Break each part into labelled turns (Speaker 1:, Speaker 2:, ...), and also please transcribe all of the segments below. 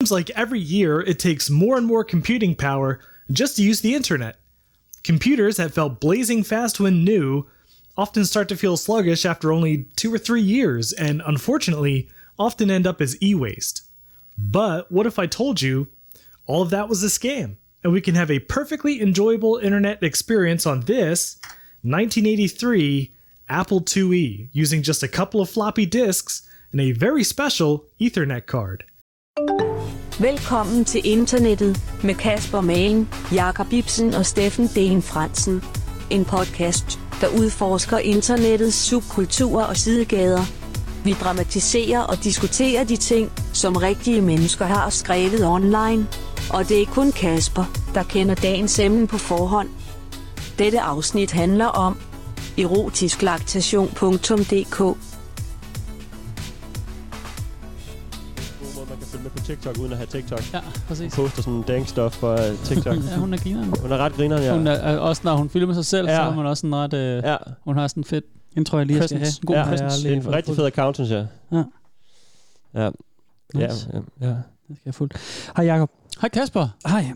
Speaker 1: seems like every year it takes more and more computing power just to use the internet. Computers that felt blazing fast when new often start to feel sluggish after only two or three years, and unfortunately, often end up as e waste. But what if I told you all of that was a scam, and we can have a perfectly enjoyable internet experience on this 1983 Apple IIe using just a couple of floppy disks and a very special Ethernet card?
Speaker 2: Velkommen til internettet med Kasper Malen, Jakob Ibsen og Steffen Den Fransen. En podcast, der udforsker internettets subkulturer og sidegader. Vi dramatiserer og diskuterer de ting, som rigtige mennesker har skrevet online. Og det er kun Kasper, der kender dagens emne på forhånd. Dette afsnit handler om erotisklaktation.dk.
Speaker 3: god måde, man kan følge med på TikTok, uden at have TikTok.
Speaker 4: Ja, præcis.
Speaker 3: Hun poster sådan dank stuff for øh, TikTok.
Speaker 4: Ja, hun er grineren.
Speaker 3: Hun er ret grineren, ja.
Speaker 4: Hun er, øh, også når hun filmer sig selv, ja. så
Speaker 3: Ja.
Speaker 4: har man også en ret... Øh, ja.
Speaker 3: ja.
Speaker 4: Hun har sådan en fed... Den tror jeg lige, jeg skal have.
Speaker 3: Presence.
Speaker 4: En god
Speaker 3: ja.
Speaker 4: presence.
Speaker 3: Det er en rigtig fed account, synes jeg.
Speaker 4: Ja.
Speaker 3: Ja. Ja,
Speaker 4: Nice.
Speaker 3: ja,
Speaker 5: Mm.
Speaker 3: ja.
Speaker 4: Det skal jeg fuldt. Hej Jakob. Hej Kasper.
Speaker 5: Hej.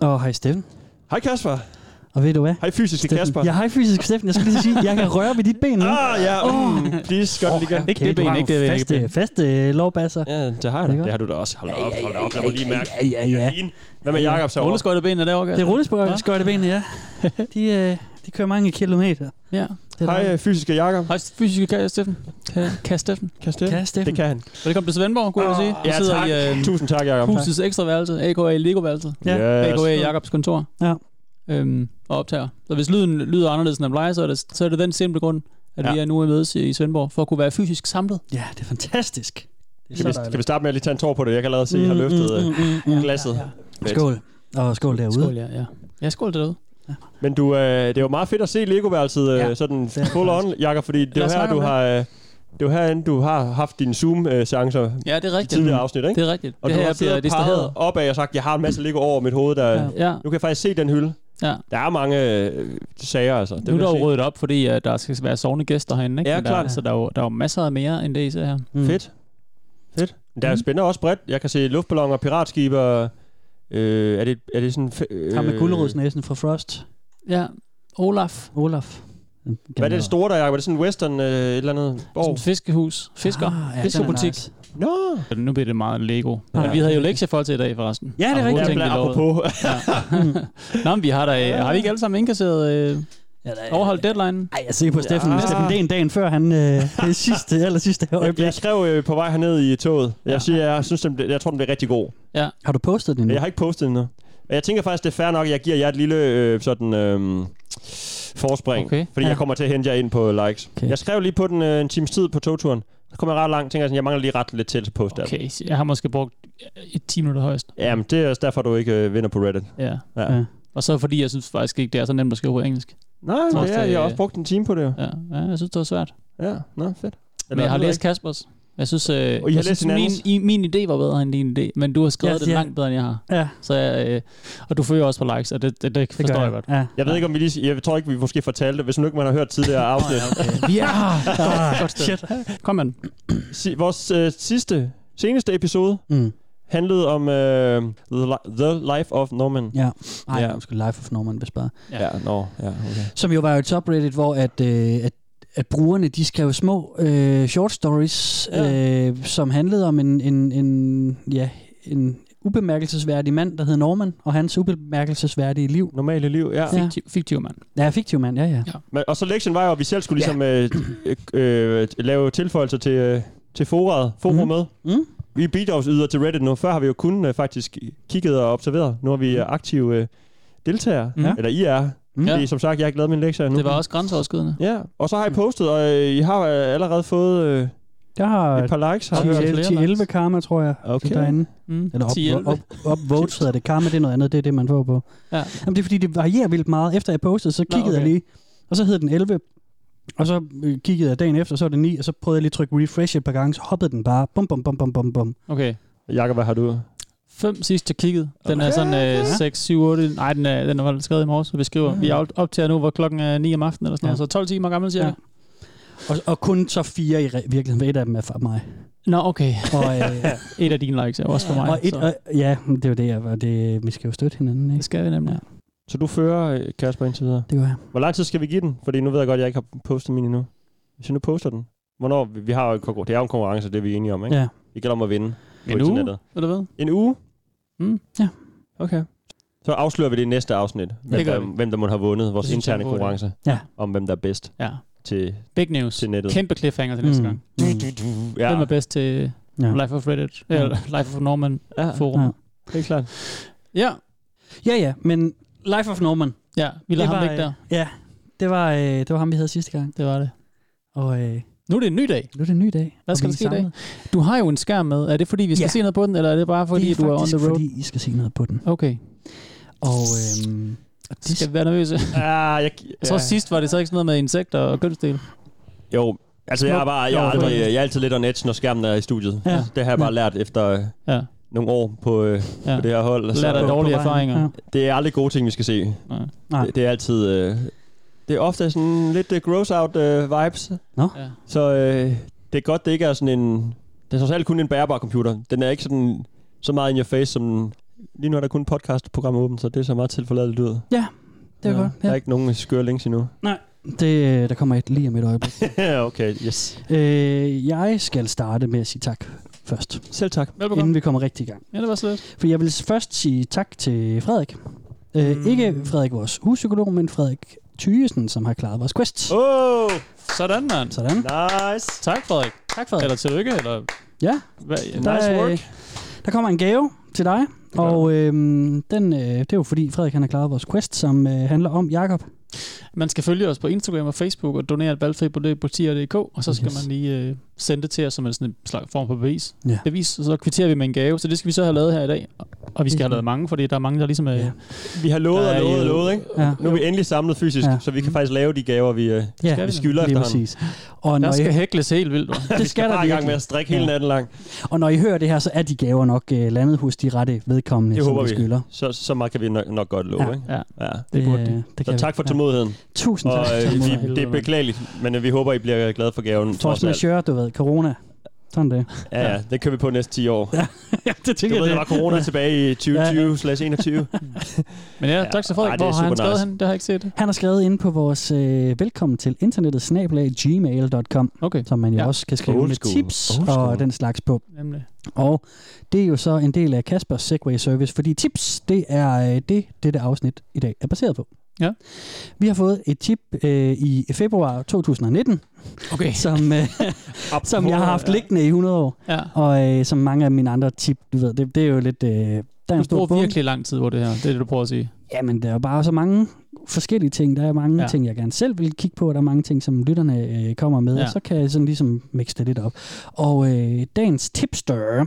Speaker 5: Og hej Steffen.
Speaker 3: Hej Kasper.
Speaker 5: Og ved du hvad?
Speaker 3: Hej fysiske
Speaker 5: Steffen.
Speaker 3: Kasper.
Speaker 5: Jeg hej fysisk Steffen. Jeg skulle lige sige, jeg kan røre ved dit ben nu.
Speaker 3: Ah, ja. Mm, please, gør det lige igen.
Speaker 4: Ikke det ben, ikke det ben, ikke
Speaker 5: faste,
Speaker 4: det ben.
Speaker 5: faste øh, lovbasser.
Speaker 3: Ja, det har jeg da.
Speaker 5: Det er godt.
Speaker 3: Det har du da også. Hold da op, hold da op. Lad mig lige mærke.
Speaker 5: Ja, ja, ja.
Speaker 3: Din. Hvad med Jakob så?
Speaker 4: Rulleskøjte benene derovre,
Speaker 5: Det
Speaker 4: Kasper.
Speaker 5: er rulleskøjte benene, ja. De, øh, de kører mange kilometer.
Speaker 4: Ja.
Speaker 5: Det er
Speaker 3: Hej øh, fysiske Jakob.
Speaker 4: Hej fysiske Kaj Steffen. Ka- Kaj Steffen.
Speaker 3: Kan Steffen?
Speaker 5: Kan Steffen.
Speaker 3: Det kan han.
Speaker 4: Velkommen til Svendborg, kunne jeg sige. Vi
Speaker 3: Ja,
Speaker 4: sidder
Speaker 3: tak.
Speaker 4: i øh,
Speaker 3: Tusind tak, Jakob.
Speaker 4: husets ekstra værelse, AKA Lego-værelset.
Speaker 5: Ja.
Speaker 3: Yes.
Speaker 4: AKA Jakobs kontor.
Speaker 5: Ja.
Speaker 4: Øhm, og optager. Så hvis lyden lyder anderledes end den plejer, så er det, så er det den simple grund, at
Speaker 3: Ja.
Speaker 4: vi er nu i mødes i i Svendborg, for at kunne være fysisk samlet.
Speaker 5: Ja, det er fantastisk. Det er
Speaker 3: Kan vi, kan vi starte med at lige tage en tår på det? Jeg kan allerede se,
Speaker 4: Mm,
Speaker 3: at I har løftet øh, glasset. Fedt.
Speaker 5: Skål. Og skål derude.
Speaker 4: Skål, ja. Ja, ja skål derude.
Speaker 3: Men du, øh, det er jo meget fedt at se Lego-værelset øh,
Speaker 5: Ja.
Speaker 3: sådan
Speaker 5: er
Speaker 3: full on, Jakob, fordi det
Speaker 4: Lad
Speaker 3: er
Speaker 4: os
Speaker 3: jo her,
Speaker 4: snakke
Speaker 3: du
Speaker 4: om
Speaker 3: har, øh, det er jo herinde, du har haft dine Zoom-seancer
Speaker 4: Ja, det er
Speaker 3: i
Speaker 4: rigtigt.
Speaker 3: tidligere afsnit, ikke?
Speaker 4: Det er rigtigt.
Speaker 3: og
Speaker 4: det
Speaker 3: du
Speaker 4: her
Speaker 3: har
Speaker 4: jeg bliver
Speaker 3: siddet og peget
Speaker 4: distraheret.
Speaker 3: opad og sagt, jeg har en masse Lego over mit hoved, der...
Speaker 4: Ja. ja.
Speaker 3: Nu kan jeg faktisk se den hylde.
Speaker 4: Ja.
Speaker 3: Der er mange øh, sager, altså. Det
Speaker 4: Nu er
Speaker 3: vil
Speaker 4: der
Speaker 3: jeg
Speaker 4: jo
Speaker 3: se.
Speaker 4: ryddet op, fordi uh, der skal være sovende gæster herinde, ikke?
Speaker 3: Ja,
Speaker 4: Men der,
Speaker 3: klart.
Speaker 4: Så der er, jo, der er jo masser af mere end det, I ser her.
Speaker 5: Mm.
Speaker 3: Fedt. Fedt. Men Der mm. spænder også bredt. Jeg kan se luftballoner, piratskibe og... Øh, er, det, er det sådan... fe- Øh,
Speaker 5: Ham med gulerodsnæsen fra Frost.
Speaker 4: Ja, Olaf.
Speaker 5: Olaf.
Speaker 3: Hvad er det store, der, Jacob? Er det sådan en western øh, et eller andet
Speaker 4: Sådan
Speaker 3: borg?
Speaker 4: et fiskehus. Fisker.
Speaker 5: Ah, ja,
Speaker 4: Fiskebutik.
Speaker 5: den er nice.
Speaker 3: Nå!
Speaker 4: Nu bliver det meget Lego.
Speaker 3: Ja.
Speaker 4: Ja. Men vi havde jo lektier for til i dag, forresten.
Speaker 5: Ja, det er
Speaker 4: Apropos
Speaker 5: rigtigt.
Speaker 3: Ja,
Speaker 4: ting,
Speaker 3: bla-
Speaker 4: vi lovede.
Speaker 3: apropos.
Speaker 4: Ja. Nå, men vi har da... øh, Har vi ikke alle sammen indkasseret... Øh,
Speaker 5: Ja, der er-
Speaker 4: overholdt deadline?
Speaker 5: Ej, jeg er sikker på, at Steffen,
Speaker 3: Ja.
Speaker 5: ja.
Speaker 4: Ah.
Speaker 5: Steffen Dehn dagen før, han øh, det sidste, eller sidste
Speaker 3: Jeg,
Speaker 5: øjeblik.
Speaker 3: jeg skrev øh, på vej herned i toget. Jeg
Speaker 4: Ja.
Speaker 3: siger, jeg synes, den, blev- jeg tror, den bliver rigtig god.
Speaker 5: Har du postet den
Speaker 3: Men
Speaker 5: nu?
Speaker 3: jeg har ikke postet den endnu. Men jeg tænker faktisk, det er fair nok, at jeg giver jer et lille øh, sådan, øh, forspring.
Speaker 4: Okay.
Speaker 3: Fordi
Speaker 5: Ja.
Speaker 3: jeg kommer til at hente jer ind på likes.
Speaker 5: Okay.
Speaker 3: Jeg skrev lige på den øh, en times tid på togturen. Så kom jeg ret langt, tænker jeg sådan, jeg mangler lige ret lidt til at poste okay.
Speaker 4: Okay, så jeg har måske brugt et 10 minutter højst.
Speaker 3: Jamen, det er også derfor, du ikke øh, vinder på Reddit.
Speaker 4: Ja.
Speaker 3: Ja.
Speaker 5: Ja.
Speaker 4: Og så fordi jeg synes faktisk ikke, det er så nemt at skrive på engelsk.
Speaker 3: Nej,
Speaker 4: Trods
Speaker 3: det er,
Speaker 4: det-
Speaker 3: jeg har også brugt en time på det jo.
Speaker 4: Ja, ja jeg synes, det var svært.
Speaker 3: Ja, nå, fedt.
Speaker 4: Men jeg har
Speaker 3: ved
Speaker 4: læst Kaspers. Jeg synes, øh,
Speaker 3: har
Speaker 4: jeg
Speaker 3: læst
Speaker 4: synes min,
Speaker 3: hinandens?
Speaker 4: i, min idé var bedre end din idé, men du har skrevet
Speaker 5: Ja,
Speaker 4: yes, den
Speaker 5: ja.
Speaker 4: langt bedre, end jeg har.
Speaker 5: Ja,
Speaker 4: Så jeg, øh, og du fører også på likes, og det, det, det, det
Speaker 5: det
Speaker 4: forstår jeg godt.
Speaker 5: Ja.
Speaker 3: Jeg ved ikke, om vi lige... Jeg tror ikke, vi måske fortalte det. Hvis nu ikke man har hørt tidligere afsnit.
Speaker 4: Ja!
Speaker 5: Ah,
Speaker 4: Godt
Speaker 5: shit.
Speaker 4: Kom, man.
Speaker 3: Si- Vores øh, sidste, seneste episode
Speaker 5: Mm.
Speaker 3: handlede om øh, the, Li- the Life of Norman.
Speaker 5: Ja. Ej,
Speaker 3: Ja.
Speaker 5: ja. skulle Life of Norman, hvis bare.
Speaker 4: Ja.
Speaker 3: Ja, nå, ja, okay.
Speaker 5: Som jo var et subreddit, hvor at, øh, at, at brugerne, de skrev små øh, short stories,
Speaker 3: Ja.
Speaker 5: ja. øh, som handlede om en, en, en, ja, en ubemærkelsesværdig mand, der hed Norman, og hans ubemærkelsesværdige liv.
Speaker 3: Normale liv, ja.
Speaker 5: Ja.
Speaker 4: Fiktiv, fiktiv mand.
Speaker 5: Ja, fiktiv mand, ja, ja.
Speaker 3: Men, og så lektionen var jo, at vi selv skulle ligesom øh, øh, øh, lave tilføjelser til, øh, til forumet. forumet.
Speaker 5: Mhm.
Speaker 3: Vi er bidragsyder til Reddit nu. Før har vi jo kun øh, faktisk kigget og observeret. Nu er vi
Speaker 4: Mhm.
Speaker 3: øh, aktive øh, deltagere.
Speaker 5: Ja.
Speaker 3: Eller I er.
Speaker 5: Mm.
Speaker 3: Fordi,
Speaker 4: Ja.
Speaker 3: som sagt, jeg har ikke lavet min lektie endnu.
Speaker 4: Mhm. Det var også grænseoverskridende. Mhm.
Speaker 3: Ja, og så har I postet, og øh, I har øh, allerede fået øh,
Speaker 5: Der har
Speaker 3: et par likes. Har jeg hørt.
Speaker 4: hørt flere
Speaker 5: 10-11
Speaker 4: likes.
Speaker 5: karma, tror jeg.
Speaker 3: Okay.
Speaker 5: Derinde.
Speaker 4: Mm.
Speaker 5: Eller
Speaker 4: 10-11.
Speaker 5: op, op, upvotes hedder det. Karma, det er noget andet. Det er det, man får på.
Speaker 4: Ja.
Speaker 5: Jamen, det er fordi, det varierer vildt meget. Efter jeg postede, så
Speaker 4: Nå,
Speaker 5: kiggede jeg
Speaker 4: okay.
Speaker 5: lige, og så hed den 11. Og så øh, kiggede jeg dagen efter, så var det 9, og så prøvede jeg lige at trykke refresh et par gange, så hoppede den bare. Bum, bum, bum, bum, bum, bum.
Speaker 4: Okay.
Speaker 3: Jakob, hvad har du?
Speaker 4: Fem sidst, jeg kiggede. Den er sådan øh, 6, 7, 8. Nej, den er, den var skrevet i morges, så vi skriver. Vi er optager nu, hvor klokken er 9 om aftenen eller sådan
Speaker 5: Ja.
Speaker 4: noget. Så 12 timer gammel, cirka.
Speaker 5: Og, og kun så fire i re- virkeligheden. Ved et af dem er fra mig.
Speaker 4: Nå, okay.
Speaker 5: Og, øh,
Speaker 4: et af dine likes er også for mig.
Speaker 5: og et,
Speaker 4: så
Speaker 5: og, ja, det er jo det, jeg var. Det, vi skal jo støtte hinanden,
Speaker 4: det
Speaker 5: ikke?
Speaker 4: skal vi nemlig.
Speaker 3: Så du fører øh, Kasper indtil videre.
Speaker 5: Det gør jeg.
Speaker 3: Hvor lang tid skal vi give den? Fordi nu ved jeg godt, at jeg ikke har postet min endnu. Hvis jeg nu poster den. Hvornår? Vi vi har jo en konkurrence. Det er jo en konkurrence, det er vi enige om, ikke?
Speaker 5: Ja.
Speaker 3: Det gælder om at vinde på
Speaker 4: En uge,
Speaker 3: internettet.
Speaker 4: eller hvad?
Speaker 3: En uge?
Speaker 4: Mm,
Speaker 5: ja.
Speaker 3: Okay. Så afslører vi det i næste afsnit, hvem,
Speaker 4: Det gør
Speaker 3: der,
Speaker 4: vi.
Speaker 3: hvem der måtte have vundet vores
Speaker 4: Det synes jeg
Speaker 3: interne
Speaker 4: er en god idé.
Speaker 3: konkurrence.
Speaker 5: Ja.
Speaker 3: Om hvem der er bedst
Speaker 4: Ja.
Speaker 3: til,
Speaker 4: Big news.
Speaker 3: til nettet.
Speaker 4: Kæmpe cliffhanger til næste gang.
Speaker 5: Mm.
Speaker 3: Ja,
Speaker 4: Hvem er bedst til
Speaker 5: Ja.
Speaker 4: Life of Reddit? Eller Life of Norman
Speaker 3: ja,
Speaker 4: Forum?
Speaker 5: Ja.
Speaker 3: helt klart.
Speaker 4: Ja,
Speaker 5: Ja, ja, men Life of Norman.
Speaker 4: ja. vi lader
Speaker 5: Det
Speaker 4: ham
Speaker 5: var,
Speaker 4: ligge der.
Speaker 5: Ja, det var, øh, det var ham, vi havde sidste gang.
Speaker 4: Det var det.
Speaker 5: Og øh,
Speaker 4: Nu er det en ny dag.
Speaker 5: nu er det en ny dag.
Speaker 4: Hvad
Speaker 5: og
Speaker 4: skal
Speaker 5: vi
Speaker 4: der
Speaker 5: er
Speaker 4: ske i dag?
Speaker 5: samlet.
Speaker 4: Du har jo en skærm med. Er det fordi, vi skal
Speaker 5: Ja.
Speaker 4: se noget på den, eller er det bare fordi,
Speaker 5: det er
Speaker 4: du er on
Speaker 5: faktisk
Speaker 4: the road?
Speaker 5: fordi, I skal se noget på den.
Speaker 4: Okay,
Speaker 5: Og, øhm, og
Speaker 4: det skal vi være nervøse.
Speaker 3: Ja, jeg,
Speaker 4: Jeg tror sidst var det så ikke sådan noget med insekter og kønsdel.
Speaker 3: Jo, altså jeg er, bare, jeg, er
Speaker 4: Smuk.
Speaker 3: aldrig, jeg er altid lidt on edge, når skærmen er i studiet.
Speaker 5: Ja.
Speaker 3: Det har jeg bare lært efter øh,
Speaker 4: Ja.
Speaker 3: nogle år på, øh,
Speaker 4: Ja.
Speaker 3: på det her hold.
Speaker 4: Lær dig
Speaker 5: på-
Speaker 4: dårlige
Speaker 5: på vejen.
Speaker 4: erfaringer.
Speaker 5: Ja.
Speaker 3: Det er aldrig gode ting, vi skal se.
Speaker 4: Nej.
Speaker 5: Nej.
Speaker 3: Det, det er altid... Øh, det er ofte sådan lidt øh, gross out øh, vibes.
Speaker 4: Ja.
Speaker 3: Så øh, det er godt, det ikke er sådan en... Det er trods alt kun en bærbar computer. Den er ikke sådan så meget in your face, som... Lige nu er der kun podcastprogram åbent, så det er så meget tilforladeligt ud.
Speaker 5: Det er
Speaker 3: Så
Speaker 5: godt.
Speaker 3: Der er
Speaker 5: Ja.
Speaker 3: ikke nogen skøre links endnu.
Speaker 5: Det, øh, der kommer et lige om et øjeblik.
Speaker 3: okay, yes.
Speaker 5: øh, jeg skal starte med at sige tak først,
Speaker 3: Selv tak.
Speaker 4: Velbekomme.
Speaker 5: inden vi kommer rigtig i gang.
Speaker 4: Ja, det var slet.
Speaker 5: For jeg vil først sige tak til Frederik. Øh,
Speaker 3: Mm.
Speaker 5: Ikke Frederik, vores huspsykolog, men Frederik Thyesen, som har klaret vores quest.
Speaker 3: Oh,
Speaker 4: Sådan, mand.
Speaker 5: Sådan.
Speaker 3: nice.
Speaker 4: Tak, Frederik.
Speaker 5: Tak, Frederik.
Speaker 4: Eller tillykke, eller...
Speaker 5: Ja.
Speaker 4: Hvad, ja.
Speaker 5: Der,
Speaker 3: Nice
Speaker 5: øh,
Speaker 3: work.
Speaker 5: Der kommer en gave til dig,
Speaker 3: gør
Speaker 5: og øhm, den, øh, det er jo fordi Frederik han har klaret vores quest, som øh, handler om Jakob.
Speaker 4: Man skal følge os på Instagram og Facebook og donere et valgfri beløb på tier.dk, og så skal
Speaker 5: Yes.
Speaker 4: yes. man lige øh, sende det til os som en sådan en slags form for bevis.
Speaker 5: Ja.
Speaker 4: bevis. Og så kvitterer vi med en gave, så det skal vi så have lavet her i dag. Og- Og vi skal have lavet mange, fordi der er mange, der ligesom er...
Speaker 5: Ja.
Speaker 4: Ja.
Speaker 3: Vi har lovet
Speaker 4: der
Speaker 3: og
Speaker 4: er
Speaker 3: lovet og
Speaker 4: jo-
Speaker 3: lovet, ikke?
Speaker 5: Ja.
Speaker 3: Nu er vi endelig samlet fysisk,
Speaker 5: Ja.
Speaker 3: så vi kan faktisk lave de gaver, vi, øh,
Speaker 5: Ja,
Speaker 4: Skal
Speaker 3: vi skylder
Speaker 5: lige
Speaker 3: efterhånden.
Speaker 5: præcis. Og
Speaker 4: Der
Speaker 5: når,
Speaker 4: skal
Speaker 5: I,
Speaker 4: hækles helt vildt. hva'?
Speaker 5: det skal der
Speaker 3: Bare i gang med
Speaker 5: virkelig.
Speaker 3: at strikke hele
Speaker 5: Ja.
Speaker 3: natten lang.
Speaker 5: Og når I hører det her, så er de gaver nok øh, landet hos de rette vedkommende,
Speaker 3: Det
Speaker 5: som
Speaker 3: håber
Speaker 5: vi
Speaker 3: vi.
Speaker 5: skylder.
Speaker 3: Så, så meget kan vi nok, nok godt love,
Speaker 5: Ja.
Speaker 3: ikke?
Speaker 4: Ja.
Speaker 3: ja.
Speaker 4: Det burde de.
Speaker 5: øh, det
Speaker 3: Så
Speaker 5: kan
Speaker 3: tak for
Speaker 5: vi.
Speaker 3: tålmodigheden.
Speaker 5: Ja. Tusind
Speaker 3: Og
Speaker 5: tak.
Speaker 3: øh,
Speaker 5: Øh,
Speaker 3: vi, det er beklageligt, men øh, vi håber, I bliver glade for gaven.
Speaker 5: Trods
Speaker 3: trods alt.
Speaker 5: majeure, du ved, corona. Sådan det.
Speaker 3: Ja, ja, det kører vi på næste 10 år.
Speaker 5: ja, det
Speaker 3: Du
Speaker 5: tænker
Speaker 3: ved, der var corona tilbage i 2020-21.
Speaker 4: Men ja,
Speaker 3: Ja,
Speaker 4: tak til
Speaker 3: ej,
Speaker 4: Frederik.
Speaker 3: det er
Speaker 4: Hvor har han
Speaker 3: super
Speaker 4: skrevet
Speaker 3: nice.
Speaker 4: hen? Det har jeg ikke set.
Speaker 5: Han har skrevet ind på vores øh, velkommen til internettet snablag gmail.com,
Speaker 4: Okay,
Speaker 5: som man jo ja.
Speaker 4: Ja.
Speaker 5: også kan skrive
Speaker 3: Old
Speaker 5: med
Speaker 3: school.
Speaker 5: tips
Speaker 3: Old
Speaker 5: og
Speaker 3: school.
Speaker 5: den slags på.
Speaker 4: nemlig.
Speaker 5: Og det er jo så en del af Kaspers Segway Service, fordi tips, det er øh, det, dette afsnit i dag er baseret på.
Speaker 4: Ja.
Speaker 5: Vi har fået et tip øh, i februar 2019,
Speaker 4: Okay.
Speaker 5: som, øh, som jeg har haft liggende i 100 år,
Speaker 4: Ja.
Speaker 5: og øh, som mange af mine andre tip, du ved, det, det er jo lidt... Øh, der er
Speaker 4: Du
Speaker 5: en stor
Speaker 4: bruger
Speaker 5: bog.
Speaker 4: virkelig lang tid på det her. Det er det, du prøver at sige.
Speaker 5: Jamen, der er jo bare så mange forskellige ting. Der er mange ja.
Speaker 4: Ja.
Speaker 5: ting, jeg gerne selv vil kigge på, og der er mange ting, som lytterne øh, kommer med, ja.
Speaker 4: Ja.
Speaker 5: og så kan jeg sådan ligesom mixe det lidt op. Og øh, dagens tipster,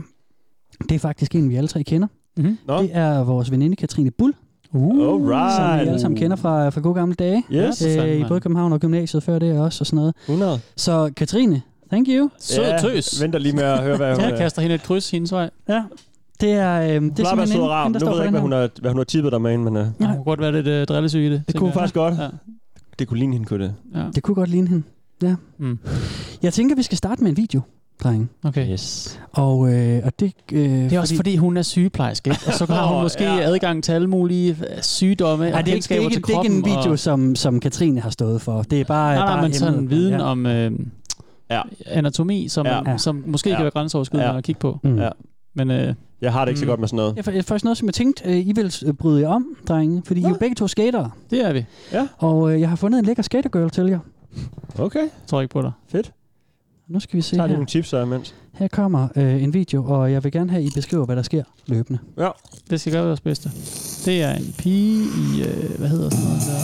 Speaker 5: det er faktisk en, vi alle tre kender.
Speaker 4: Mm-hmm.
Speaker 3: Nå.
Speaker 5: Det er vores veninde Katrine Bull,
Speaker 3: Alright.
Speaker 5: som vi alle sammen kender fra, fra gode gamle dage.
Speaker 3: Yes.
Speaker 4: Uh. Ja, for fanden,
Speaker 5: Øh, I
Speaker 4: mand.
Speaker 5: både København og gymnasiet før det også, og sådan noget.
Speaker 3: 100.
Speaker 5: Så Katrine, thank you.
Speaker 4: Sød
Speaker 3: Ja,
Speaker 4: tøs.
Speaker 3: Venter lige med at høre, hvad hun øh,
Speaker 4: Jeg
Speaker 3: er.
Speaker 4: kaster hende et kryds hendes vej.
Speaker 5: Ja. Det er, øh, det er
Speaker 3: Plejer at være sød og rar.
Speaker 5: hende, der
Speaker 3: Nu
Speaker 5: står
Speaker 3: ved
Speaker 5: for
Speaker 3: jeg ikke,
Speaker 5: den
Speaker 3: hvad hun,
Speaker 5: her.
Speaker 3: har, hvad hun har tippet dig med, men uh,
Speaker 4: Ja. Hun kunne godt være lidt øh, drillesyg i det.
Speaker 3: det kunne hun faktisk godt.
Speaker 4: Ja.
Speaker 3: Det kunne ligne hende, kunne det.
Speaker 4: Ja.
Speaker 5: Det kunne godt ligne hende. Ja.
Speaker 4: Mm.
Speaker 5: Jeg tænker, vi skal starte med en video, drenge.
Speaker 4: Okay.
Speaker 3: Yes.
Speaker 5: Og, øh, og det, øh,
Speaker 4: Det er også fordi, hun er sygeplejerske, ikke? og så har hun
Speaker 3: Åh,
Speaker 4: måske
Speaker 3: ja.
Speaker 4: adgang til alle mulige øh, sygdomme
Speaker 5: Ej,
Speaker 4: og
Speaker 5: det, er ikke, det,
Speaker 4: kendskaber
Speaker 5: er ikke,
Speaker 4: til
Speaker 5: det er ikke
Speaker 4: kroppen.
Speaker 5: en video, og...
Speaker 4: og,
Speaker 5: som, som Katrine har stået for. Det er bare...
Speaker 4: nej,
Speaker 5: bare
Speaker 4: nej, men sådan
Speaker 5: emnet.
Speaker 4: viden om øh,
Speaker 3: Ja.
Speaker 4: ja. anatomi, som,
Speaker 3: Ja.
Speaker 4: ja. som måske
Speaker 3: Ja.
Speaker 4: kan være grænseoverskridende
Speaker 3: Ja.
Speaker 4: at kigge på.
Speaker 5: Mm.
Speaker 3: Ja.
Speaker 5: Ja.
Speaker 4: Men øh,
Speaker 3: Jeg har det ikke så
Speaker 4: Mm.
Speaker 3: godt med sådan noget.
Speaker 5: Det er fa- faktisk noget, som jeg tænkte, øh, I vil øh, bryde jer om, drenge. Fordi I er jo begge to skatere.
Speaker 4: det er vi.
Speaker 5: Og øh, jeg har fundet en lækker skatergirl til jer.
Speaker 3: Okay.
Speaker 4: Jeg tror ikke på dig.
Speaker 5: Nu skal vi se
Speaker 3: Så har de
Speaker 5: her.
Speaker 3: nogle tips, så imens.
Speaker 5: Her kommer øh, en video, og jeg vil gerne have, at I beskriver, hvad der sker løbende.
Speaker 4: Det skal gøre vores bedste. Det er en pige i, øh, hvad hedder sådan noget der?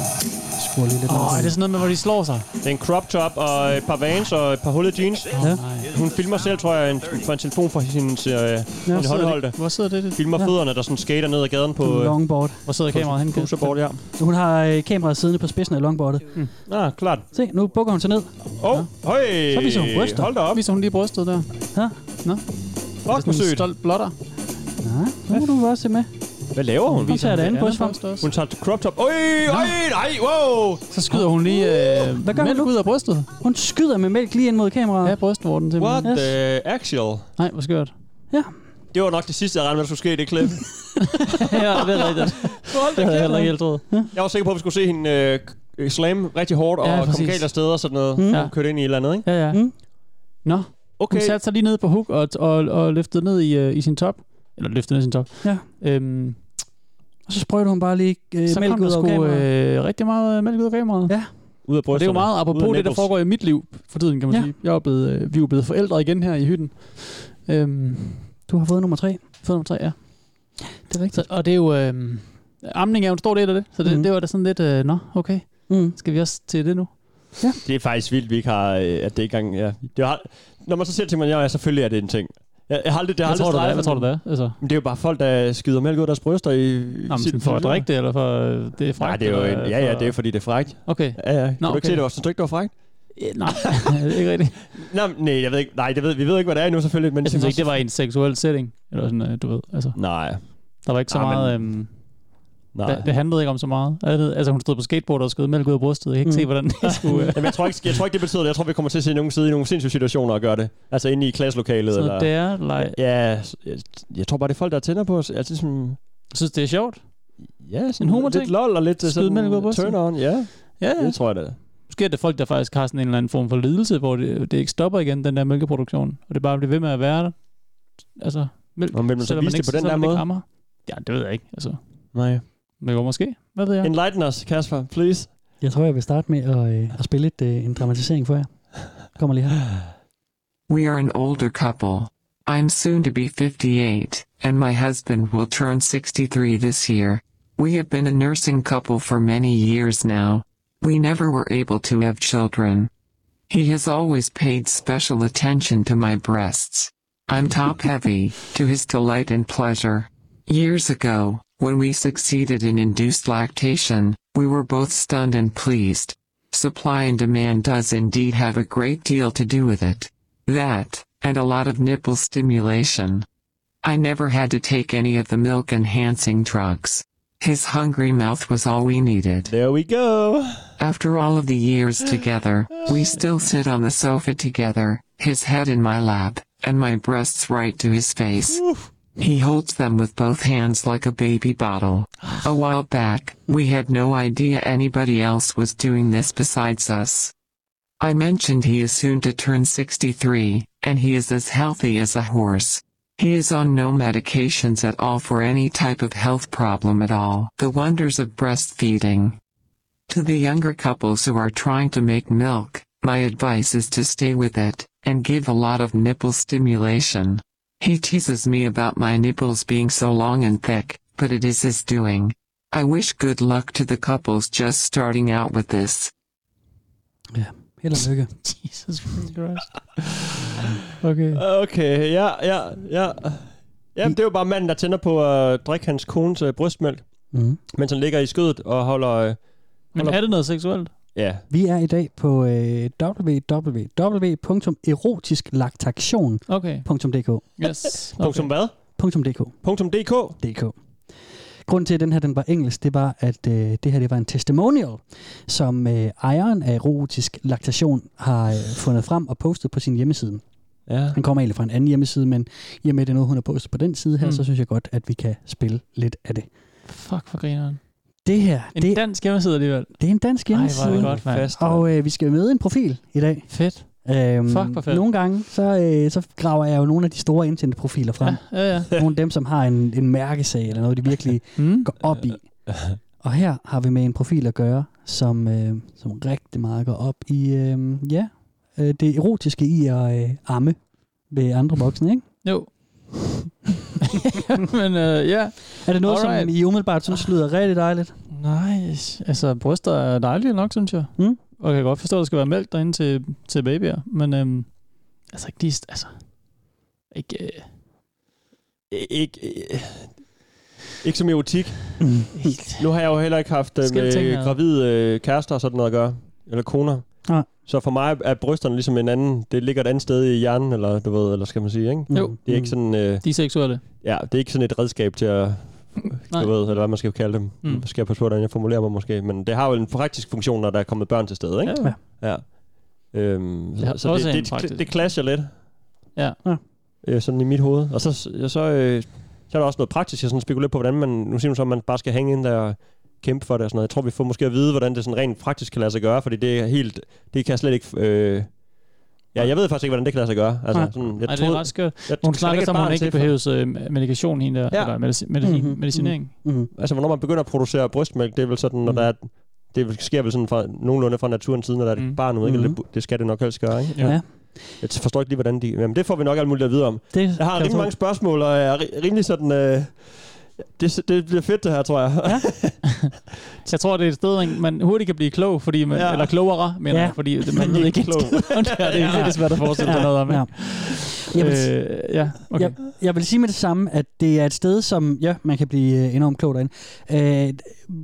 Speaker 5: Skruer lige lidt
Speaker 4: Åh, oh, er
Speaker 5: ned.
Speaker 4: det sådan noget med, hvor de slår sig?
Speaker 3: Det er en crop top og et par vans og et par hullede jeans.
Speaker 5: Ja.
Speaker 4: Nej.
Speaker 3: Hun filmer selv, tror jeg, en, fra en telefon fra sin, øh,
Speaker 5: Ja,
Speaker 3: sin håndholdte.
Speaker 4: Hvor sidder det? det?
Speaker 3: Filmer
Speaker 5: Ja.
Speaker 3: fødderne, der sådan skater ned ad gaden på...
Speaker 5: på
Speaker 3: øh,
Speaker 5: longboard.
Speaker 4: Hvor sidder kameraet henne?
Speaker 3: på Pusherbord, ja.
Speaker 5: Hun har øh, kameraet siddende på spidsen af longboardet.
Speaker 4: Mm.
Speaker 3: Ja, ah, klart.
Speaker 5: Se, nu bukker hun sig ned.
Speaker 3: Åh, oh, høj!
Speaker 5: Så viser
Speaker 4: Øh,
Speaker 5: hun bryster.
Speaker 3: Hold da
Speaker 4: Og
Speaker 3: op.
Speaker 4: viser hun lige brystet der.
Speaker 5: Ja.
Speaker 4: Nå,
Speaker 3: Fuck,
Speaker 4: det
Speaker 3: hvor
Speaker 4: er sådan en
Speaker 3: sødt.
Speaker 4: stolt blotter.
Speaker 5: Nej, nu må du også se med.
Speaker 3: Hvad laver hun?
Speaker 4: Kom til at
Speaker 5: det
Speaker 4: andet på
Speaker 5: andet
Speaker 4: os, for.
Speaker 5: bryst også.
Speaker 3: Hun tager crop top. Øj, øj, nej, wow!
Speaker 4: Så skyder hun lige øh,
Speaker 5: Hvad gør hun
Speaker 4: mælk
Speaker 5: nu?
Speaker 4: ud af brystet.
Speaker 5: Hun skyder med mælk lige ind mod kameraet.
Speaker 4: Ja, brystvorten til
Speaker 3: What
Speaker 5: Yes.
Speaker 3: the actual?
Speaker 4: Nej, hvor skørt.
Speaker 3: Det var nok det sidste, jeg regnede med, der skulle ske i det klip.
Speaker 4: ja, det er rigtigt. Det havde jeg heller ikke helt troet.
Speaker 3: Jeg var sikker på, at vi skulle se hende øh, k- slam rigtig hårdt
Speaker 4: Ja,
Speaker 3: og komme
Speaker 4: præcis.
Speaker 3: galt af steder og sådan noget.
Speaker 5: Mm.
Speaker 3: Mm. Og kørte ind i et eller andet, ikke?
Speaker 4: Ja, ja.
Speaker 5: Mm.
Speaker 4: Nå, okay. hun
Speaker 3: Okay,
Speaker 4: satte sig lige ned på hook og, og, og løftede ned i, øh, i sin top. Eller løftede ned i sin top.
Speaker 5: Ja.
Speaker 4: Øhm,
Speaker 5: Og så sprøjter hun bare lige øh,
Speaker 4: så
Speaker 5: mælk
Speaker 4: kom der
Speaker 5: ud af
Speaker 4: sgu
Speaker 5: kameraet.
Speaker 4: øh, rigtig meget øh, mælk ud af kameraet.
Speaker 5: Ja,
Speaker 3: ud af brysterne.
Speaker 4: Og det er jo meget
Speaker 3: Ud af
Speaker 4: apropos det, der
Speaker 3: nipples.
Speaker 4: foregår i mit liv for tiden, kan man
Speaker 5: Ja.
Speaker 4: ja. sige. Jeg er blevet, øh, vi er jo blevet forældre igen her i hytten. Øhm,
Speaker 5: Du har fået nummer tre.
Speaker 4: fået nummer tre, ja.
Speaker 5: Det er
Speaker 4: Så, og det er jo... Øh, amning er jo en stor del af det, så det,
Speaker 5: Mhm.
Speaker 4: mm. det var da sådan lidt... Øh, Nå, okay.
Speaker 5: Mm.
Speaker 4: Skal vi også til det nu?
Speaker 3: Det er faktisk vildt, vi ikke har, øh, at det ikke engang... Ja. Det har, når man så ser ting, man, ja, ja, selvfølgelig er det en ting. Jeg, jeg har aldrig, det har
Speaker 4: Hvad tror,
Speaker 3: aldrig
Speaker 4: du, det er?
Speaker 3: strejfet
Speaker 4: Hvad tror du,
Speaker 3: mig.
Speaker 4: det er? Altså,
Speaker 3: Men det er jo bare folk, der skider mælk ud af deres bryster i...
Speaker 4: Nå, men for at drikke det, eller for øh, det er
Speaker 3: Nej,
Speaker 4: frækt?
Speaker 3: det er jo
Speaker 4: eller
Speaker 3: en, ja, ja, det er fordi, det er frækt.
Speaker 4: Okay.
Speaker 3: Ja, ja. Nå, Kunne du ikke
Speaker 4: okay.
Speaker 3: se, det var, synes du ikke, det var frækt?
Speaker 4: Eh, Nej, det er ikke rigtigt.
Speaker 3: Nej, men- nej, jeg ved ikke, nej det ved, vi ved ikke, hvad det er endnu selvfølgelig. Men
Speaker 4: Jeg synes ikke, det var i en seksuel setting. Eller sådan, øh, du ved, altså,
Speaker 3: Nej,
Speaker 4: der var ikke så
Speaker 3: Ah, men-
Speaker 4: meget... Øhm,
Speaker 3: nej.
Speaker 4: det, det, handlede ikke om så meget. Jeg ved- Altså, hun stod på skateboard og skød mælk ud af brystet. Jeg kan ikke
Speaker 5: Mm.
Speaker 4: se, hvordan det skulle... Øh,
Speaker 3: Jamen, jeg, tror ikke, jeg tror ikke, det betyder det. Jeg tror, vi kommer til at se nogen sidde i nogle sindssyge situationer og gøre det. Altså inde i klasselokalet.
Speaker 4: sådan
Speaker 3: Eller...
Speaker 4: noget der, like,
Speaker 3: Ja, s- jeg, jeg, tror bare, det er folk, der tænder på os. Altså, sådan,
Speaker 4: Jeg synes, det er sjovt.
Speaker 3: ja, sådan
Speaker 4: En humorting?
Speaker 3: lidt lol og lidt øh,
Speaker 4: Skyde
Speaker 3: sådan
Speaker 4: mælk ud af brystet?
Speaker 3: turn on. Ja,
Speaker 4: Ja,
Speaker 3: det tror jeg da.
Speaker 4: Måske er det folk, der faktisk har sådan en eller anden form for lidelse, hvor det, det ikke stopper igen, den der mælkeproduktion. Og det bare bliver ved med at være der. Altså, mælk,
Speaker 3: Nå, men vil man så
Speaker 4: selvom
Speaker 3: vise det
Speaker 4: ikke,
Speaker 3: på den
Speaker 4: selvom
Speaker 3: der
Speaker 4: man ikke
Speaker 3: måde?
Speaker 4: ammer. Ja, det ved jeg ikke. Altså,
Speaker 3: Nej.
Speaker 4: men jo, måske. Hvad ved jeg?
Speaker 3: Enlighten os, Kasper, please.
Speaker 5: Jeg tror, jeg vil starte med at, øh, at spille et, øh, en dramatisering for jer. Kommer lige her.
Speaker 6: We are an older couple. I'm soon to be 58, and my husband will turn 63 this year. We have been a nursing couple for many years now. We never were able to have children. He has always paid special attention to my breasts. I'm top heavy, to his delight and pleasure. Years ago, when we succeeded in induced lactation, we were both stunned and pleased. Supply and demand does indeed have a great deal to do with it. That, and a lot of nipple stimulation. I never had to take any of the milk enhancing drugs. His hungry mouth was all we needed.
Speaker 3: There we go.
Speaker 6: After all of the years together, we still sit on the sofa together, his head in my lap, and my breasts right to his face. He holds them with both hands like a baby bottle. A while back, we had no idea anybody else was doing this besides us. I mentioned he is soon to turn 63, and he is as healthy as a horse. He is on no medications at all for any type of health problem at all. The wonders of breastfeeding. To the younger couples who are trying to make milk, my advice is to stay with it and give a lot of nipple stimulation. He teases me about my nipples being so long and thick, but it is his doing. I wish good luck to the couples just starting out with this.
Speaker 5: Held og lykke.
Speaker 4: Jesus Christ. Okay.
Speaker 3: Okay, ja, ja, ja. Jamen, det er jo bare manden, der tænder på at drikke hans kones øh, brystmælk,
Speaker 5: Mm.
Speaker 3: mens han ligger i skødet og holder... Øh,
Speaker 4: Men er det noget seksuelt?
Speaker 3: ja,
Speaker 5: Vi er i dag på øh, www.erotisklaktation.dk.
Speaker 4: Okay. Yes.
Speaker 3: okay. punktum
Speaker 4: Okay.
Speaker 3: hvad?
Speaker 5: .dk.
Speaker 3: Punktum DK?
Speaker 5: DK. Grunden til, at den her den var engelsk, det var, at øh, det her det var en testimonial, som øh, ejeren af erotisk laktation har øh, fundet frem og postet på sin hjemmeside.
Speaker 3: Ja.
Speaker 5: Den kommer egentlig fra en anden hjemmeside, men i og med, at det er noget, hun har postet på den side her, mm.
Speaker 4: Mm.
Speaker 5: så synes jeg godt, at vi kan spille lidt af det.
Speaker 4: Fuck for grineren.
Speaker 5: Det her,
Speaker 4: En
Speaker 5: det,
Speaker 4: dansk hjemmeside alligevel. Ej,
Speaker 5: det er en dansk
Speaker 4: hvor er
Speaker 5: hjemmeside,
Speaker 4: det godt, mand.
Speaker 3: Fast, og...
Speaker 5: og øh, vi skal møde en profil i dag.
Speaker 4: Fedt.
Speaker 5: Øhm,
Speaker 4: Fuck, hvor fedt.
Speaker 5: Nogle gange, så, øh, så graver jeg jo nogle af de store internetprofiler frem.
Speaker 4: Ja, ja, ja.
Speaker 5: Ja. Nogle af dem, som har en, en mærkesag eller noget, de virkelig
Speaker 4: Mm.
Speaker 5: går op i. Og her har vi med en profil at gøre, som, øh, som rigtig meget går op i øh, ja, øh, det erotiske i at øh, amme ved andre voksne. Ikke?
Speaker 4: Jo. Men øh, ja.
Speaker 5: Er det noget, Alright. som
Speaker 4: Alright.
Speaker 5: I umiddelbart synes lyder rigtig dejligt?
Speaker 4: Nice. Altså, bryster er dejlige nok, synes jeg.
Speaker 5: Mm.
Speaker 4: Og jeg kan godt forstå, at der skal være mælk derinde til, til babyer. Men øhm, altså, ikke lige... st- Altså, ikke, øh,
Speaker 3: Ikke, øh, ikke som erotik.
Speaker 4: ikke,
Speaker 3: Nu har jeg jo heller ikke haft øh,
Speaker 4: Skæld ting,
Speaker 3: med
Speaker 4: ja.
Speaker 3: gravide øh, kærester og sådan noget at gøre. Eller koner.
Speaker 5: Nej.
Speaker 3: Så for mig er brysterne ligesom en anden. Det ligger et andet sted i hjernen, eller du ved, eller skal man sige, ikke?
Speaker 4: Jo.
Speaker 5: Mm.
Speaker 3: Det er ikke sådan, øh,
Speaker 4: de er seksuelle.
Speaker 3: ja, det er ikke sådan et redskab til at
Speaker 4: Nej.
Speaker 3: du ved, eller hvad man skal kalde dem.
Speaker 4: Mm.
Speaker 3: Mm. Skal jeg passe på, hvordan jeg formulerer mig måske. Men det har jo en praktisk funktion, når der er kommet børn til stede, ikke?
Speaker 5: Ja.
Speaker 3: ja. Øhm,
Speaker 4: har
Speaker 3: så så
Speaker 4: også
Speaker 3: det,
Speaker 4: en
Speaker 3: det,
Speaker 4: praktisk-
Speaker 3: det, det clasher lidt.
Speaker 4: Ja.
Speaker 5: Ja.
Speaker 3: Øh, sådan i mit hoved. Og så, så, så, øh, så er der også noget praktisk. Jeg sådan spekulerer på, hvordan man... Nu siger man så, at man bare skal hænge ind der og kæmpe for det og sådan noget. Jeg tror, vi får måske at vide, hvordan det sådan rent praktisk kan lade sig gøre, fordi det er helt... Det kan jeg slet ikke... Øh, ja, jeg ved faktisk ikke, hvordan det kan lade sig gøre. Altså,
Speaker 4: Nej.
Speaker 3: sådan, jeg
Speaker 4: Ej, det
Speaker 3: troede-
Speaker 4: er ret skørt.
Speaker 3: jeg
Speaker 4: Hun
Speaker 3: skal
Speaker 4: snakker
Speaker 3: ikke
Speaker 4: som
Speaker 3: et
Speaker 4: om, hun
Speaker 3: barn
Speaker 4: ikke
Speaker 3: til for-
Speaker 4: behøver øh, medikation hende der,
Speaker 3: Ja.
Speaker 4: eller medicin, medicin,
Speaker 5: Mhm.
Speaker 4: medicinering.
Speaker 5: Mm.
Speaker 3: Altså, hvornår man begynder at producere brystmælk, det er vel sådan, når
Speaker 5: Mm.
Speaker 3: der er, det er vel- sker vel sådan fra, nogenlunde fra naturens side, når der er et
Speaker 4: Mm.
Speaker 3: mm. barn ude, ikke?
Speaker 5: Mhm.
Speaker 3: Det, det, skal det nok helst gøre, ikke?
Speaker 5: Ja. Ja.
Speaker 3: Jeg forstår ikke lige, hvordan de... Jamen, det får vi nok alt muligt at vide om.
Speaker 5: Det
Speaker 3: Jeg har
Speaker 5: kan
Speaker 3: rigtig
Speaker 5: tro.
Speaker 3: mange spørgsmål, og jeg er ri- rimelig sådan... Øh, det, det bliver fedt, det her, tror jeg. Ja.
Speaker 4: Jeg tror, det er et sted, hvor man hurtigt kan blive klog, fordi man, ja.
Speaker 3: Ja.
Speaker 4: eller klogere, mener
Speaker 5: Ja.
Speaker 4: ja. fordi det- man ved ikke helt,
Speaker 3: Klog.
Speaker 4: hvordan det er. Det er lidt svært at forestille sig noget om.
Speaker 5: Ja.
Speaker 4: Ja.
Speaker 5: Jeg vil,
Speaker 4: Øh, ja, okay.
Speaker 5: Jeg, jeg vil sige med det samme, at det er et sted, som ja, man kan blive øh, enormt klog derinde. Øh,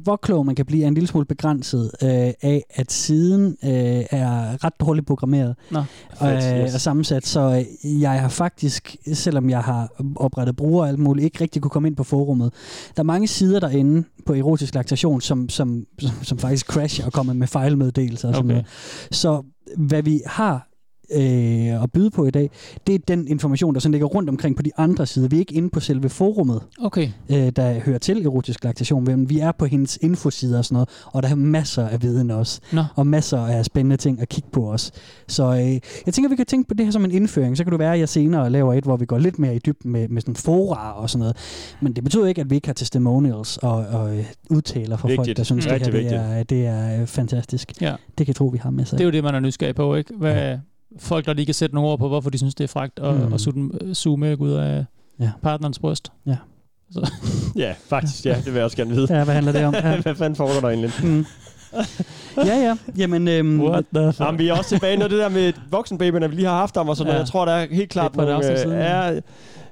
Speaker 5: hvor klog man kan blive er en lille smule begrænset øh, af, at siden øh, er ret dårligt programmeret
Speaker 4: Nå.
Speaker 5: og,
Speaker 3: Fedt,
Speaker 5: øh,
Speaker 3: yes.
Speaker 5: og sammensat, så øh, jeg har faktisk, selvom jeg har oprettet brugere og alt muligt, ikke rigtig kunne komme ind på forummet. Der er mange sider derinde på erotisk laktation, som, som, som, som faktisk crasher og kommer med fejlmeddelelser og sådan
Speaker 4: Okay.
Speaker 5: noget. Så hvad vi har øh, at byde på i dag, det er den information, der sådan ligger rundt omkring på de andre sider. Vi er ikke inde på selve forummet,
Speaker 4: Okay.
Speaker 5: øh, der hører til erotisk laktation, men vi er på hendes infosider og sådan noget, og der er masser af viden også,
Speaker 4: Nå.
Speaker 5: og masser af spændende ting at kigge på os. Så øh, jeg tænker, vi kan tænke på det her som en indføring, så kan du være, at jeg senere laver et, hvor vi går lidt mere i dybden med, med sådan fora og sådan noget. Men det betyder ikke, at vi ikke har testimonials og, og øh, udtaler fra folk,
Speaker 3: Vigtigt.
Speaker 5: der synes,
Speaker 4: Mm.
Speaker 5: det her
Speaker 3: Rigtig
Speaker 5: det er, det er øh, fantastisk.
Speaker 4: Ja.
Speaker 5: Det kan jeg tro, vi har med sig.
Speaker 4: Det er jo det, man er nysgerrig på, ikke? Hvad, folk, der lige kan sætte nogle ord på, hvorfor de synes, det er fragt at,
Speaker 5: Mm.
Speaker 4: mm. at suge, den- suge mælk ud af
Speaker 5: Ja.
Speaker 4: ja. partnerens bryst.
Speaker 3: ja, faktisk. Ja, det vil jeg også gerne vide.
Speaker 5: Ja, hvad handler det om? Ja.
Speaker 3: Hvad fanden foregår der egentlig?
Speaker 5: Mm. ja, ja. Jamen, øhm,
Speaker 4: the
Speaker 3: Jamen, vi er også tilbage, når det der med voksenbabyerne, vi lige har haft om og sådan noget.
Speaker 4: Ja.
Speaker 3: Jeg tror, der er helt klart
Speaker 4: Det er et par
Speaker 3: nogle...
Speaker 4: afsnit
Speaker 3: Øh,
Speaker 4: siden.
Speaker 3: er,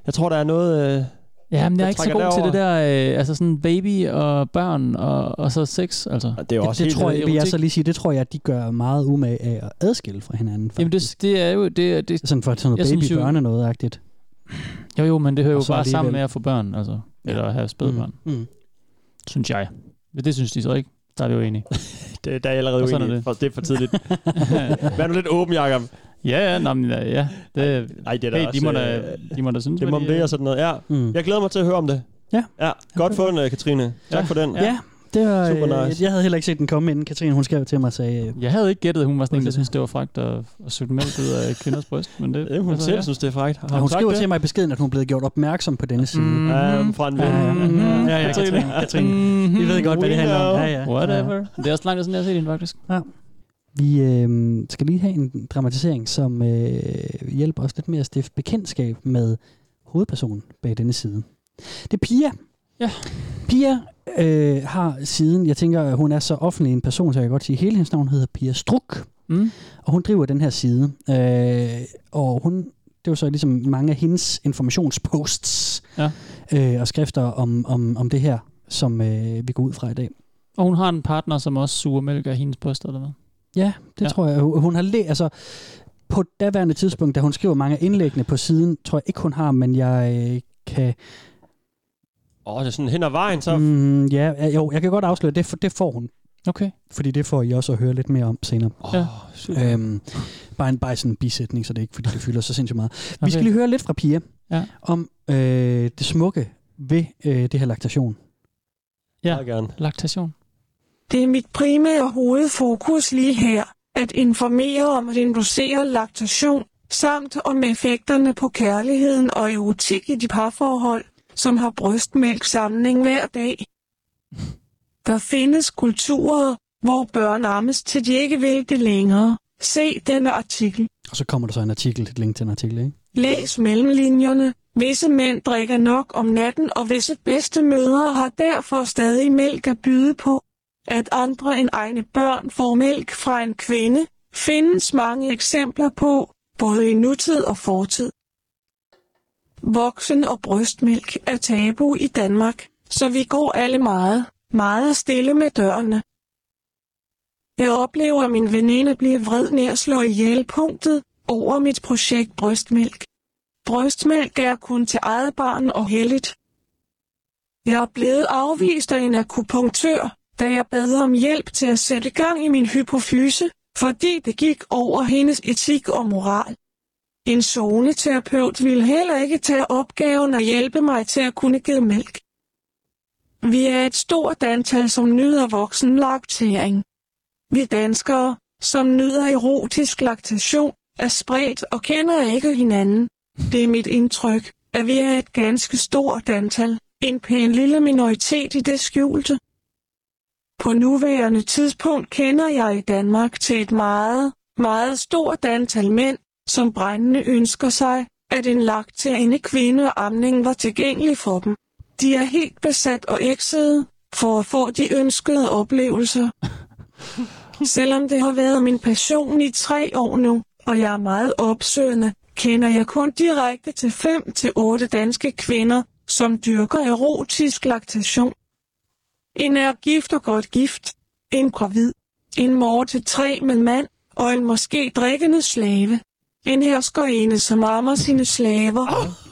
Speaker 3: jeg tror, der er noget... Øh,
Speaker 4: Ja, men jeg er
Speaker 3: Jeg
Speaker 4: ikke så god
Speaker 3: trækker
Speaker 4: til det der,
Speaker 3: derover.
Speaker 4: øh, altså sådan baby og børn og, og så sex, altså.
Speaker 3: det er jo
Speaker 5: det,
Speaker 3: også
Speaker 5: det
Speaker 3: helt... øh,
Speaker 5: tror jeg, vil jeg
Speaker 4: erotik.
Speaker 5: så lige sige, det tror jeg, at de gør meget umage af at adskille fra hinanden. Faktisk.
Speaker 4: Jamen det, det er jo, det, er- det,
Speaker 5: sådan for sådan
Speaker 4: Jeg
Speaker 5: noget
Speaker 4: synes jo-
Speaker 5: babybørne noget agtigt.
Speaker 4: jo jo, men det hører
Speaker 5: Og
Speaker 4: jo
Speaker 5: så
Speaker 4: bare
Speaker 5: alligevel.
Speaker 4: sammen med at få børn, altså. Eller at have spædbørn, mm.
Speaker 5: Mm.
Speaker 4: synes jeg. Men det synes de så ikke. Der er vi jo enige.
Speaker 3: Det, der er jeg allerede
Speaker 4: Og sådan
Speaker 3: uenig.
Speaker 4: er
Speaker 3: i,
Speaker 4: det.
Speaker 3: for Det er for tidligt. Vær nu lidt åben, Jacob.
Speaker 4: ja, ja, nå, men, øh, ja, ja. Det,
Speaker 3: Ej, det er da
Speaker 4: hey,
Speaker 3: også...
Speaker 4: de, må da,
Speaker 3: øh,
Speaker 4: de må da synes,
Speaker 3: Det
Speaker 4: hvad
Speaker 3: må om
Speaker 4: de-
Speaker 3: det og sådan noget. Ja.
Speaker 5: Mm.
Speaker 3: Jeg glæder mig til at høre om det.
Speaker 5: Ja.
Speaker 3: ja. Godt fundet, Katrine. Tak
Speaker 4: Ja.
Speaker 3: for den.
Speaker 5: Ja. Det var,
Speaker 3: Super
Speaker 5: øh,
Speaker 3: nice.
Speaker 5: Jeg havde heller ikke set den komme inden. Katrine, hun skrev til mig og sagde, øh,
Speaker 4: Jeg havde ikke gættet, at hun var sådan en, der synes, det var fragt at, at suge mælk ud af kvinders bryst. Men det,
Speaker 3: Det, hun
Speaker 4: altså,
Speaker 3: selv
Speaker 4: ja.
Speaker 3: synes, det er frækt. Har
Speaker 5: hun,
Speaker 3: hun
Speaker 5: hun
Speaker 3: sagt
Speaker 5: skriver
Speaker 3: det?
Speaker 5: til mig i beskeden, at hun er blevet gjort opmærksom på denne side.
Speaker 4: Mhm.
Speaker 3: Ja, fra en ven.
Speaker 5: Ja, ja,
Speaker 4: Mhm.
Speaker 5: ja, ja,
Speaker 4: Katrine.
Speaker 5: Katrine. Katrine.
Speaker 4: Mhm.
Speaker 5: Vi ved godt, hvad det handler om. Ja, ja.
Speaker 4: Whatever. Det er også langt, siden jeg har set hende, faktisk.
Speaker 5: Vi øh, skal lige have en dramatisering, som øh, hjælper os lidt med at stifte bekendtskab med hovedpersonen bag denne side. Det er Pia.
Speaker 4: Ja.
Speaker 5: Pia øh, har siden, jeg tænker, hun er så offentlig en person, så jeg kan godt sige, hele hendes navn hedder Pia Struk.
Speaker 4: Mm.
Speaker 5: Og hun driver den her side, øh, og hun, det er jo så ligesom mange af hendes informationsposts
Speaker 4: Ja.
Speaker 5: øh, og skrifter om, om, om det her, som øh, vi går ud fra i dag.
Speaker 4: Og hun har en partner, som også suger mælk af hendes bryst, eller hvad?
Speaker 5: Ja, det ja.
Speaker 4: Ja.
Speaker 5: tror jeg. Hun hun har læ- altså på daværende tidspunkt, da hun skriver mange af indlæggene på siden, tror jeg ikke, hun har, men jeg øh, kan...
Speaker 3: Åh, det er sådan hen ad vejen, så...
Speaker 5: Mm, ja, jo, jeg kan godt afsløre, det, for, det får hun.
Speaker 4: Okay.
Speaker 5: Fordi det får I også at høre lidt mere om senere.
Speaker 4: Ja.
Speaker 3: Åh,
Speaker 5: Øhm, bare, en, bare sådan en bisætning, så det er ikke, fordi det fylder så sindssygt meget. Okay. Vi
Speaker 4: Okay.
Speaker 5: skal lige høre lidt fra Pia
Speaker 4: Ja.
Speaker 5: om øh, det smukke ved øh, det her laktation.
Speaker 4: Ja.
Speaker 3: ja. gerne.
Speaker 4: Laktation.
Speaker 7: Det er mit primære hovedfokus lige her, at informere om at inducere laktation, samt om effekterne på kærligheden og erotik i de parforhold, som har brystmælksamling hver dag. Der findes kulturer, hvor børn ammes til de ikke vil det længere. Se denne artikel.
Speaker 5: Og så kommer der så en artikel, et link til en artikel, ikke?
Speaker 7: Læs mellemlinjerne. Visse mænd drikker nok om natten, og visse bedste mødre har derfor stadig mælk at byde på. At andre end egne børn får mælk fra en kvinde, findes mange eksempler på, både i nutid og fortid. Voksen og brystmælk er tabu i Danmark, så vi går alle meget, meget stille med dørene. Jeg oplever, at min veninde bliver vred nær at slå ihjel punktet over mit projekt Brystmælk. Brystmælk er kun til eget barn og helligt. Jeg er blevet afvist af en akupunktør, da jeg bad om hjælp til at sætte gang i min hypofyse, fordi det gik over hendes etik og moral. En zoneterapeut ville heller ikke tage opgaven og hjælpe mig til at kunne give mælk. Vi er et stort antal, som nyder voksen laktering. Vi danskere, som nyder erotisk laktation, er spredt og kender ikke hinanden. Det er mit indtryk, at vi er et ganske stort antal, en pæn lille minoritet i det skjulte. På nuværende tidspunkt kender jeg i Danmark til et meget, meget stort antal mænd, som brændende ønsker sig, at en lakterende kvinde og amning var tilgængelig for dem. De er helt besat og eksede for at få de ønskede oplevelser. Selvom det har været min passion i tre år nu, og jeg er meget opsøgende, kender jeg kun direkte til 5 til otte danske kvinder, som dyrker erotisk laktation. En er gift og godt gift, en gravid, en mor til tre med mand, og en måske drikkende slave. En herskerinde, som ammer sine slaver.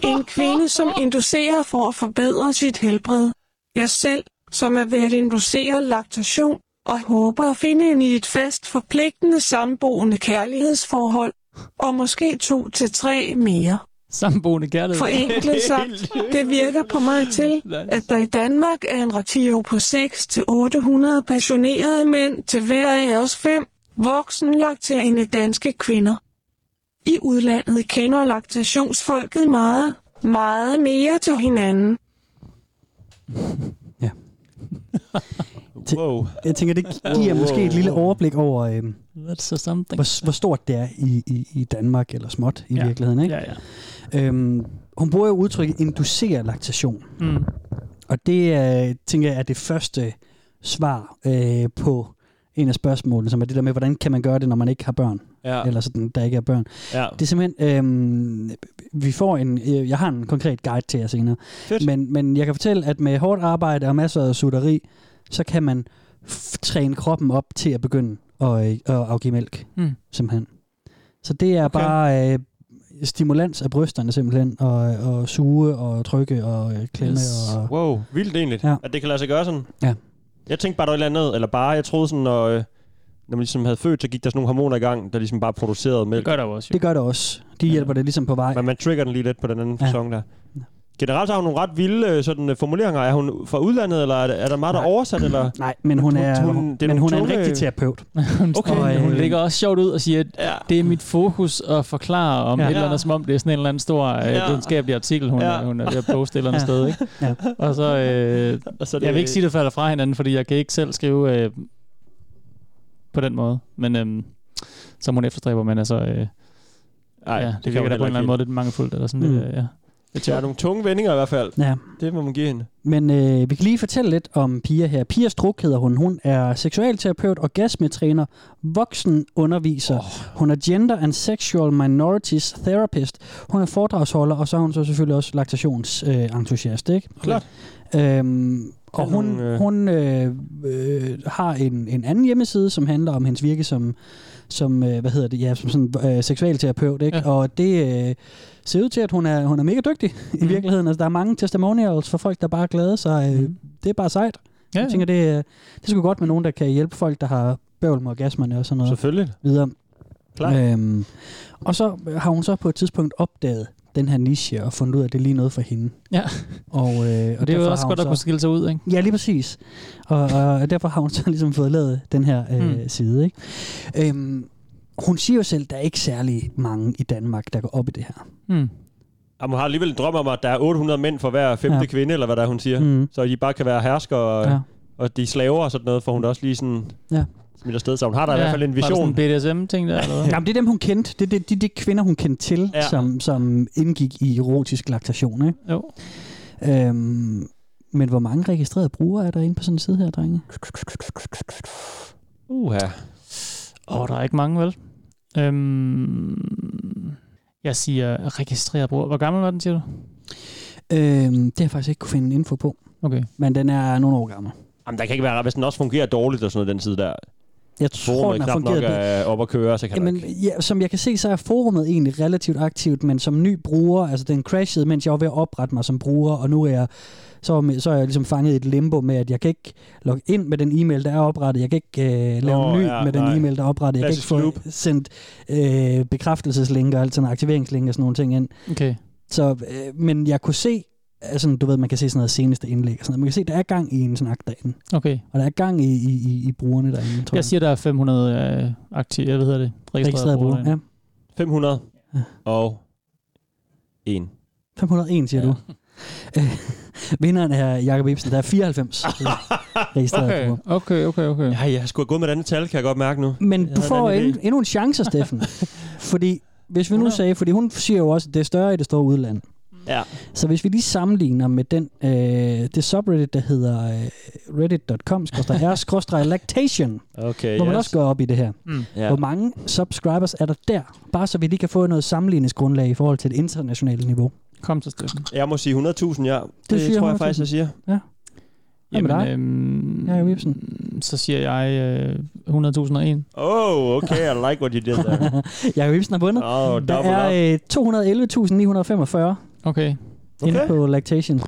Speaker 7: En kvinde, som inducerer for at forbedre sit helbred. Jeg selv, som er ved at inducere laktation, og håber at finde en i et fast forpligtende samboende kærlighedsforhold, og måske to til tre mere.
Speaker 4: Samboende kærlighed.
Speaker 7: Forenklet sagt, det virker på mig til, at der i Danmark er en ratio på 6-800 passionerede mænd til hver af os fem voksenlakterende danske kvinder. I udlandet kender laktationsfolket meget, meget mere til hinanden.
Speaker 3: Wow.
Speaker 5: Jeg tænker, det gi- giver måske et lille overblik over, øh,
Speaker 4: That's so something.
Speaker 5: hvor, hvor sort det er i, i, i Danmark, eller småt i ja. virkeligheden. Ikke?
Speaker 4: Ja, ja.
Speaker 5: Øhm, hun bruger jo udtrykket inducere laktation.
Speaker 4: Mm.
Speaker 5: Og det øh, tænker jeg er det første svar øh, på en af spørgsmålene, som er det der med, hvordan kan man gøre det, når man ikke har børn?
Speaker 3: Ja.
Speaker 5: Eller sådan, der ikke er børn.
Speaker 3: Ja.
Speaker 5: Det er simpelthen, øh, vi får en, øh, jeg har en konkret guide til jer senere.
Speaker 3: Fedt.
Speaker 5: Men, men jeg kan fortælle, at med hårdt arbejde og masser af sutteri, så kan man f- træne kroppen op til at begynde at, øh, at afgive mælk,
Speaker 4: Mm.
Speaker 5: simpelthen. Så det er okay. bare øh, stimulans af brysterne simpelthen, og, og suge og trykke og øh, klemme.
Speaker 4: Yes.
Speaker 5: Og,
Speaker 3: Wow, vildt egentlig,
Speaker 5: Ja.
Speaker 3: ja. at det kan lade sig gøre sådan.
Speaker 5: Ja.
Speaker 3: Jeg tænkte bare, der var et eller andet, eller bare, jeg troede sådan, når, øh, når man ligesom havde født, så gik der sådan nogle hormoner i gang, der ligesom bare producerede
Speaker 4: Det
Speaker 3: mælk.
Speaker 4: gør der jo også. Jo.
Speaker 5: det gør det også. De hjælper det ligesom på vej.
Speaker 3: Men man trigger den lige lidt på den anden
Speaker 5: Ja.
Speaker 3: ja. sæson der. Generelt har hun nogle ret vilde øh, sådan, øh, formuleringer. Er hun fra udlandet, eller er, der- er der meget, der er oversat? Eller?
Speaker 5: Nej, men hun
Speaker 3: Hun-
Speaker 5: er,
Speaker 3: hun-
Speaker 5: hun,
Speaker 3: det er
Speaker 5: men
Speaker 3: nogle
Speaker 5: hun er en
Speaker 3: tunge-
Speaker 5: rigtig terapeut.
Speaker 3: Okay.
Speaker 5: Og,
Speaker 4: Hun
Speaker 5: øh,
Speaker 4: lægger også sjovt ud og siger, at ja. det er mit fokus at forklare om
Speaker 5: Ja.
Speaker 4: ja. et eller
Speaker 3: Ja.
Speaker 4: andet, som om det er sådan en eller anden stor ja.
Speaker 3: Ja.
Speaker 4: videnskabelig artikel, hun, ja.
Speaker 3: Ja.
Speaker 4: hun er ved at poste et eller andet
Speaker 5: Ja.
Speaker 4: sted. Ikke?
Speaker 5: Ja.
Speaker 4: Og så, øh,
Speaker 3: Og så er
Speaker 4: jeg vil ikke sige, at det falder fra hinanden, fordi jeg kan ikke selv skrive øh, på den måde, men øh, som hun efterstræber, men altså, øh,
Speaker 3: Ej,
Speaker 4: ja, det,
Speaker 3: kan
Speaker 4: det
Speaker 3: hun
Speaker 4: virker da på
Speaker 3: heller
Speaker 4: en eller anden
Speaker 3: ikke
Speaker 4: måde lidt mangelfuldt, eller sådan
Speaker 5: Mm.
Speaker 4: mm. lidt, øh, ja.
Speaker 3: lide. Der er nogle tunge vendinger i hvert fald.
Speaker 5: Ja.
Speaker 3: Det må man give hende.
Speaker 5: Men øh, vi kan lige fortælle lidt om Pia her. Pia Struk hedder hun. Hun er seksualterapeut, orgasmetræner, voksenunderviser. Oh. Hun er gender and sexual minorities therapist. Hun er foredragsholder, og så er hun så selvfølgelig også laktationsentusiast. Øh, ikke?
Speaker 3: Klart.
Speaker 5: Øhm, og
Speaker 3: Det er
Speaker 5: hun,
Speaker 3: nogle, øh,
Speaker 5: hun øh, øh, har en, en anden hjemmeside, som handler om hendes virke som, som øh, hvad hedder det, ja, som sådan, øh, seksualterapeut, ikke? Ja.
Speaker 4: Ja.
Speaker 5: Og det øh, ser ud til, at hun er, hun er mega dygtig i
Speaker 4: Mhm.
Speaker 5: virkeligheden. Altså, der er mange testimonials for folk, der bare er glade, så øh,
Speaker 4: Mhm.
Speaker 5: det er bare sejt.
Speaker 4: Ja,
Speaker 5: Jeg tænker, det, øh, det er sgu godt med nogen, der kan hjælpe folk, der har bøvl med orgasmerne og sådan noget
Speaker 3: Selvfølgelig.
Speaker 5: videre.
Speaker 3: Klart.
Speaker 5: Øhm, og så har hun så på et tidspunkt opdaget den her niche og fundet ud af, at det er lige noget for hende.
Speaker 4: Ja.
Speaker 5: Og, øh, og
Speaker 4: og det er
Speaker 5: derfor
Speaker 4: jo
Speaker 5: har
Speaker 4: også
Speaker 5: hun
Speaker 4: godt at
Speaker 5: så-
Speaker 4: kunne skille sig ud, ikke?
Speaker 5: Ja, lige præcis. Og, og derfor har hun så ligesom fået lavet den her øh, mm.
Speaker 4: Mm.
Speaker 5: side. Ikke? Øhm, hun siger jo selv, at der er ikke særlig mange i Danmark, der går op i det her.
Speaker 4: Mm.
Speaker 3: Jamen, hun har alligevel en drøm om, at der er 800 mænd for hver femte
Speaker 5: Ja.
Speaker 3: ja. kvinde, eller hvad der er, hun siger.
Speaker 5: Mm.
Speaker 3: Så de bare kan være hersker, og,
Speaker 5: Ja.
Speaker 3: ja. og de er slaver og sådan noget, for hun da også lige sådan
Speaker 5: Ja.
Speaker 3: smidt afsted. Så hun har da ja. i hvert fald en vision.
Speaker 4: Var det sådan en BDSM-ting der, eller hvad?
Speaker 5: Jamen, det er dem, hun kendte. Det er de, de, de kvinder, hun kendte til, ja.
Speaker 3: Ja.
Speaker 5: som, som indgik i erotisk laktation. Ikke?
Speaker 4: Jo.
Speaker 5: Øhm, men hvor mange registrerede brugere er der inde på sådan en side her, drenge?
Speaker 3: Uha.
Speaker 4: Åh, oh, der er ikke mange, vel? Øhm, jeg siger registreret bruger. Hvor gammel var den, siger du?
Speaker 5: Øhm, det har jeg faktisk ikke kunne finde info på,
Speaker 4: Okay.
Speaker 5: men den er nogle år gammel.
Speaker 3: Jamen, der kan ikke være, hvis den også fungerer dårligt og sådan noget, den side der.
Speaker 5: Jeg
Speaker 3: Forum
Speaker 5: tror,
Speaker 3: er
Speaker 5: den har
Speaker 3: knap nok
Speaker 5: fungeret bedre.
Speaker 3: er op at køre, så kan Jamen,
Speaker 5: Jamen,
Speaker 3: ikke.
Speaker 5: ja, som jeg kan se, så er forummet egentlig relativt aktivt, men som ny bruger, altså den crashede, mens jeg var ved at oprette mig som bruger, og nu er jeg, så, er jeg- så er jeg ligesom fanget i et limbo med, at jeg kan ikke logge ind med den e-mail, der er oprettet, jeg kan ikke øh, lave
Speaker 3: Nå,
Speaker 5: oh, ny
Speaker 3: ja,
Speaker 5: med den
Speaker 3: nej.
Speaker 5: e-mail, der er oprettet, jeg
Speaker 3: Klassisk
Speaker 5: kan ikke
Speaker 3: loop.
Speaker 5: få sendt øh, bekræftelseslink og alt sådan noget, aktiveringslink og sådan nogle ting ind.
Speaker 4: Okay.
Speaker 5: Så, øh, men jeg kunne se, altså, du ved, man kan se sådan noget seneste indlæg og sådan noget, man kan se, der er gang i en snak derinde,
Speaker 4: Okay.
Speaker 5: og der er gang i, i, i, i brugerne derinde, tror jeg.
Speaker 4: Jeg siger, der er 500 øh, aktive, jeg ved det, registrerede brugere. derinde.
Speaker 5: ja.
Speaker 3: 500 og 1.
Speaker 5: 501, siger ja. du. Øh, Vinderen er Jakob Ibsen. Der er 94 registreret okay. på.
Speaker 4: okay, okay, okay.
Speaker 3: Ja, jeg skulle have gået med et andet tal, kan jeg godt mærke nu.
Speaker 5: Men
Speaker 3: Jeg
Speaker 5: du
Speaker 3: havde en
Speaker 5: får
Speaker 3: anden
Speaker 5: en, endnu en chance, Steffen. fordi hvis vi nu sagde, fordi hun siger jo også, at det er større i det store udland.
Speaker 3: Ja.
Speaker 5: Så hvis vi lige sammenligner med den, øh, det subreddit, der hedder øh, reddit.com-r-lactation,
Speaker 3: Okay,
Speaker 5: hvor man
Speaker 3: yes.
Speaker 5: også går op i det her.
Speaker 4: Mm.
Speaker 3: Ja.
Speaker 5: Hvor mange subscribers er der der? Bare så vi lige kan få noget sammenligningsgrundlag i forhold til det internationale niveau.
Speaker 4: Kom så, Steffen.
Speaker 3: Jeg må sige 100.000, ja. Det, det tror jeg
Speaker 5: 400.000.
Speaker 3: faktisk, jeg siger.
Speaker 5: Hvad med dig?
Speaker 4: øhm,
Speaker 5: Jakob Ibsen.
Speaker 4: så siger jeg øh, 100.001.
Speaker 3: Oh, okay, I like what you did there.
Speaker 5: Jakob Ibsen har vundet.
Speaker 3: Oh,
Speaker 5: Der
Speaker 3: double up.
Speaker 5: er øh, 211.945
Speaker 4: Okay.
Speaker 5: Okay. Inde
Speaker 3: Okay.
Speaker 5: på lactation.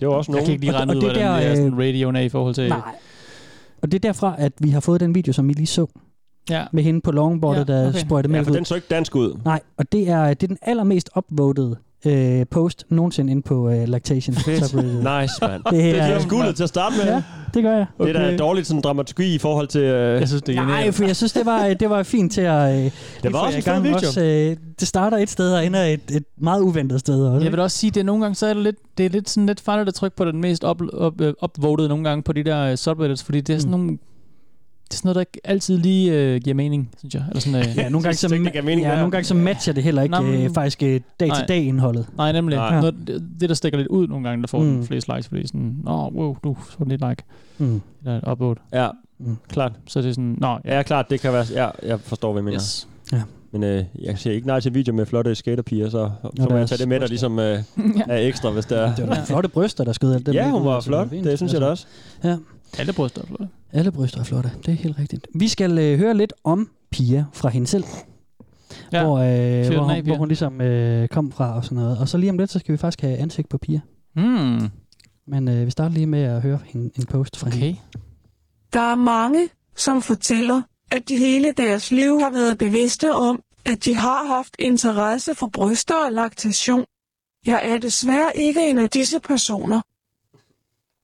Speaker 3: Det var også
Speaker 4: Jeg
Speaker 3: nogen.
Speaker 4: kan ikke lige
Speaker 5: Og-
Speaker 4: regne
Speaker 5: og
Speaker 4: ud,
Speaker 5: det
Speaker 4: hvordan
Speaker 5: der,
Speaker 4: det er
Speaker 5: øh,
Speaker 4: sådan radioen er i forhold til...
Speaker 5: Nej. Og det er derfra, at vi har fået den video, som I lige så,
Speaker 4: Ja.
Speaker 5: med hende på longboardet,
Speaker 4: Ja,
Speaker 5: ja, okay.
Speaker 4: okay.
Speaker 5: der sprøjte
Speaker 3: Ja,
Speaker 5: mælk
Speaker 3: for
Speaker 5: ud.
Speaker 3: den så ikke dansk ud.
Speaker 5: Nej, og det er, det er den allermest upvotede øh, post nogensinde inde på øh, lactation. subreddit.
Speaker 3: Nice, mand.
Speaker 5: Det
Speaker 3: Det
Speaker 5: her,
Speaker 3: er skuldet til at starte med.
Speaker 5: Ja, det gør jeg.
Speaker 3: Det der er dårligt sådan dramaturgi i forhold til... Øh,
Speaker 4: Jeg synes, det er
Speaker 5: Nej, for jeg synes, det var, det var fint til at... Øh, lige
Speaker 3: var
Speaker 5: få
Speaker 3: også
Speaker 5: jer
Speaker 3: en
Speaker 5: i gang.
Speaker 3: fed video.
Speaker 5: Også, øh, det starter et sted og ender et, et meget uventet sted også.
Speaker 4: Jeg vil også sige, at det er nogle gange så er det lidt, det er lidt sådan lidt farligt at trykke på den mest op, op, øh, opvotede nogle gange på de der uh, subreddits, fordi det er
Speaker 5: Mm.
Speaker 4: sådan nogle det er sådan noget, der ikke altid lige øh, giver mening, synes jeg. Eller sådan, øh,
Speaker 5: Ja, nogle gange,
Speaker 3: synes
Speaker 5: så,
Speaker 3: ikke, det giver mening,
Speaker 5: ja,
Speaker 3: det her.
Speaker 5: nogle gange så matcher det heller ikke
Speaker 4: Nå, men-
Speaker 5: øh, faktisk øh, dag-til-dag indholdet.
Speaker 4: Nej, nemlig.
Speaker 3: Nej.
Speaker 4: Nej. Noget, det- det, der stikker lidt ud nogle gange, der får
Speaker 5: Mm.
Speaker 4: mm. den flest likes, fordi sådan, nå, wow, du, så er det lidt like.
Speaker 5: Mm.
Speaker 4: Eller et upvote.
Speaker 3: Ja,
Speaker 5: Mm.
Speaker 3: klart.
Speaker 4: Så det er sådan, nå, ja.
Speaker 3: Ja, klart, det kan være... Ja, jeg forstår, hvad jeg mener. Yes.
Speaker 4: Yes.
Speaker 3: Men øh, jeg siger ikke nej til en video med flotte skaterpiger, så, så må
Speaker 5: det er
Speaker 3: jeg tage det med dig
Speaker 5: også-
Speaker 3: ligesom øh, er ekstra, hvis det er...
Speaker 5: Det var nogle flotte bryster, der skød alt det.
Speaker 3: Ja,
Speaker 5: mælk
Speaker 3: hun
Speaker 5: ud,
Speaker 3: var
Speaker 5: altså,
Speaker 3: flot.
Speaker 5: var fint.
Speaker 3: Det synes jeg da også.
Speaker 4: Alle bryster er flotte.
Speaker 5: Alle bryster er flotte, det er helt rigtigt. Vi skal øh, høre lidt om Pia fra hende selv, ja.
Speaker 4: Ja.
Speaker 5: hvor, øh,
Speaker 4: den
Speaker 5: hvor, hun,
Speaker 4: af, Pia.
Speaker 5: hvor hun ligesom øh, kom fra og sådan noget. Og så lige om lidt, så skal vi faktisk have ansigt på Pia.
Speaker 4: Mm.
Speaker 5: Men øh, vi starter lige med at høre en, en post fra hende.
Speaker 4: Okay.
Speaker 7: Der er mange, som fortæller, at de hele deres liv har været bevidste om, at de har haft interesse for bryster og laktation. Jeg er desværre ikke en af disse personer.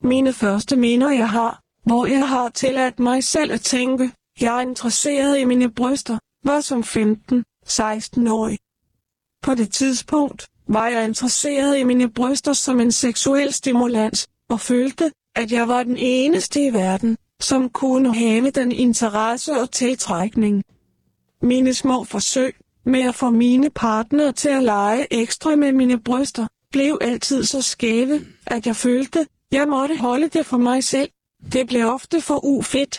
Speaker 7: Mine første minder, jeg har, hvor jeg har tilladt mig selv at tænke, jeg er interesseret i mine bryster, var som 15-16-årig. På det tidspunkt var jeg interesseret i mine bryster som en seksuel stimulans, og følte, at jeg var den eneste i verden, som kunne have den interesse og tiltrækning. Mine små forsøg med at få mine partnere til at lege ekstra med mine bryster, blev altid så skæve, at jeg følte, jeg måtte holde det for mig selv. Det blev ofte for ufedt.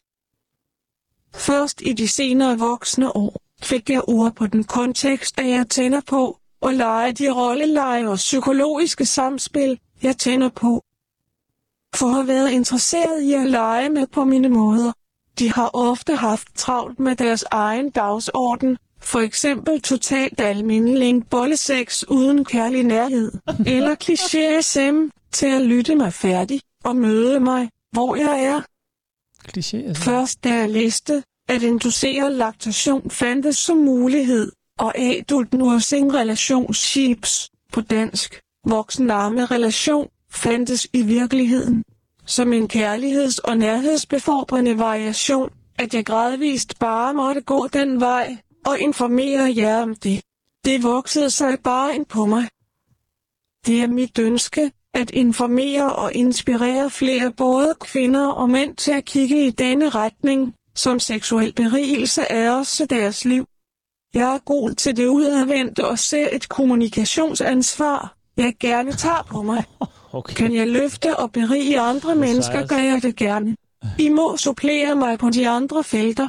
Speaker 7: Først i de senere voksne år fik jeg ord på den kontekst, at jeg tænder på, og lege de rolleleje og psykologiske samspil, jeg tænder på for at have været interesseret i at lege med på mine måder. De har ofte haft travlt med deres egen dagsorden, for eksempel totalt almindelig bollesex uden kærlig nærhed, eller kliché SM til at lytte mig færdig og møde mig, hvor jeg er.
Speaker 4: Kliché. Altså.
Speaker 7: Først da jeg læste, at induceret laktation fandtes som mulighed, og adult nursing relationsships på dansk, voksen arme relation, fandtes i virkeligheden. Som en kærligheds- og nærhedsbefordrende variation, at jeg gradvist bare måtte gå den vej og informere jer om det. Det voksede sig bare ind på mig. Det er mit ønske at informere og inspirere flere både kvinder og mænd til at kigge i denne retning, som seksuel berigelse er også deres liv. Jeg er god til det udadvendte og ser et kommunikationsansvar, jeg gerne tager på mig.
Speaker 3: Okay.
Speaker 7: Kan jeg løfte og berige andre mennesker,
Speaker 3: sejt.
Speaker 7: gør jeg det gerne. I må supplere mig på de andre felter.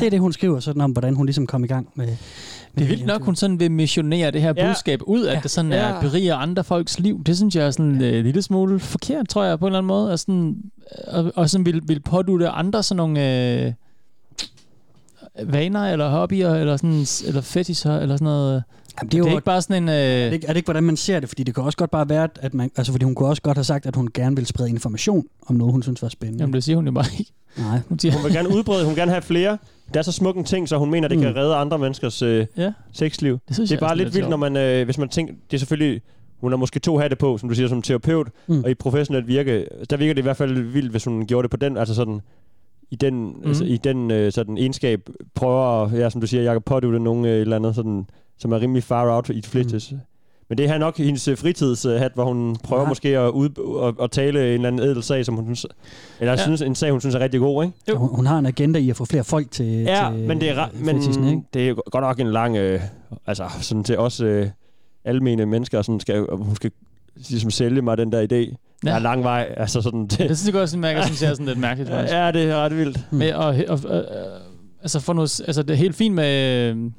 Speaker 5: Det er det, hun skriver sådan om, hvordan hun ligesom kom i gang med,
Speaker 4: Det er vildt nok, hun sådan vil missionere det her
Speaker 3: Ja.
Speaker 4: ja. budskab ud, at
Speaker 5: Ja.
Speaker 4: det sådan
Speaker 3: Ja.
Speaker 4: er beriger andre folks liv. Det synes jeg er sådan øh, en lille smule forkert, tror jeg, på en eller anden måde. Og sådan, øh, og, og sådan vil, vil pådutte andre sådan nogle øh, vaner eller hobbyer eller, sådan, eller fetisher eller sådan noget.
Speaker 5: Jamen,
Speaker 4: Det er, jo, det er ikke bare sådan en...
Speaker 5: Er
Speaker 4: Øh,
Speaker 5: det, ikke, er det ikke, hvordan man ser det? Fordi det kan også godt bare være, at man... Altså, fordi hun kunne også godt have sagt, at hun gerne ville sprede information om noget, hun synes var spændende.
Speaker 4: jamen, det siger hun jo bare ikke.
Speaker 5: Nej.
Speaker 4: Hun siger,
Speaker 3: Hun vil gerne udbrede, hun vil gerne have flere. Det er så smuk en ting, så hun mener,
Speaker 5: Mm.
Speaker 3: det kan redde andre menneskers øh,
Speaker 4: ja,
Speaker 3: sexliv.
Speaker 4: det synes
Speaker 3: Det er
Speaker 4: jeg
Speaker 3: bare
Speaker 4: også
Speaker 3: lidt vildt, når
Speaker 4: sjovt.
Speaker 3: man, øh, hvis man tænker, det er selvfølgelig, hun har måske to hatte på, som du siger, som terapeut,
Speaker 5: Mm.
Speaker 3: mm. og i professionelt virke, der virker det i hvert fald vildt, hvis hun gjorde det på den, altså sådan, i den, mm. altså, i den øh, sådan egenskab, prøver, at, ja, som du siger, Jacob pådutte nogen øh, et eller andet, sådan, som er rimelig far out i de flestes. Mm. Men det her er nok hendes øh, fritidshat, hvor hun prøver
Speaker 5: Ja.
Speaker 3: ja. måske at, ud, at, at, tale en eller anden edel sag, som hun synes, eller ja.
Speaker 4: Ja.
Speaker 3: synes, en sag, hun synes er rigtig god, ikke?
Speaker 4: Jo.
Speaker 5: Hun, hun, har en agenda i at få flere folk til...
Speaker 3: Ja,
Speaker 5: til
Speaker 3: men det er, ra-
Speaker 5: fetisen, ikke?
Speaker 3: men det er jo godt nok en lang, øh, altså sådan til os øh, almene mennesker, sådan skal, og hun skal ligesom sælge mig den der idé. Ja. Der er lang vej, altså sådan til.
Speaker 4: Det synes jeg også, sådan, jeg synes, jeg er sådan lidt mærkeligt. faktisk.
Speaker 3: Ja, det er ret vildt.
Speaker 4: Med, og, og, og, og, altså, for noget, altså, det er helt fint med, øh,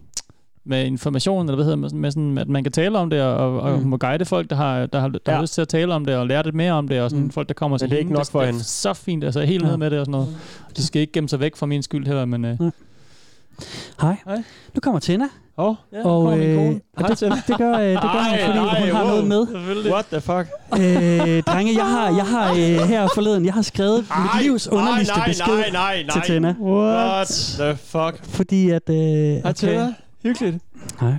Speaker 4: med information, eller hvad hedder det, med, sådan- med sådan, at man kan tale om det, og, og
Speaker 5: Mm.
Speaker 4: mm. hun må guide folk, der har, der, har, der ja.
Speaker 3: Ja.
Speaker 4: har lyst til at tale om det, og lære lidt mere om det, og sådan
Speaker 5: Mm.
Speaker 4: mm. folk, der kommer til
Speaker 3: det er ikke nok
Speaker 4: det-
Speaker 3: for
Speaker 4: det er
Speaker 3: hende.
Speaker 4: så fint, altså helt ned
Speaker 5: Ja.
Speaker 4: med det og sådan noget. De skal ikke gemme sig væk fra min skyld heller, men øh,
Speaker 3: Mm.
Speaker 5: Hej.
Speaker 4: Hej.
Speaker 5: Nu kommer Tina.
Speaker 3: Åh,
Speaker 4: ja,
Speaker 5: og øh, og
Speaker 3: Hej,
Speaker 5: det,
Speaker 3: Tina.
Speaker 5: det gør, øh, det gør hun,
Speaker 3: Ej,
Speaker 5: fordi
Speaker 3: ej,
Speaker 5: hun har
Speaker 3: wow.
Speaker 5: noget med.
Speaker 4: selvfølgelig.
Speaker 3: what the fuck?
Speaker 5: Øh, drenge, jeg har, jeg har øh, her forleden, jeg har skrevet mit livs underligste
Speaker 3: nej,
Speaker 5: besked
Speaker 3: nej, nej, nej.
Speaker 5: til Tina.
Speaker 3: What the fuck?
Speaker 5: Fordi at... Øh,
Speaker 3: Hej
Speaker 5: okay.
Speaker 3: Tina, hyggeligt.
Speaker 5: Hej.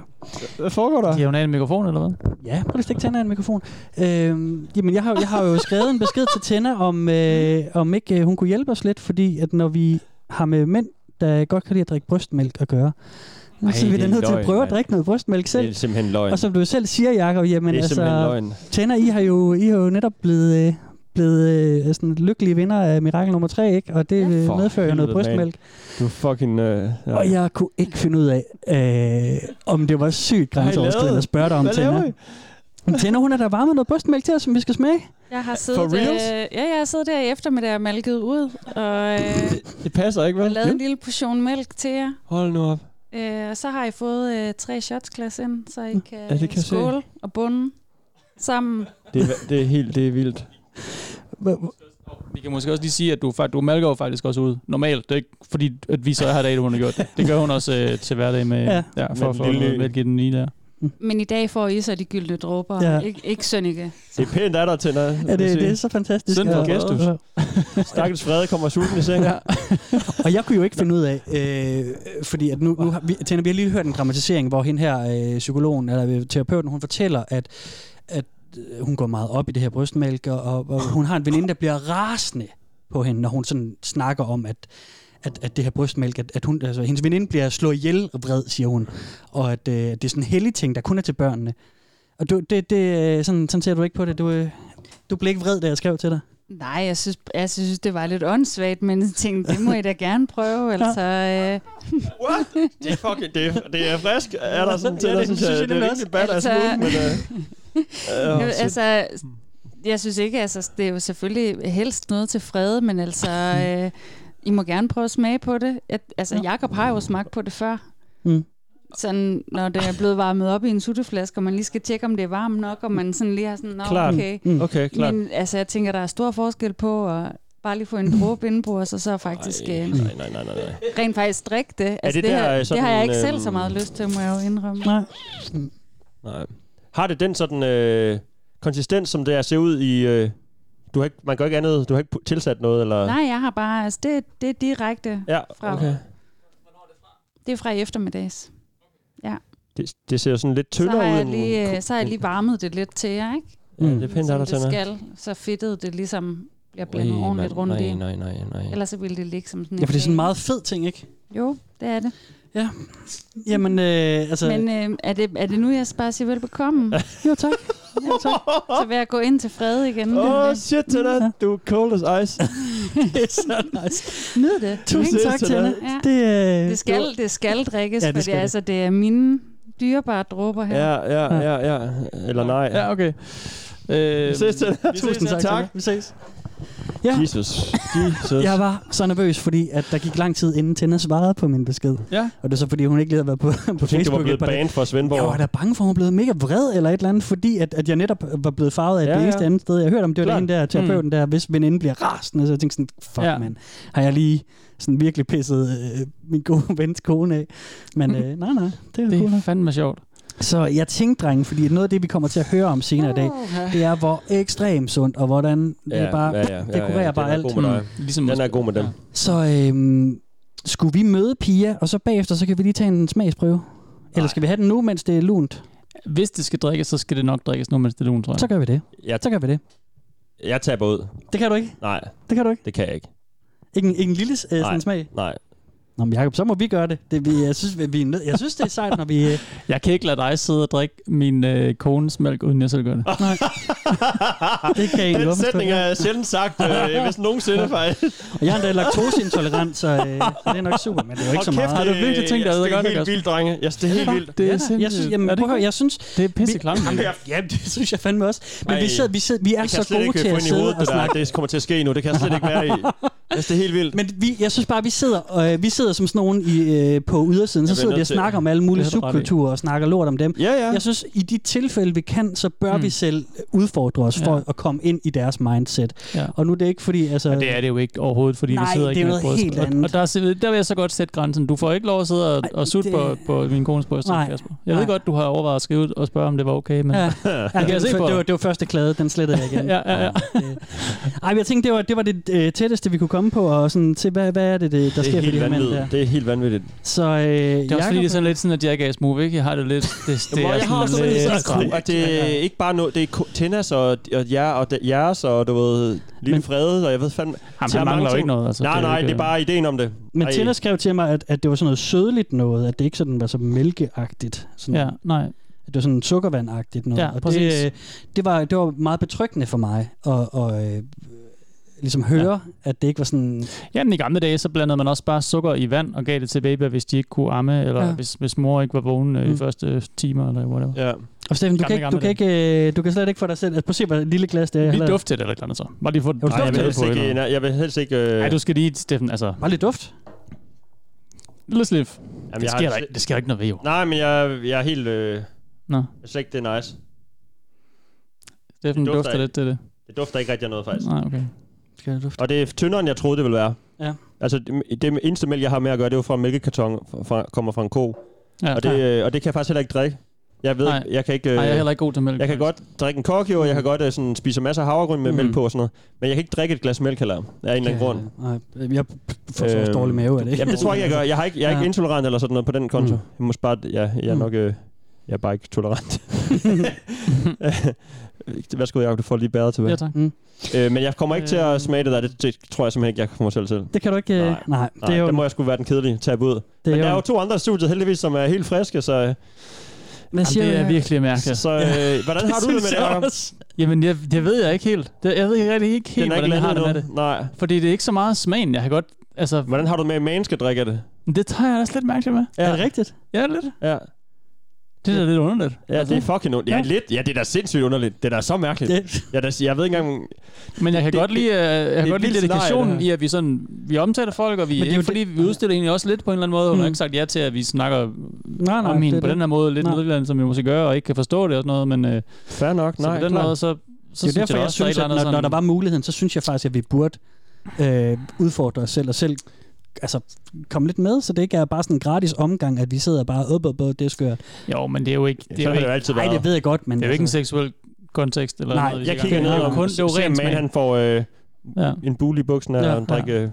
Speaker 3: Hvad foregår der?
Speaker 4: Giver hun af en mikrofon, eller hvad?
Speaker 5: Ja, prøv lige at stikke Tænder i en mikrofon. Øhm, jamen, jeg har, jeg har jo skrevet en besked til Tænder, om, øh, om ikke øh, hun kunne hjælpe os lidt, fordi at når vi har med mænd, der godt kan lide at drikke brystmælk at gøre, Ej,
Speaker 3: Ej,
Speaker 5: så er vi
Speaker 3: det
Speaker 5: da
Speaker 3: er
Speaker 5: nødt til at
Speaker 3: løgn,
Speaker 5: prøve at
Speaker 3: mand.
Speaker 5: drikke noget brystmælk
Speaker 3: Det
Speaker 5: selv.
Speaker 3: er simpelthen løgn.
Speaker 5: Og som du selv siger, Jacob, jamen
Speaker 3: det er simpelthen
Speaker 5: altså,
Speaker 3: løgn.
Speaker 5: Tænder, I har jo I har jo netop blevet, øh, blevet øh, sådan lykkelige vinder af mirakel nummer 3, ikke? Og det øh,
Speaker 3: For
Speaker 5: medfører jo noget
Speaker 3: helvede,
Speaker 5: brystmælk.
Speaker 3: Du er fucking... Øh, ja.
Speaker 5: Og jeg kunne ikke finde ud af, øh, om det var sygt
Speaker 3: Hvad har I
Speaker 5: grænseoverskridende
Speaker 3: lavet?
Speaker 5: at spørge dig om,
Speaker 3: Hvad laver
Speaker 5: Tænder.
Speaker 3: I?
Speaker 5: Men Tænder, hun er der bare med noget brystmælk til os, som vi skal smage.
Speaker 8: Jeg har
Speaker 3: For
Speaker 8: siddet, øh,
Speaker 3: reals?
Speaker 8: ja, jeg har siddet der i eftermiddag og malket ud, og øh,
Speaker 3: Det passer ikke, vel?
Speaker 8: lavet en lille portion mælk til jer.
Speaker 3: Hold nu op.
Speaker 8: Øh, og så har I fået øh, tre shotsglas ind, så I kan,
Speaker 3: det kan jeg se.
Speaker 8: skåle og bunde sammen.
Speaker 3: Det er, det er helt, det er vildt.
Speaker 5: Hva-
Speaker 4: Vi kan måske også lige sige, at du, fakt- du malker jo faktisk også ud. Normalt, det er ikke fordi, at vi så er her i dag, hun har gjort det. Det gør hun også øh, til hverdag med,
Speaker 5: Ja.
Speaker 4: ja. Ja,
Speaker 3: Med
Speaker 4: for at få
Speaker 3: den lille-
Speaker 4: noget mælk i den lige der.
Speaker 8: Men i dag får I så de gyldne dråber,
Speaker 5: Ja.
Speaker 8: ja. ikke, ikke Sønneke.
Speaker 3: Det er pænt af dig, Tina.
Speaker 5: Ja, det, det er så fantastisk.
Speaker 4: Synd for
Speaker 5: Ja.
Speaker 4: Gestus.
Speaker 5: Ja.
Speaker 3: Stakkels Frede kommer sulten i seng. ja.
Speaker 5: Og jeg kunne jo ikke finde ud af, øh, fordi at nu, nu har vi, Tænder, vi har lige hørt en dramatisering, hvor hende her, øh, psykologen, eller øh, terapeuten, hun fortæller, at, at øh, hun går meget op i det her brystmælk, og, og, og hun har en veninde, der bliver rasende på hende, når hun sådan snakker om, at at, at det her brystmælk, at, at hun, altså, hendes veninde bliver slået ihjel og vred, siger hun. Og at øh, det er sådan en hellig ting, der kun er til børnene. Og du, det, det, øh, sådan, sådan ser du ikke på det. Du, øh, du blev ikke vred, da jeg skrev til dig.
Speaker 8: Nej, jeg synes, jeg synes, det var lidt åndssvagt, men jeg tænkte, det må I da gerne prøve. Altså, øh,
Speaker 3: What? Det er fucking, det er, det er frisk. Er der sådan,
Speaker 5: Ja,
Speaker 3: ja,
Speaker 5: det
Speaker 3: det, synes jeg, det, er rimelig badass altså...
Speaker 8: Altså-
Speaker 3: move, men... Uh, uh,
Speaker 8: jeg, altså, jeg synes ikke, altså, det er jo selvfølgelig helst noget til fred, men altså,
Speaker 3: Mm.
Speaker 8: øh, I må gerne prøve at smage på det. Jeg, altså, Jakob har jo smagt på det før.
Speaker 5: Mm.
Speaker 8: Sådan, når det er blevet varmet op i en sutteflaske, og man lige skal tjekke, om det er varmt nok, og man sådan lige har sådan, Nå,
Speaker 3: Klart. Mm.
Speaker 8: okay.
Speaker 3: okay, klart.
Speaker 8: Men altså, jeg tænker, der er stor forskel på at bare lige få en dråbe indenbords, og så faktisk øh,
Speaker 3: Mm. Nej, nej, nej, nej, nej.
Speaker 8: rent faktisk drikke det. Altså,
Speaker 3: det
Speaker 8: det, det,
Speaker 3: der,
Speaker 8: her,
Speaker 3: øh,
Speaker 8: det har jeg
Speaker 3: sådan,
Speaker 8: ikke selv
Speaker 3: øhm,
Speaker 8: så meget lyst til, må jeg jo indrømme.
Speaker 5: Nej.
Speaker 3: nej. Har det den sådan øh, konsistens, som det er at se ud i... Øh, du har ikke, man gør ikke andet, du har ikke pu- tilsat noget, eller...
Speaker 8: Nej, jeg har bare, altså, det, det er direkte.
Speaker 3: Ja,
Speaker 8: fra-
Speaker 3: okay.
Speaker 8: Det er fra i eftermiddags.
Speaker 3: Det, det ser sådan lidt
Speaker 8: Så
Speaker 3: tyndere
Speaker 8: har,
Speaker 3: ud.
Speaker 8: jeg
Speaker 3: end-
Speaker 8: lige, øh, så har jeg lige varmet det lidt til jer, ikke?
Speaker 3: Ja, det er pænt, af
Speaker 8: Som
Speaker 3: dig,
Speaker 8: det
Speaker 3: Tina.
Speaker 8: skal, så fedtet det ligesom bliver blandet
Speaker 3: Ui,
Speaker 8: ordentligt
Speaker 3: mand,
Speaker 8: rundt i.
Speaker 3: Nej, nej, nej, nej.
Speaker 8: Ellers så ville det ligge som sådan en
Speaker 5: Ja, for det er sådan
Speaker 8: kage.
Speaker 5: en meget fed ting, ikke?
Speaker 8: Jo, det er det.
Speaker 5: Jamen, øh, altså...
Speaker 8: Men øh, er, det, er det nu, jeg bare siger velbekomme?
Speaker 5: Jo, tak.
Speaker 8: Ja, tak. Så vil jeg gå ind til fred igen.
Speaker 3: Åh, oh, shit, Tina. Du er cold as ice.
Speaker 5: det er så nice.
Speaker 8: Nyd det.
Speaker 5: Tusind
Speaker 3: ses
Speaker 5: tak,
Speaker 3: til
Speaker 5: Tina.
Speaker 8: dig. Ja.
Speaker 5: Det, øh,
Speaker 8: Det skal, det skal drikkes,
Speaker 5: Ja,
Speaker 8: ja,
Speaker 5: det
Speaker 8: det for
Speaker 5: skal
Speaker 8: det,
Speaker 5: det.
Speaker 8: altså, det er mine dyrebare dråber her.
Speaker 3: Ja, ja, ja, ja. Eller nej.
Speaker 4: Ja, okay. Øh,
Speaker 3: Vi ses, Tina.
Speaker 5: Øhm, Tusind tak.
Speaker 3: tak.
Speaker 5: Tina. Vi ses. Ja.
Speaker 3: Jesus. Jesus.
Speaker 5: Jeg var så nervøs, fordi at der gik lang tid, inden Tina svarede på min besked.
Speaker 4: Ja.
Speaker 5: Og det er så, fordi hun ikke lige havde været på, på
Speaker 3: Jeg tænkte, du var
Speaker 5: Facebook.
Speaker 3: blevet
Speaker 5: et par dage.
Speaker 3: banet fra Svendborg.
Speaker 5: Jeg var da bange for, at hun blev mega vred eller et eller andet, fordi at, at jeg netop var blevet farvet af
Speaker 3: Ja,
Speaker 5: ja, det
Speaker 3: ja.
Speaker 5: eneste andet sted. Jeg hørte om, det var
Speaker 3: Klart.
Speaker 5: den der terapeuten der, hvis veninden bliver rasende, så jeg tænkte sådan, fuck
Speaker 4: Ja.
Speaker 5: ja. mand, har jeg lige sådan virkelig pisset øh, min gode vens kone af.
Speaker 4: Mm.
Speaker 5: Men øh, nej, nej, det er
Speaker 4: Mhm. Det
Speaker 5: jo cool.
Speaker 4: er
Speaker 5: nok.
Speaker 4: fandme sjovt.
Speaker 5: Så jeg tænkte, drenge, fordi noget af det, vi kommer til at høre om senere i dag, det er, hvor ekstremt sundt, og hvordan det er bare, det kurerer bare alt. Mm.
Speaker 3: Den er god med dig.
Speaker 4: Ligesom
Speaker 3: Den er god med dem.
Speaker 4: Ja.
Speaker 5: Så øhm, skulle vi møde Pia, og så bagefter, så kan vi lige tage en smagsprøve? Nej. Eller skal vi have den nu, mens det er lunt?
Speaker 4: Hvis det skal drikkes, så skal det nok drikkes nu, mens det er lun, tror jeg.
Speaker 5: Så gør vi det.
Speaker 3: Jeg,
Speaker 5: Så gør vi det.
Speaker 3: jeg taber ud.
Speaker 5: Det kan du ikke.
Speaker 3: Nej,
Speaker 5: Det kan du ikke.
Speaker 3: det kan jeg ikke.
Speaker 5: Ikke en, ikke en lille øh, sådan smag.
Speaker 3: Nej.
Speaker 5: Nå, men Jacob, så må vi gøre det. det vi, jeg, synes, vi, vi er nød, jeg synes, det er sejt, når vi... Øh,
Speaker 4: Jeg kan ikke lade dig sidde og drikke min øh, kones mælk, uden jeg selv gør det.
Speaker 5: nej. det kan
Speaker 3: Den
Speaker 5: jeg ikke
Speaker 3: sætning er sjældent sagt, øh, hvis nogensinde faktisk.
Speaker 5: Og jeg er endda laktoseintolerant, så, øh, så det er nok super, men det er jo ikke så meget.
Speaker 4: Har du virkelig tænkt dig, at det er godt
Speaker 3: øh, Det er
Speaker 4: nok
Speaker 3: helt
Speaker 4: også?
Speaker 3: vildt, drenge. Jeg det er helt vildt.
Speaker 4: Det er
Speaker 5: Ja,
Speaker 4: sindssygt.
Speaker 5: jeg synes, jamen,
Speaker 4: er det,
Speaker 5: prøv at høre, jeg synes,
Speaker 4: det er pisse klamt.
Speaker 5: Jamen,
Speaker 4: Mikkel.
Speaker 5: jeg- ja, det synes jeg fandme også. Men vi,
Speaker 3: Ej.
Speaker 5: sidder, vi, sidder, vi er
Speaker 3: Det kan
Speaker 5: så
Speaker 3: jeg slet
Speaker 5: gode
Speaker 3: ikke
Speaker 5: til
Speaker 3: få
Speaker 5: at
Speaker 3: ind i
Speaker 5: sidde
Speaker 3: hovedet,
Speaker 5: og
Speaker 3: det der.
Speaker 5: snakke.
Speaker 3: Det kommer til at ske nu. Det kan jeg slet ikke være i. Jeg synes, det er helt vildt.
Speaker 5: Men vi, jeg synes bare, vi sidder, øh, vi sidder som sådan nogen i, øh, på ydersiden, så
Speaker 3: Jeg bliver
Speaker 5: sidder vi
Speaker 3: nødt
Speaker 5: og
Speaker 3: til-
Speaker 5: snakker om alle mulige
Speaker 4: Det har du ret i.
Speaker 5: subkulturer og snakker lort om dem.
Speaker 3: Ja, ja.
Speaker 5: Jeg synes, i de tilfælde, vi kan, så bør
Speaker 4: Mm.
Speaker 5: mm. vi selv udfordre os for
Speaker 4: Ja.
Speaker 5: at komme ind i deres mindset.
Speaker 4: Ja.
Speaker 5: Og nu er det ikke fordi, altså...
Speaker 4: Det er det jo ikke overhovedet, fordi
Speaker 5: Nej,
Speaker 4: vi sidder
Speaker 5: det
Speaker 4: ikke
Speaker 5: er
Speaker 4: med
Speaker 5: noget
Speaker 4: bryst.
Speaker 5: helt
Speaker 4: Og-
Speaker 5: andet.
Speaker 4: Og der, er- der vil jeg så godt sætte grænsen. Du får ikke lov at sidde og,
Speaker 5: Ej,
Speaker 4: og sutte på,
Speaker 5: det-
Speaker 4: på min kones bryst,
Speaker 5: Nej.
Speaker 4: Kasper. Jeg ved
Speaker 5: Nej.
Speaker 4: godt, du har overvejet at skrive ud og spørge, om det var okay, men...
Speaker 5: Ja,
Speaker 4: Ja.
Speaker 5: ja,
Speaker 4: kan jeg
Speaker 5: det,
Speaker 4: se
Speaker 5: var,
Speaker 4: på
Speaker 5: det,
Speaker 4: dig.
Speaker 5: var, det var første klade, den slettede jeg igen.
Speaker 4: Ja, ja, ja.
Speaker 5: Det- Ej, men jeg tænkte, det var, det var det øh, tætteste, vi kunne komme på, og sådan, se, hvad, hvad er det, det der
Speaker 3: Det
Speaker 5: sker
Speaker 3: er
Speaker 5: for de
Speaker 3: helt
Speaker 5: her mænd der.
Speaker 3: vanvittigt. Det er helt vanvittigt.
Speaker 5: Så øh,
Speaker 4: Det er også fordi, det er sådan lidt sådan, at jeg ikke er smooth, ikke? Jeg har det lidt... Det, det
Speaker 3: Hvor
Speaker 4: er
Speaker 3: jeg har også
Speaker 4: sådan
Speaker 3: lidt
Speaker 4: lidt...
Speaker 3: sådan tro, at det er ikke bare noget, det er ko- Tinnas og, og, jer, og de- jeres og du ved, Lille
Speaker 5: Men-
Speaker 3: Frede, og jeg ved fandme...
Speaker 4: Jamen,
Speaker 3: der er
Speaker 4: han
Speaker 3: mange
Speaker 4: mangler jo
Speaker 3: ting.
Speaker 4: ikke noget, altså.
Speaker 3: nej,
Speaker 4: jo
Speaker 3: nej,
Speaker 4: ikke,
Speaker 3: det er bare ideen om det.
Speaker 5: Men
Speaker 3: Ej.
Speaker 5: Tina skrev til mig, at, at det var sådan noget sødligt noget, at det ikke sådan var så mælkeagtigt. Sådan,
Speaker 4: Ja, nej.
Speaker 5: At det var sådan sukkervandagtigt noget.
Speaker 4: Ja,
Speaker 5: og
Speaker 4: præcis.
Speaker 5: det, øh, det, var, det var meget betryggende for mig at, at øh, ligesom høre, ja. at det ikke var sådan...
Speaker 4: Jamen i gamle dage, så blandede man også bare sukker i vand og gav det til babyer, hvis de ikke kunne amme, eller ja.
Speaker 5: Ja.
Speaker 4: hvis, hvis mor ikke var vågen øh, i
Speaker 5: Mm.
Speaker 4: første øh, timer, eller whatever.
Speaker 3: Ja.
Speaker 5: Og Steffen, du,
Speaker 4: Gamle,
Speaker 5: kan ikke, du,
Speaker 4: gamle
Speaker 5: kan ikke, øh, du kan slet ikke få dig selv... Altså, prøv at se, hvor lille glas det er. jeg
Speaker 4: Ja,
Speaker 5: har
Speaker 4: Lige
Speaker 5: lavet.
Speaker 4: duft til det eller et eller andet så. Bare lige få det.
Speaker 5: du
Speaker 3: Ej, jeg, vil
Speaker 5: duft
Speaker 3: helst ikke, nej, jeg vil helst ikke... Øh,
Speaker 4: Nej, du skal lige, Steffen, altså...
Speaker 5: Bare lidt duft.
Speaker 4: Lille slip.
Speaker 3: jamen,
Speaker 4: Det
Speaker 3: jeg
Speaker 4: sker,
Speaker 3: har det
Speaker 4: der,
Speaker 3: slet-
Speaker 4: ikke, det sker der ikke noget ved, jo.
Speaker 3: Nej, men jeg, jeg er helt... Øh, jeg
Speaker 4: Nå,
Speaker 3: synes ikke, det er nice.
Speaker 4: Steffen
Speaker 3: Det dufter
Speaker 4: dufter
Speaker 3: ikke.
Speaker 4: lidt til det.
Speaker 3: Det dufter ikke rigtig af noget, faktisk.
Speaker 4: Nej, okay.
Speaker 5: Skal jeg duft?
Speaker 3: Og det er tyndere, end jeg troede, det ville være.
Speaker 5: Ja.
Speaker 3: Altså, det, det eneste mælk, jeg har med at gøre, det er jo fra en mælkekarton, fra, kommer fra en ko.
Speaker 4: Ja,
Speaker 3: Og det, øh, og det kan jeg faktisk heller ikke drikke. Jeg ved
Speaker 4: Nej.
Speaker 3: ikke, jeg kan ikke... Øh,
Speaker 4: Nej, jeg er heller ikke god til mælk.
Speaker 3: Jeg kan godt drikke en kokio, og jeg kan godt øh, sådan, spise masser af havregryn med
Speaker 4: Mm.
Speaker 3: mm. mælk på og sådan noget. Men jeg kan ikke drikke et glas mælk heller, af en eller anden grund.
Speaker 5: Nej, jeg får så også
Speaker 3: Øhm,
Speaker 5: dårlig mave af det.
Speaker 3: Jamen det tror jeg ikke, jeg gør. Jeg, har ikke, jeg er ikke
Speaker 5: Ja.
Speaker 3: intolerant eller sådan noget på den konto.
Speaker 5: Mm.
Speaker 3: Jeg må bare, ja, jeg er
Speaker 5: Mm.
Speaker 3: nok... Øh, jeg er bare ikke tolerant. Værsgo, Jacob, du får lige bedre tilbage.
Speaker 4: Ja, tak.
Speaker 5: Mm.
Speaker 3: Øh, men jeg kommer ikke til
Speaker 4: Øhm.
Speaker 3: at smage det der. Det, det tror jeg simpelthen ikke, jeg kommer selv til.
Speaker 5: Det kan du ikke... øh,
Speaker 3: Nej.
Speaker 5: nej det
Speaker 3: Nej,
Speaker 5: er jo...
Speaker 3: der må jeg sgu være den kedelige tab ud.
Speaker 5: det
Speaker 3: Men der
Speaker 5: er
Speaker 3: er jo
Speaker 5: jo
Speaker 3: to andre i studiet heldigvis, som er helt friske, så, øh,
Speaker 5: hvad
Speaker 4: Jamen,
Speaker 5: siger
Speaker 4: det
Speaker 5: du
Speaker 4: er
Speaker 5: her?
Speaker 4: virkelig mærkeligt.
Speaker 3: så øh, hvordan har du det med
Speaker 5: synes
Speaker 3: det,
Speaker 5: jeg
Speaker 3: Jacob?
Speaker 5: også.
Speaker 4: Jamen, jeg, det ved jeg ikke helt. Det, jeg ved ikke rigtig ikke helt,
Speaker 3: Den er ikke
Speaker 4: hvordan jeg har det
Speaker 3: landet
Speaker 4: med
Speaker 3: nu.
Speaker 4: det.
Speaker 3: Nej.
Speaker 4: Fordi det er ikke så meget smagen, jeg har godt... Altså,
Speaker 3: Hvordan har du det med, at man skal drikke af det?
Speaker 4: det tager jeg også lidt mærkeligt med.
Speaker 5: Er det rigtigt?
Speaker 4: Ja, lidt.
Speaker 3: Ja.
Speaker 4: Det er da lidt underligt. Altså,
Speaker 3: Ja, det er fucking ondt. Ja,
Speaker 4: Ja.
Speaker 3: lidt. Ja, det er da sindssygt underligt. Det er da så mærkeligt.
Speaker 5: Det,
Speaker 3: Jeg, da, jeg ved ikke engang...
Speaker 4: Men jeg kan
Speaker 3: Det-
Speaker 4: godt lide, øh, jeg kan
Speaker 3: et
Speaker 4: godt lide
Speaker 3: vildt scenarie,
Speaker 4: dedikationen
Speaker 3: det
Speaker 4: i,
Speaker 3: her.
Speaker 4: at vi, sådan, vi omtaler folk, og vi,
Speaker 5: Men det er
Speaker 4: det
Speaker 5: jo
Speaker 4: fordi vi udstiller egentlig også lidt på en eller anden måde. Hun har
Speaker 5: Mm.
Speaker 4: ikke sagt ja til, at vi snakker
Speaker 5: nej, nej,
Speaker 4: om
Speaker 5: det
Speaker 4: hende
Speaker 5: er
Speaker 4: på
Speaker 5: det.
Speaker 4: den her måde, lidt
Speaker 5: Nej.
Speaker 4: nedladende, som vi måske gør, og ikke kan forstå det og sådan noget, men øh,
Speaker 3: Fair nok.
Speaker 4: så
Speaker 3: Nej,
Speaker 4: på den
Speaker 3: klart.
Speaker 4: måde, så, så
Speaker 5: det er
Speaker 4: synes
Speaker 5: derfor,
Speaker 4: jeg,
Speaker 5: jeg,
Speaker 4: også,
Speaker 5: synes,
Speaker 4: der er
Speaker 5: at
Speaker 4: et eller andet
Speaker 5: når, når
Speaker 4: sådan,
Speaker 5: der var muligheden, så synes jeg faktisk, at vi burde øh, udfordre os selv og selv altså, komme lidt med, så det ikke er bare sådan en gratis omgang, at vi sidder bare op og op, det er skørt.
Speaker 4: Jo, men det er jo ikke,
Speaker 3: Ja,
Speaker 4: det er jo
Speaker 3: sådan har det
Speaker 4: ikke,
Speaker 3: jo altid
Speaker 5: Nej,
Speaker 3: været.
Speaker 5: det ved jeg godt, men...
Speaker 4: det er jo ikke en seksuel kontekst. Eller
Speaker 5: Nej,
Speaker 4: noget, vi
Speaker 3: Jeg
Speaker 4: skal
Speaker 3: kigger
Speaker 4: i
Speaker 3: ned
Speaker 4: gang med.
Speaker 3: og
Speaker 4: Det er jo kun, det er jo rent
Speaker 3: man,
Speaker 4: smag.
Speaker 3: han får øh,
Speaker 4: Ja.
Speaker 3: en bule i buksen og
Speaker 4: Ja.
Speaker 3: ja. drikke, øh,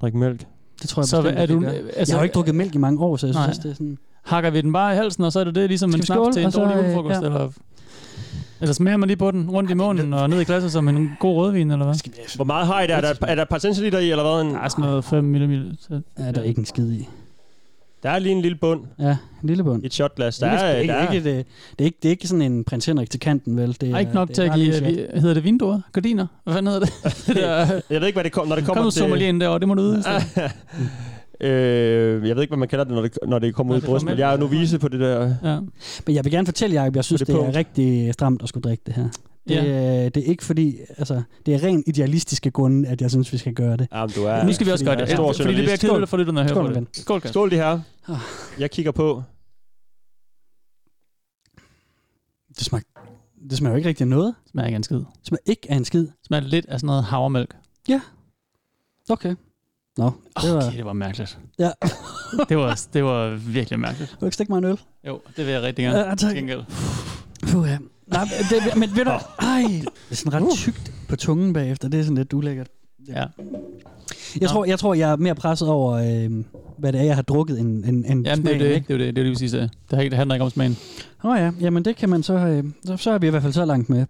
Speaker 3: drikke mælk.
Speaker 5: det tror jeg
Speaker 4: Så
Speaker 5: bestemt,
Speaker 4: er
Speaker 5: at vi
Speaker 4: du,
Speaker 5: gør.
Speaker 4: altså,
Speaker 5: jeg har jo ikke drukket mælk i mange år, så jeg
Speaker 4: Nej.
Speaker 5: synes, det er sådan...
Speaker 4: hakker vi den bare i halsen, og så er det det ligesom
Speaker 5: Skal
Speaker 4: en
Speaker 5: vi
Speaker 4: snap
Speaker 5: skåle,
Speaker 4: til en
Speaker 5: og så,
Speaker 4: dårlig
Speaker 5: øh,
Speaker 4: julefrokost,
Speaker 5: ja.
Speaker 4: eller... Eller smager man lige på den rundt i munden og ned i glasset som en god rødvin, eller hvad?
Speaker 3: Hvor meget har I der? Er der, er der et par centiliter i, eller hvad? En,
Speaker 4: Der er sådan noget 5 mm. Så
Speaker 5: Ja, der er ikke en skid i.
Speaker 3: der er lige en lille bund
Speaker 5: Ja, en lille bund.
Speaker 3: i et shotglas. Der
Speaker 5: Det
Speaker 3: er,
Speaker 5: er, ikke,
Speaker 3: der er,
Speaker 5: ikke, det, det, er ikke, det er ikke sådan en prins Henrik til kanten, vel? Det
Speaker 4: Der er ikke nok
Speaker 5: det
Speaker 4: til at
Speaker 5: bare lige
Speaker 4: give...
Speaker 5: en shot.
Speaker 4: vi- Hedder det vinduer? Gardiner? Hvad fanden hedder det? det der,
Speaker 3: jeg ved ikke, hvad det kommer, når det
Speaker 4: kom
Speaker 3: kommer
Speaker 4: nu
Speaker 3: til...
Speaker 4: sommelier ind derovre, det må du vide. Så.
Speaker 3: øh, jeg ved ikke, hvad man kalder det, når det, når det kommer
Speaker 4: Når
Speaker 3: ud i
Speaker 4: det
Speaker 3: brysten.
Speaker 4: kommer
Speaker 3: men
Speaker 4: ind.
Speaker 3: Jeg er nu vise på det der...
Speaker 4: Ja.
Speaker 5: Men jeg vil gerne fortælle jer, at jeg synes,
Speaker 3: det
Speaker 5: det, det
Speaker 3: punkt.
Speaker 5: er rigtig stramt at skulle drikke det her. Det, ja. det er ikke fordi, altså, det er rent idealistiske grunde, at jeg synes, vi skal gøre det.
Speaker 3: Jamen, du er,
Speaker 4: Nu skal vi også gøre det.
Speaker 3: Stor
Speaker 4: Ja, fordi det bliver
Speaker 3: journalist.
Speaker 4: kedeligt for lytterne her.
Speaker 5: Skål,
Speaker 4: Skål,
Speaker 5: ven. Ah.
Speaker 4: Skål, Kasper.
Speaker 3: Skål de her. Jeg kigger på.
Speaker 5: Det smager, det smager jo ikke rigtig af noget.
Speaker 4: Det smager ikke af en skid.
Speaker 5: Det smager ikke af en skid.
Speaker 4: Det smager lidt af sådan noget havremælk.
Speaker 5: Okay. Nå, det var...
Speaker 4: Okay, det var mærkeligt.
Speaker 5: Ja.
Speaker 4: det, var, det var virkelig mærkeligt.
Speaker 5: Vil du ikke stikke mig en øl?
Speaker 4: Jo, det vil jeg rigtig gerne.
Speaker 5: Ja, tak.
Speaker 4: Til gengæld.
Speaker 5: Puh, ja. Nej, men det, men ved du... Ej, Uh. det er sådan ret tykt på tungen bagefter. Det er sådan lidt ulækkert.
Speaker 4: Ja.
Speaker 5: Jeg,
Speaker 4: Nå.
Speaker 5: tror, jeg tror, jeg er mere presset over, øh, hvad det er, jeg har drukket, end, end, end
Speaker 4: Jamen, det er jo det, det, er jo det, det, er jo lige præcis det. Det handler- det handler ikke om smagen.
Speaker 5: Åh oh, ja, jamen det kan man så... Øh, så, så er vi i hvert fald så langt med.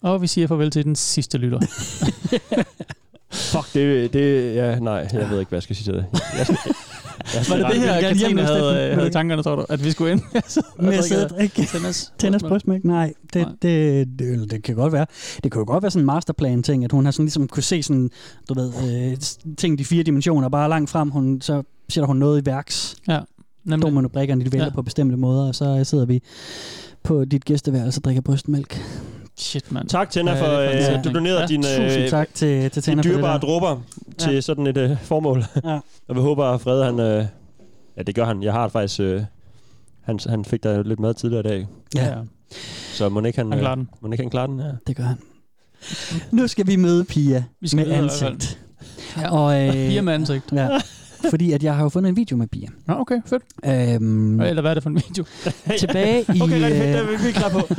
Speaker 4: Og vi siger farvel til den sidste lytter.
Speaker 3: Fuck, det, det, ja, nej, jeg ved ikke, hvad jeg skal sige til det. Jeg, skal, jeg
Speaker 4: Var
Speaker 3: skal,
Speaker 4: det det her,
Speaker 5: Jeg kan
Speaker 4: Katrine
Speaker 5: hjemme,
Speaker 4: havde,
Speaker 5: Steffen.
Speaker 4: øh, havde i tankerne, tror du? At vi skulle ind? Altså,
Speaker 5: Med at sidde og drikke
Speaker 4: Tændes.
Speaker 5: Tænders brystmælk? Nej, det,
Speaker 4: Nej.
Speaker 5: det, det, eller det, kan godt være. Det kunne jo godt være sådan en masterplan-ting, at hun har sådan ligesom kunne se sådan, du ved, øh, s- ting i fire dimensioner, bare langt frem, hun, så sætter hun noget i værks.
Speaker 4: Jamen,
Speaker 5: Står man og brækkerne, de vælter
Speaker 4: Ja.
Speaker 5: ja. på bestemte måder, og så sidder vi på dit gæsteværelse og drikker brystmælk.
Speaker 4: Shit, mand.
Speaker 3: tak, Tænder,
Speaker 4: Ja,
Speaker 3: for
Speaker 4: det er
Speaker 3: øh,
Speaker 5: fantastisk.
Speaker 3: at du donerede
Speaker 4: Ja,
Speaker 3: din,
Speaker 5: Tusind
Speaker 3: øh,
Speaker 5: tak til, til
Speaker 3: dine
Speaker 5: Tænder for det
Speaker 3: dyrebare
Speaker 5: der.
Speaker 3: dråber til
Speaker 5: Ja.
Speaker 3: sådan et øh, formål.
Speaker 5: Ja.
Speaker 3: Og vi håber, at Frede, han... Øh, ja, det gør han. Jeg har det faktisk... Øh, han, han fik der lidt mad tidligere i dag,
Speaker 5: Ja,
Speaker 3: så må ikke han,
Speaker 4: Han
Speaker 3: øh,
Speaker 4: klarer den.
Speaker 3: mon ikke han klarer den. Ja.
Speaker 5: det gør han. Nu skal vi møde Pia
Speaker 4: Vi skal
Speaker 5: med
Speaker 4: videre i hvert fald.
Speaker 5: ansigt.
Speaker 4: Ja.
Speaker 5: Og, øh,
Speaker 4: Fire med ansigt.
Speaker 5: Ja, fordi at jeg har jo fundet en video med Pia.
Speaker 4: Nå, okay, fedt.
Speaker 5: Øhm,
Speaker 4: Øh, Eller hvad er det for en video?
Speaker 5: tilbage i...
Speaker 3: Okay, rigtig fedt,
Speaker 5: øh,
Speaker 3: det er vi- vi er klar på.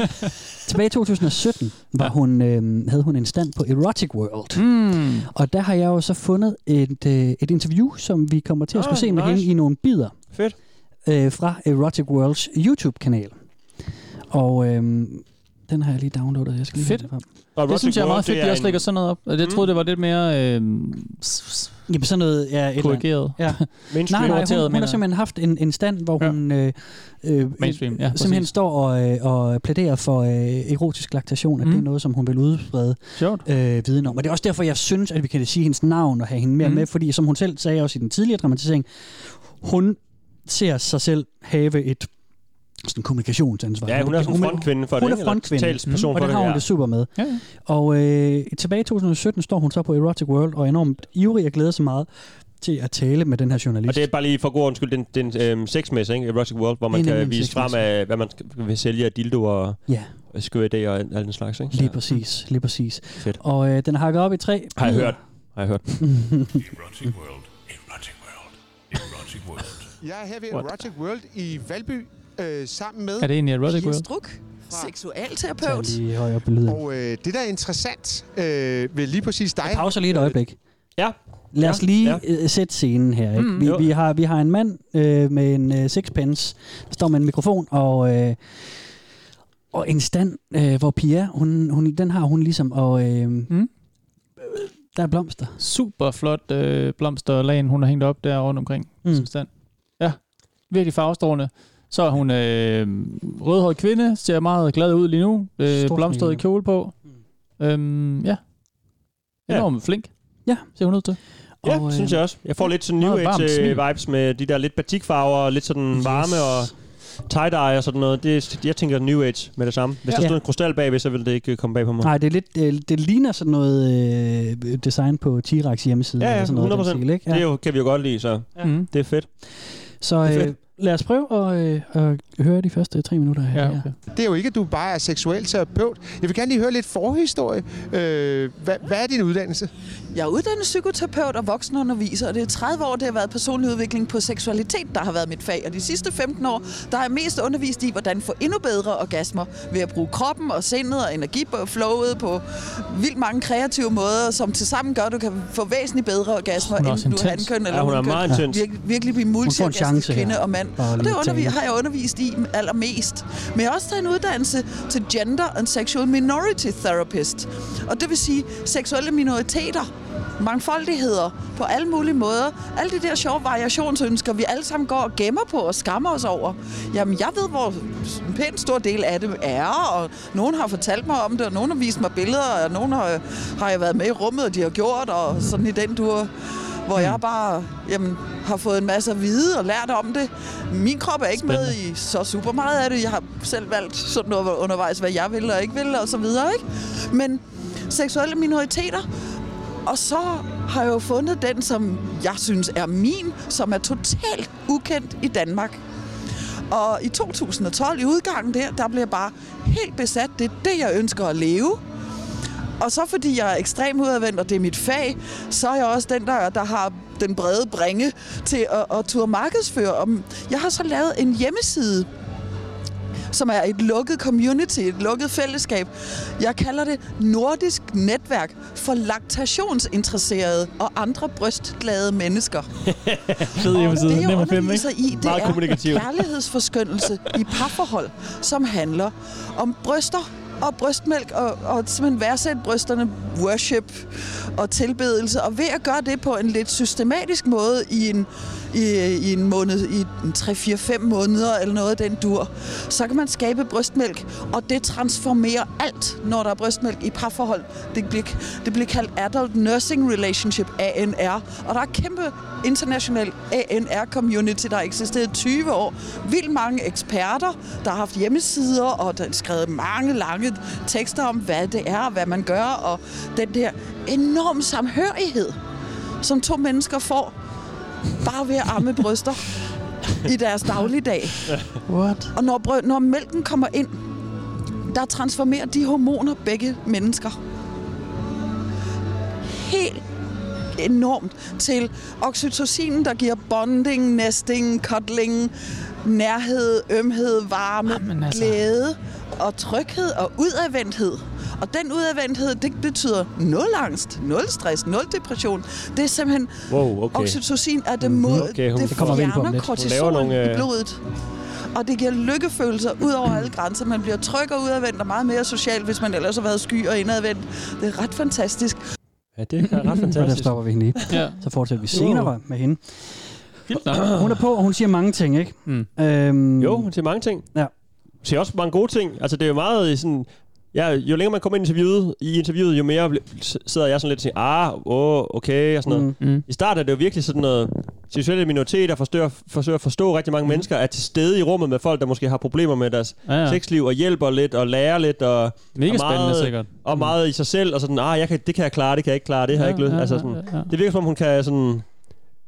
Speaker 5: Tilbage i 2017 var
Speaker 4: Ja.
Speaker 5: ja. hun, øh, havde hun en stand på Erotic World. Mm.
Speaker 4: Mm.
Speaker 5: Og der har jeg jo så fundet et, øh, et interview, som vi kommer til at
Speaker 3: Ah,
Speaker 5: skulle se med
Speaker 3: nice.
Speaker 5: hende i nogle bidder
Speaker 3: Fedt.
Speaker 5: øh, fra Erotic Worlds YouTube-kanal. Og øh, den har jeg lige downloadet. Jeg skal lige
Speaker 4: Fedt.
Speaker 5: have den frem.
Speaker 3: Og
Speaker 4: Det synes jeg er meget fedt, at de også lægger
Speaker 3: lægger
Speaker 4: sådan noget op. Og Jeg
Speaker 3: Mm.
Speaker 4: troede, det var lidt mere øh, s- s-
Speaker 5: Jamen sådan noget... Ja, et eller andet.
Speaker 4: korrigeret.
Speaker 5: Ja. Nej,
Speaker 3: mainstream.
Speaker 5: nej, hun,
Speaker 4: Prioriteret,
Speaker 5: hun
Speaker 4: mener
Speaker 5: har
Speaker 4: jeg.
Speaker 5: simpelthen haft en, en stand, hvor
Speaker 4: Ja.
Speaker 5: hun øh, øh,
Speaker 4: Mainstream, ja,
Speaker 5: simpelthen
Speaker 4: præcis.
Speaker 5: står og, øh, og plæderer for øh, erotisk laktation, at
Speaker 4: Mm.
Speaker 5: det er noget, som hun vil udbrede
Speaker 4: Sjovt.
Speaker 5: øh, viden om. Og det er også derfor, jeg synes, at vi kan sige hendes navn og have hende mere
Speaker 4: Mhm.
Speaker 5: mm. med, fordi som hun selv sagde også i den tidligere dramatisering, hun ser sig selv have et sådan kommunikationsansvar.
Speaker 3: Ja, hun er sådan en frontkvinde for det.
Speaker 5: Hun er
Speaker 3: ikke? Eller
Speaker 5: frontkvinde. Mm.
Speaker 3: Talsperson
Speaker 5: og
Speaker 3: for
Speaker 5: det har hun
Speaker 3: ja.
Speaker 5: det super med.
Speaker 4: Ja, ja.
Speaker 5: Og øh, tilbage i 2017 står hun så på Erotic World og er enormt ivrig og glæder sig meget til at tale med den her journalist.
Speaker 3: Og det er bare lige for god undskyld, den, den øhm, sexmesse, ikke? Erotic World, hvor man
Speaker 5: Det er
Speaker 3: kan
Speaker 5: nemlig en
Speaker 3: vise frem af, hvad man skal- vil sælge af dildoer og
Speaker 5: Ja,
Speaker 3: og skøre idéer og alt alt den slags, ikke?
Speaker 5: lige
Speaker 3: Ja.
Speaker 5: præcis. Lige præcis.
Speaker 3: Fedt.
Speaker 5: Og øh, den har hakket op i tre.
Speaker 3: Har jeg hørt. Har jeg hørt.
Speaker 9: Erotic World. Erotic World. Erotic World.
Speaker 10: Jeg er her ved
Speaker 4: What?
Speaker 10: Erotic World i Valby øh, sammen med...
Speaker 4: Er det egentlig erotic world?
Speaker 11: Struk,
Speaker 5: Tag
Speaker 11: seksualterapeut.
Speaker 5: lige højere op på lyden.
Speaker 10: Og øh, det, der er interessant øh, ved lige præcis dig...
Speaker 5: Jeg pauser lige et øjebek.
Speaker 3: Ja.
Speaker 5: Lad os lige
Speaker 3: Ja.
Speaker 5: ja. øh, sætte scenen her. Ikke?
Speaker 4: Mm.
Speaker 5: Mm, vi,
Speaker 3: Jo.
Speaker 5: vi, har, vi har en mand øh, med en øh, sixpence, der står med en mikrofon, og, øh, og en stand, øh, hvor Pia, hun, hun, den har hun ligesom, og øh, mm. der er blomster.
Speaker 4: Super flot øh, blomsterlagen, hun har hængt op der rundt omkring. Mm.
Speaker 5: Mm.
Speaker 4: Som stand. Ja, virkelig farvestrålende. Så er hun øh, rødhåret kvinde, ser meget glad ud lige nu. Øh,
Speaker 5: Stor
Speaker 4: blomstret
Speaker 5: smil.
Speaker 4: kjole på. Mm. Øhm, ja.
Speaker 3: Ja.
Speaker 4: Enormt flink.
Speaker 5: Ja.
Speaker 4: Ser hun ud til.
Speaker 3: Ja,
Speaker 5: og,
Speaker 3: det synes jeg også. Jeg får lidt sådan
Speaker 4: Meget
Speaker 3: New øh,
Speaker 4: varmt smil.
Speaker 3: Age-vibes med de der lidt batikfarver og lidt sådan yes. varme og tie-dye og sådan noget. Det, jeg tænker New Age med det samme. Hvis
Speaker 5: Ja.
Speaker 3: der stod en krystal bagved, så ville det ikke øh, komme bag på mig.
Speaker 5: Nej, det, er lidt, øh, det, det ligner sådan noget øh, design på T-Rex hjemmeside.
Speaker 3: Ja, ja,
Speaker 5: eller sådan noget, af den
Speaker 3: 100%.
Speaker 5: stil, ikke?
Speaker 3: Ja. Det er jo, kan vi jo godt lide, så
Speaker 4: Ja. Mm.
Speaker 3: det er fedt.
Speaker 5: Så
Speaker 3: det er
Speaker 5: øh,
Speaker 3: fedt.
Speaker 5: lad os prøve at, øh, at høre de første tre minutter her.
Speaker 4: ja okay.
Speaker 10: Det er jo ikke, at du bare er seksuel terapeut. Jeg vil gerne lige høre lidt forhistorie. Øh, hvad, hvad er din uddannelse?
Speaker 11: Jeg er uddannet psykoterapeut og voksenunderviser, og det er 30 år, det har været personlig udvikling på seksualitet, der har været mit fag. Og de sidste 15 år, der har jeg mest undervist i, hvordan få endnu bedre orgasmer ved at bruge kroppen og sindet og energiflowet på vildt mange kreative måder, som tilsammen gør, at du kan få væsentligt bedre orgasmer,
Speaker 4: Hun er også
Speaker 11: end du er
Speaker 4: intens.
Speaker 11: hankøn eller
Speaker 3: Ja, hun er
Speaker 11: hunkøn.
Speaker 3: meget intens.
Speaker 11: Virke, virkelig blive
Speaker 5: får en
Speaker 11: multiorgasmisk
Speaker 5: chance her.
Speaker 11: kvinde og mand.
Speaker 5: Bare
Speaker 11: Og det
Speaker 5: lige
Speaker 11: undervi-
Speaker 5: tale.
Speaker 11: har jeg undervist i allermest. Men jeg har også taget en uddannelse til Gender and Sexual Minority Therapist. Og det vil sige seksuelle minoriteter, mangfoldigheder på alle mulige måder. Alle de der sjove variationsønsker, vi alle sammen går og gemmer på og skammer os over. Jamen, jeg ved, hvor en pænt stor del af det er, og nogen har fortalt mig om det, og nogen har vist mig billeder, og nogen har, har jeg været med i rummet, og de har gjort, og sådan i den dur. hvor jeg bare jamen, har fået en masse at vide og lært om det. Min krop er ikke med i så super meget af det. Jeg har selv valgt sådan noget undervejs, hvad jeg vil og ikke vil og så videre. Ikke? Men seksuelle minoriteter og så har jeg jo fundet den, som jeg synes er min, som er totalt ukendt i Danmark. Og i 2012, i udgangen der, der blev jeg bare helt besat. Det er det, jeg ønsker at leve. Og så fordi jeg er ekstremt udadvendt, og det er mit fag, så er jeg også den, der, der har den brede bringe til at, at turde markedsføre. Og Jeg har så lavet en hjemmeside, som er et lukket community, et lukket fællesskab. Jeg kalder det Nordisk Netværk for laktationsinteresserede og andre brystglade mennesker.
Speaker 4: Fed hjemmeside.
Speaker 11: Det, jeg
Speaker 4: Nem at finde,
Speaker 11: underviser i,
Speaker 4: ikke?
Speaker 11: det er kærlighedsforskyndelse i parforhold, som handler om bryster og brystmælk, og, og simpelthen værdsætte brysterne, worship og tilbedelse. Og ved at gøre det på en lidt systematisk måde i en, i, i en måned, i en 3-4-5 måneder eller noget af den dur, så kan man skabe brystmælk, og det transformerer alt, når der er brystmælk i parforhold. Det bliver, det bliver kaldt Adult Nursing Relationship, ANR, og der er kæmpe international ANR-community, der har eksisteret i 20 år. Vildt mange eksperter, der har haft hjemmesider, og der er skrevet mange lange tekster om, hvad det er, og hvad man gør, og den der enorm samhørighed, som to mennesker får, bare ved at amme bryster i deres dagligdag.
Speaker 4: What?
Speaker 11: Og når, brød, når mælken kommer ind, der transformerer de hormoner begge mennesker. Helt enormt til oxytocinen, der giver bonding, nesting, cuddling, nærhed, ømhed, varme,
Speaker 3: Ah,
Speaker 11: Jamen, altså. glæde og tryghed og udadvendthed. Og den udadvendthed, det betyder nul angst, nul stress, nul depression. Det er simpelthen...
Speaker 3: Wow, okay.
Speaker 11: Oxytocin er det mod...
Speaker 3: Okay, hun-
Speaker 11: det
Speaker 3: Det kommer vi ind på om
Speaker 11: fjerner
Speaker 3: lidt. Hun laver
Speaker 11: kortisolen
Speaker 3: nogle,
Speaker 11: nogle,
Speaker 3: øh,
Speaker 11: i blodet. Og det giver lykkefølelser ud over alle grænser. Man bliver tryg og udadvendt og meget mere social, hvis man ellers har været sky og indadvendt. Det er ret fantastisk.
Speaker 3: Ja, det er ret
Speaker 5: Og der
Speaker 3: fantastisk.
Speaker 5: stopper vi hende i.
Speaker 4: Ja.
Speaker 5: Så fortsætter vi
Speaker 3: Uh.
Speaker 5: senere med hende.
Speaker 3: nok.
Speaker 5: Hun er på, og hun siger mange ting, ikke?
Speaker 4: Mm.
Speaker 5: Øhm,
Speaker 3: Jo, hun siger mange ting.
Speaker 5: Ja.
Speaker 3: Hun siger også mange gode ting. Altså, det er jo meget i sådan... Ja, jo længere man kommer ind i interviewet, i interviewet, jo mere bl- s- sidder jeg sådan lidt og siger, ah, åh, okay, og sådan noget.
Speaker 4: Mm. Mm.
Speaker 3: I starten er det jo virkelig sådan noget, seksuelle minoriteter forsøger, forsøger at forstå rigtig
Speaker 5: Mm.
Speaker 3: mange mennesker, er til stede i rummet med folk, der måske har problemer med deres
Speaker 4: Ja,
Speaker 3: ja,
Speaker 4: ja.
Speaker 3: ja. sexliv, og hjælper lidt, og lærer lidt, og,
Speaker 4: Mega
Speaker 3: og
Speaker 4: spændende, sikkert. Mm.
Speaker 3: Og meget i sig selv, og sådan, ah, jeg kan, det kan jeg klare, det kan jeg ikke klare, det har jeg
Speaker 4: Ja,
Speaker 3: ikke lyst.
Speaker 4: ja,
Speaker 3: altså,
Speaker 4: ja,
Speaker 3: sådan,
Speaker 4: ja, ja.
Speaker 3: Det virker som om, hun kan sådan...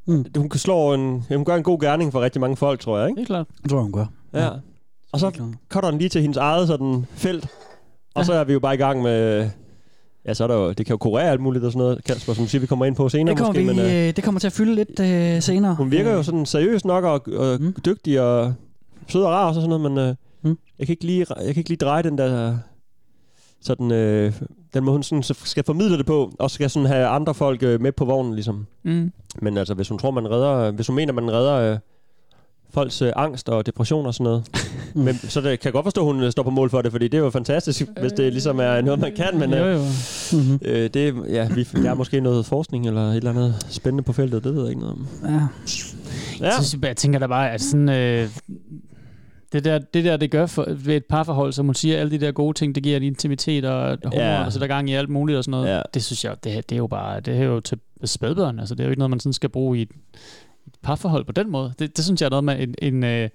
Speaker 5: Mm.
Speaker 3: Hun kan slå en... Hun gør en god gerning for rigtig mange folk, tror jeg, ikke?
Speaker 4: Det er klart.
Speaker 5: Det tror jeg, hun gør.
Speaker 3: Ja. Og så cutter den lige til hendes eget sådan felt. Og så er vi jo bare i gang med... Ja, så er der jo, det kan jo kurere alt muligt og sådan noget, Kasper, som du siger, vi kommer ind på senere
Speaker 5: Det kommer,
Speaker 3: måske,
Speaker 5: vi,
Speaker 3: men øh,
Speaker 5: øh, det kommer til at fylde lidt øh, senere.
Speaker 3: hun virker jo sådan seriøs nok og, og mm. dygtig og sød og rar og sådan noget, men øh,
Speaker 5: Mm.
Speaker 3: jeg, kan ikke lige, jeg kan ikke lige dreje den der sådan, øh, den måde hun sådan, så skal formidle det på, og skal sådan have andre folk øh, med på vognen ligesom.
Speaker 4: Mm.
Speaker 3: Men altså, hvis hun tror, man redder, hvis hun mener, man redder øh, folks øh, angst og depression og sådan noget.
Speaker 4: Mm.
Speaker 3: men, så det, kan jeg godt forstå, at hun øh, står på mål for det, fordi det er jo fantastisk, hvis det ligesom er noget, man kan. Men
Speaker 4: Øh, Jo,
Speaker 3: øh,
Speaker 4: jo. Mm-hmm.
Speaker 3: øh, det, ja, vi, der er måske noget forskning eller et eller andet spændende på feltet, det ved jeg ikke noget om.
Speaker 5: Ja.
Speaker 3: Ja,
Speaker 4: Jeg, synes, jeg tænker da bare, at sådan... Øh, det der, det der, det gør for, ved et parforhold, som hun siger, alle de der gode ting, det giver en intimitet og humor,
Speaker 3: Ja.
Speaker 4: ja. og sætter gang i alt muligt og sådan noget.
Speaker 3: Ja.
Speaker 4: Det synes jeg, det, det er jo bare, det er jo til spædbørn. Altså, det er jo ikke noget, man sådan skal bruge i et, et parforhold på den måde. Det, det synes jeg er noget med en, en, øh,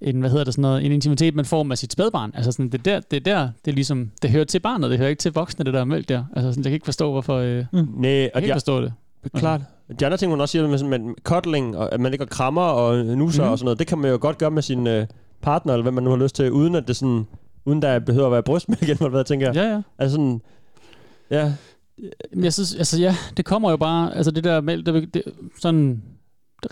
Speaker 4: en, hvad hedder det sådan noget, en intimitet, man får med sit spædbarn. Altså sådan, det er der, det er der, det er ligesom, det hører til barnet, det hører ikke til voksne, det der mælk der. Altså sådan, jeg kan ikke forstå, hvorfor, øh, jeg
Speaker 3: nej,
Speaker 4: kan
Speaker 3: Mm. og
Speaker 4: ikke
Speaker 3: jeg,
Speaker 4: forstå det.
Speaker 3: klart. De andre ting, hun også siger, med, sådan, med cuddling, og at man ligger og krammer og nuser mm. og sådan noget, det kan man jo godt gøre med sin øh, partner, eller hvad man nu har lyst til, uden at det sådan, uden der behøver at være brystmælk involveret, tænker jeg.
Speaker 4: Ja, ja.
Speaker 3: Altså sådan, ja,
Speaker 4: Jamen, Jeg synes, altså ja, det kommer jo bare, altså det der mælk, det, det, sådan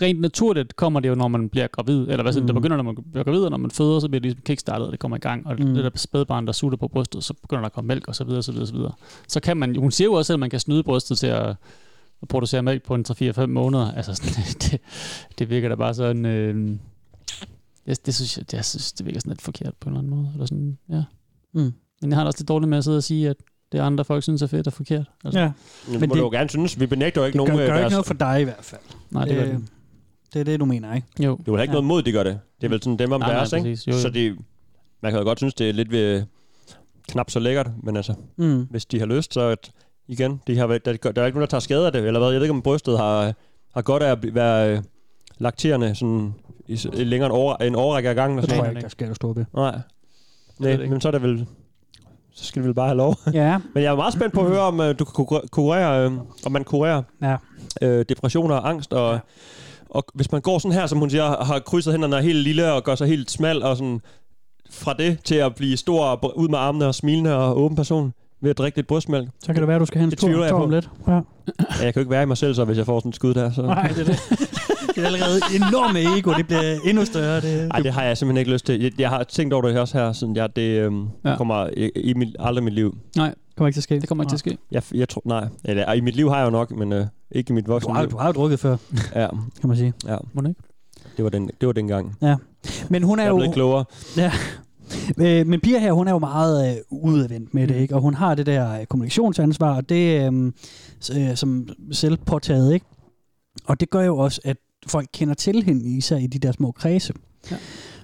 Speaker 4: rent naturligt kommer det jo, når man bliver gravid, eller hvad sådan, mm. det begynder, når man bliver gravid, og når man føder, så bliver det ligesom kickstartet, og det kommer i gang, og mm. det der spædbarn, der sutter på brystet, så begynder der at komme mælk, og så videre, så videre, så videre. Så kan man, hun siger jo også, at man kan snyde brystet til at, at producere mælk på en 3-4-5 måneder. Altså, sådan, det, det virker da bare sådan, øh, det, det, synes jeg, det, jeg synes, det virker sådan lidt forkert på en eller anden måde, eller sådan, ja.
Speaker 5: Mm.
Speaker 4: Men jeg har det også lidt dårligt med at sidde og sige, at det andre folk synes er fedt og forkert. Altså,
Speaker 5: ja.
Speaker 3: Men
Speaker 5: Men
Speaker 3: det må
Speaker 5: det-
Speaker 3: du jo gerne synes. Vi benægter jo ikke
Speaker 5: Det gør,
Speaker 3: nogen af
Speaker 5: gør ikke
Speaker 3: deres...
Speaker 5: noget for dig i hvert fald.
Speaker 4: Nej, det,
Speaker 5: Øh,
Speaker 4: øh,
Speaker 5: det er det, du mener, ikke?
Speaker 4: Jo.
Speaker 3: Det er jo heller ikke
Speaker 5: Ja.
Speaker 3: noget mod, de gør det. Det er vel sådan dem om
Speaker 4: Nej, nej,
Speaker 3: deres, ikke?
Speaker 4: præcis. Jo, jo.
Speaker 3: Så det, man kan jo godt synes, det er lidt ved, knap så lækkert, men altså,
Speaker 5: Mm.
Speaker 3: hvis de har lyst, så at, igen, de har, vel- der, der, er ikke nogen, der tager skade af det, eller hvad? Jeg ved ikke, om brystet har, har godt af at bl- være øh, lakterende sådan i, s- i længere en, over, en overrække af gangen. og
Speaker 5: Det
Speaker 3: sådan
Speaker 5: tror jeg
Speaker 3: noget.
Speaker 5: ikke, der sker, du står ved.
Speaker 3: Nej. Nej, men så er det vel... Så skal vi vel bare have lov.
Speaker 5: Ja.
Speaker 3: men jeg er meget spændt på at høre, om øh, du kan kur- kurere, øh, om man kurerer
Speaker 5: ja.
Speaker 3: øh, depressioner og angst. Og, ja. og hvis man går sådan her, som hun siger, har krydset hænderne og er helt lille og gør sig helt smal, og sådan fra det til at blive stor og br- ud med armene og smilende og åben person ved at drikke lidt brystmælk.
Speaker 5: Så kan det være, du skal have en
Speaker 3: Det
Speaker 5: stor
Speaker 3: tvivler jeg
Speaker 5: tår
Speaker 3: på.
Speaker 5: om lidt. Ja.
Speaker 3: Ja, jeg kan jo ikke være i mig selv, så hvis jeg får sådan et skud der. Så.
Speaker 5: Nej, det er det. Det er allerede enorme ego, det bliver endnu større. Det.
Speaker 3: Ej, det har jeg simpelthen ikke lyst til. Jeg, jeg har tænkt over det også her, siden jeg, det øhm, ja. kommer i, i mit, aldrig i mit liv.
Speaker 4: Nej,
Speaker 5: det kommer ikke til at ske.
Speaker 4: Det kommer ikke til at ske.
Speaker 3: Jeg, jeg tror, nej. Eller, i mit liv har jeg jo nok, men øh, ikke i mit voksne
Speaker 5: Du har,
Speaker 3: liv.
Speaker 5: du har jo drukket før.
Speaker 3: Ja.
Speaker 5: Kan man sige.
Speaker 3: Ja.
Speaker 4: Må ikke?
Speaker 3: Det var den, det var den gang.
Speaker 5: Ja. Men hun er
Speaker 3: jeg
Speaker 5: jo...
Speaker 3: blevet klogere.
Speaker 5: Ja. Øh, Men Pia her, hun er jo meget øh, udadvendt med det, ikke? Og hun har det der øh, kommunikationsansvar, og det øh, s- øh, som selv påtaget, ikke? Og det gør jo også, at folk kender til hende, især i de der små kredse.
Speaker 4: Ja.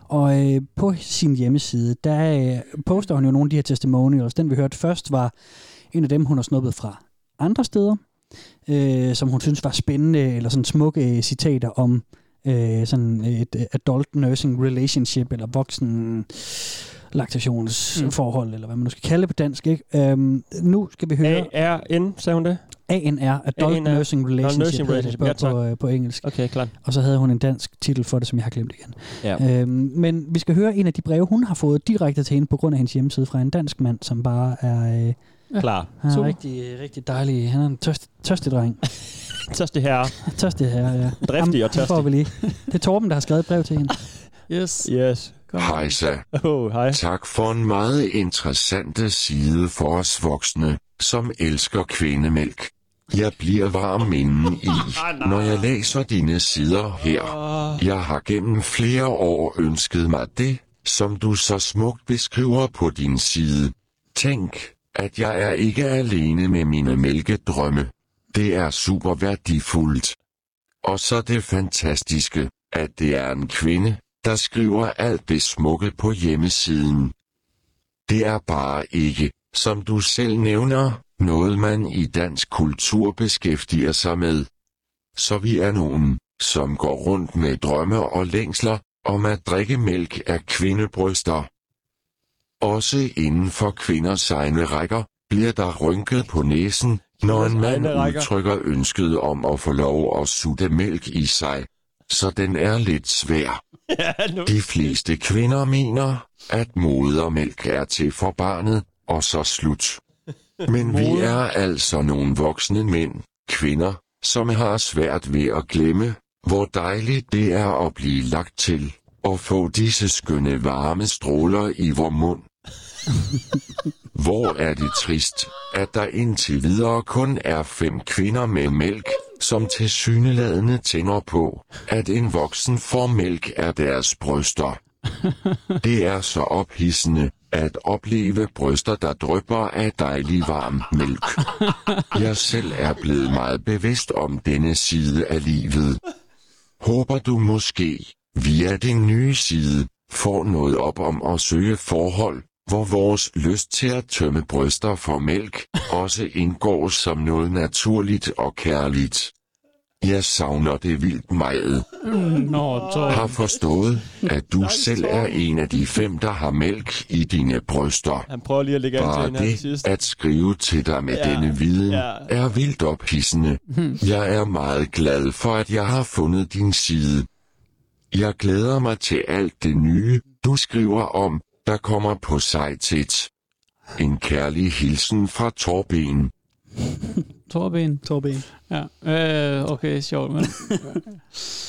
Speaker 5: Og øh, på sin hjemmeside, der øh, poster hun jo nogle af de her testimonials. Den vi hørte først var en af dem, hun har snuppet fra andre steder, øh, som hun synes var spændende, eller sådan smukke øh, citater om øh, sådan et øh, adult nursing relationship, eller voksen laktationsforhold, mm. eller hvad man nu skal kalde det på dansk. Ikke? Øhm, nu skal vi høre...
Speaker 3: ARN, sagde hun det?
Speaker 5: ANR, Adult
Speaker 3: ANR.
Speaker 5: Nursing Relationship,
Speaker 3: Nå,
Speaker 5: nursing relationship på,
Speaker 3: ja,
Speaker 5: på,
Speaker 3: tak.
Speaker 5: øh, på engelsk.
Speaker 3: Okay, klart.
Speaker 5: Og så havde hun en dansk titel for det, som jeg har glemt igen.
Speaker 3: Ja.
Speaker 5: Øhm, men vi skal høre en af de breve, hun har fået direkte til hende på grund af hendes hjemmeside fra en dansk mand, som bare er... Øh,
Speaker 3: Klar.
Speaker 5: Han er
Speaker 3: Super.
Speaker 5: rigtig, rigtig dejlig. Han er en tørst, tørstig dreng.
Speaker 3: tørstig herre.
Speaker 5: tørstig herre, ja.
Speaker 3: Driftig
Speaker 5: Ham-
Speaker 3: og
Speaker 5: ham får
Speaker 3: tørstig.
Speaker 5: vi lige. Det er Torben, der har skrevet et brev til hende.
Speaker 4: Yes.
Speaker 3: Yes.
Speaker 9: Hej så.
Speaker 3: Oh, hej.
Speaker 9: Tak for en meget interessante side for os voksne, som elsker kvindemælk. Jeg bliver varm inden i, når jeg læser dine sider her. Jeg har gennem flere år ønsket mig det, som du så smukt beskriver på din side. Tænk, at jeg er ikke alene med mine mælkedrømme. Det er super værdifuldt. Og så det fantastiske, at det er en kvinde, der skriver alt det smukke på hjemmesiden. Det er bare ikke, som du selv nævner, noget man i dansk kultur beskæftiger sig med. Så vi er nogen, som går rundt med drømme og længsler om at drikke mælk af kvindebryster. Også inden for kvinders egne rækker, bliver der rynket på næsen, når en mand
Speaker 3: egne rækker.
Speaker 9: udtrykker ønsket om at få lov at sutte mælk i sig. Så den er lidt svær. De fleste kvinder mener, at modermælk er til for barnet, og så slut. Men vi er altså nogle voksne mænd, kvinder, som har svært ved at glemme, hvor dejligt det er at blive lagt til, og få disse skønne varme stråler i vor mund. Hvor er det trist, at der indtil videre kun er fem kvinder med mælk, som til syneladende tænder på, at en voksen får mælk af deres bryster. Det er så ophidsende at opleve bryster, der drypper af dejlig varm mælk. Jeg selv er blevet meget bevidst om denne side af livet. Håber du måske, via din nye side, får noget op om at søge forhold, hvor vores lyst til at tømme bryster for mælk også indgår som noget naturligt og kærligt. Jeg savner det vildt meget.
Speaker 4: Nå,
Speaker 9: Har
Speaker 4: Torben.
Speaker 9: forstået, at du selv er en af de fem, der har mælk i dine bryster.
Speaker 3: Han prøver lige at lægge an til
Speaker 9: Bare
Speaker 3: hende her til sidst.
Speaker 9: det at skrive til dig med
Speaker 3: Ja,
Speaker 9: ja, denne viden
Speaker 3: ja.
Speaker 9: ja. er vildt ophidsende. Jeg er meget glad for, at jeg har fundet din side. Jeg glæder mig til alt det nye, du skriver om, der kommer på sejtet. En kærlig hilsen fra Torben.
Speaker 4: Torben.
Speaker 5: Torben.
Speaker 4: Ja. Øh, okay, sjovt. Men.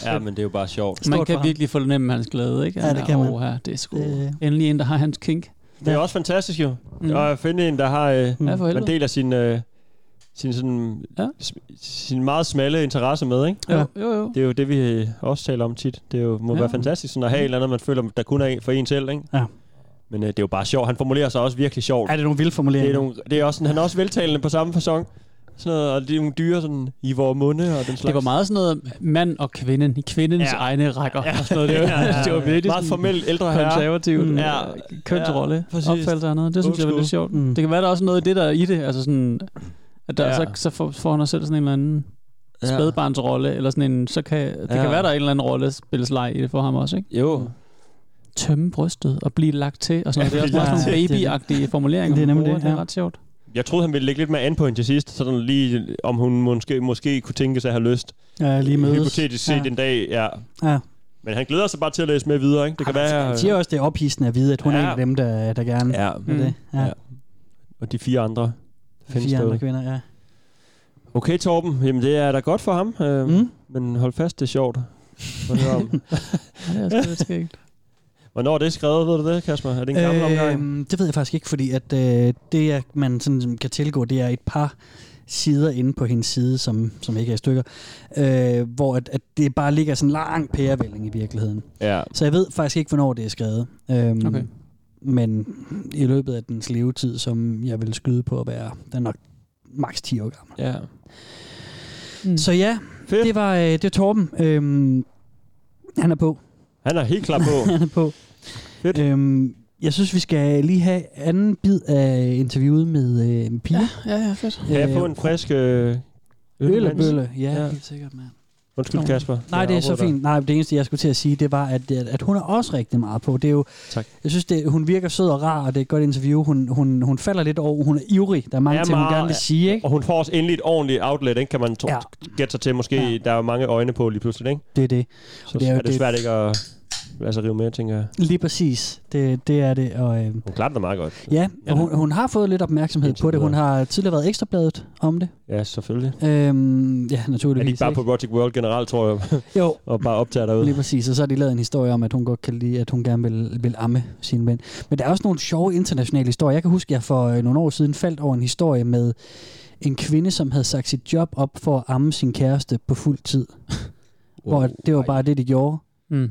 Speaker 3: Ja, men det er jo bare sjovt.
Speaker 4: Man
Speaker 3: for
Speaker 4: kan virkelig fornemme hans glæde, ikke?
Speaker 3: Ja,
Speaker 4: Han
Speaker 3: det
Speaker 4: er,
Speaker 3: kan man.
Speaker 4: "Åh, her, det er sgu endelig en, der har hans kink.
Speaker 3: Det er også fantastisk jo.
Speaker 4: Mm.
Speaker 3: Mm. Og at finde en, der har øh,
Speaker 4: Ja, for helvede.
Speaker 3: man deler sin, øh, sin, sådan,
Speaker 4: ja.
Speaker 3: sin meget smalle interesse med, ikke?
Speaker 4: Jo, jo, jo.
Speaker 3: Det er jo det, vi øh, også taler om tit. Det er jo, må
Speaker 4: Ja.
Speaker 3: ja. være fantastisk sådan at have et eller andet, man føler, der kun er en for en selv, ikke?
Speaker 5: Ja.
Speaker 3: Men øh, det er jo bare sjovt. Han formulerer sig også virkelig sjovt.
Speaker 5: Er det nogle vilde formuleringer?
Speaker 3: Det er, nogle, det er også sådan, han er også veltalende på samme fasong. Sådan noget, og det er nogle dyre sådan, i vores munde og den slags.
Speaker 4: Det var meget sådan noget mand og kvinden i kvindens ja.
Speaker 3: Ja.
Speaker 4: egne rækker.
Speaker 3: Ja.
Speaker 4: Ja. Og sådan noget. Det, var,
Speaker 3: Ja, ja, ja.
Speaker 4: det var virkelig
Speaker 3: Meget
Speaker 4: sådan
Speaker 3: formel ældre herre.
Speaker 4: konservativt.
Speaker 3: Mm.
Speaker 4: Ja.
Speaker 3: Ja.
Speaker 4: Kønsrolle.
Speaker 3: Ja, præcis.
Speaker 4: Ja, opfattelse af noget. Det synes
Speaker 3: Old
Speaker 4: jeg var lidt
Speaker 3: school.
Speaker 4: sjovt. Mm. Det kan være, der er også noget i det, der er i det. Altså sådan, at der, ja.
Speaker 3: Ja.
Speaker 4: så, så får, får han også selv sådan en eller anden ja. spædbarnsrolle, eller sådan en, så kan, det
Speaker 3: Ja.
Speaker 4: kan være, der er en eller anden rolle spilles leg i det for ham også, ikke?
Speaker 3: Jo.
Speaker 4: Tømme brystet og blive lagt til, og sådan noget.
Speaker 3: Ja,
Speaker 4: Det er også bare
Speaker 3: blive
Speaker 4: sådan nogle
Speaker 3: lagt til.
Speaker 4: babyagtige formuleringer,
Speaker 3: Det er
Speaker 4: man
Speaker 3: nemlig
Speaker 4: bruger.
Speaker 3: det,
Speaker 4: det er
Speaker 3: ja.
Speaker 4: ret sjovt.
Speaker 3: Jeg troede, han ville lægge lidt mere an på hende til sidst, sådan lige, øh, om hun måske, måske kunne tænke sig at have lyst.
Speaker 5: Ja, lige mødes.
Speaker 3: Hypotetisk set
Speaker 5: Ja.
Speaker 3: en dag, ja.
Speaker 5: Ja.
Speaker 3: Men han glæder sig bare til at læse med videre, ikke? Det kan være... øh,
Speaker 5: Han siger også, det er ophidsende at vide, at hun ja. er
Speaker 3: Ja.
Speaker 5: en af dem, der, der gerne
Speaker 3: Ja. mm.
Speaker 5: vil det. Ja.
Speaker 3: ja. Og de fire andre der findes
Speaker 5: Fire andre
Speaker 3: derude.
Speaker 5: kvinder, ja.
Speaker 3: Okay, Torben. Jamen, det er da godt for ham. Øh, mm. Men hold fast, det er sjovt. At høre om.
Speaker 4: Ja, det er også lidt skægt.
Speaker 3: Hvornår er det skrevet, ved du det, Kasper? Er det en gammel øh, omgang?
Speaker 5: Øhm, det ved jeg faktisk ikke, fordi at, øh, det, at man sådan kan tilgå, det er et par sider inde på hendes side, som, som ikke er i stykker, øh, hvor at, at det bare ligger sådan en lang pærevælling i virkeligheden.
Speaker 3: Ja.
Speaker 5: Så jeg ved faktisk ikke, hvornår det er skrevet. Øhm,
Speaker 4: Okay.
Speaker 5: Men i løbet af dens levetid, som jeg vil skyde på at være, den er nok maks 10 år gammel.
Speaker 3: Ja.
Speaker 5: Mm. Så ja,
Speaker 3: Fedt.
Speaker 5: det var øh, det var Torben. Øhm, han er på.
Speaker 3: Han er helt klar på.
Speaker 5: han er på.
Speaker 3: Fedt.
Speaker 5: Øhm, jeg synes, vi skal lige have anden bid af interviewet med, øh, med Pia.
Speaker 4: Ja, ja, fedt.
Speaker 3: Kan jeg få en frisk øh, øl, Hans?
Speaker 5: Øllebølle, ja, ja, helt sikkert, mand.
Speaker 3: Undskyld, Kasper.
Speaker 5: Nej,
Speaker 3: Jeg
Speaker 5: det er så
Speaker 3: afbryder dig.
Speaker 5: fint. Nej, det eneste, jeg skulle til at sige, det var, at, at, at hun er også rigtig meget på. Det er jo,
Speaker 3: tak.
Speaker 5: Jeg synes, det, hun virker sød og rar, og det er et godt interview. Hun, hun, hun falder lidt over, hun er ivrig. Der er mange
Speaker 3: Ja,
Speaker 5: ja, ting, hun
Speaker 3: meget-
Speaker 5: gerne vil sige, ikke?
Speaker 3: Og hun får også endelig et ordentligt outlet, ikke? kan man tro-
Speaker 5: Ja.
Speaker 3: gætte sig til. Måske ja. der er mange øjne på lige pludselig. Ikke?
Speaker 5: Det er det.
Speaker 3: Så
Speaker 5: det
Speaker 3: det
Speaker 5: er
Speaker 3: er,
Speaker 5: jo
Speaker 3: er det,
Speaker 5: det-
Speaker 3: svært ikke at lade sig rive med, tænker jeg.
Speaker 5: Lige præcis. Det, det er det. Og, øh,
Speaker 3: Hun klarer det meget godt.
Speaker 5: ja, og hun, hun har fået lidt opmærksomhed på det. Hun har tidligere været ekstrabladet om det.
Speaker 3: Ja, selvfølgelig.
Speaker 5: Øhm, ja,
Speaker 3: Er
Speaker 5: naturligvis.
Speaker 3: de ikke bare på Rotic World generelt, tror jeg?
Speaker 5: Jo.
Speaker 3: og bare optager derude.
Speaker 5: Lige præcis, og så har de lavet en historie om, at hun godt kan lide, at hun gerne vil, vil amme sine mænd. Men der er også nogle sjove internationale historier. Jeg kan huske, at jeg for øh, nogle år siden faldt over en historie med en kvinde, som havde sagt sit job op for at amme sin kæreste på fuld tid. Wow, Hvor det var bare det, de gjorde.
Speaker 4: Mm.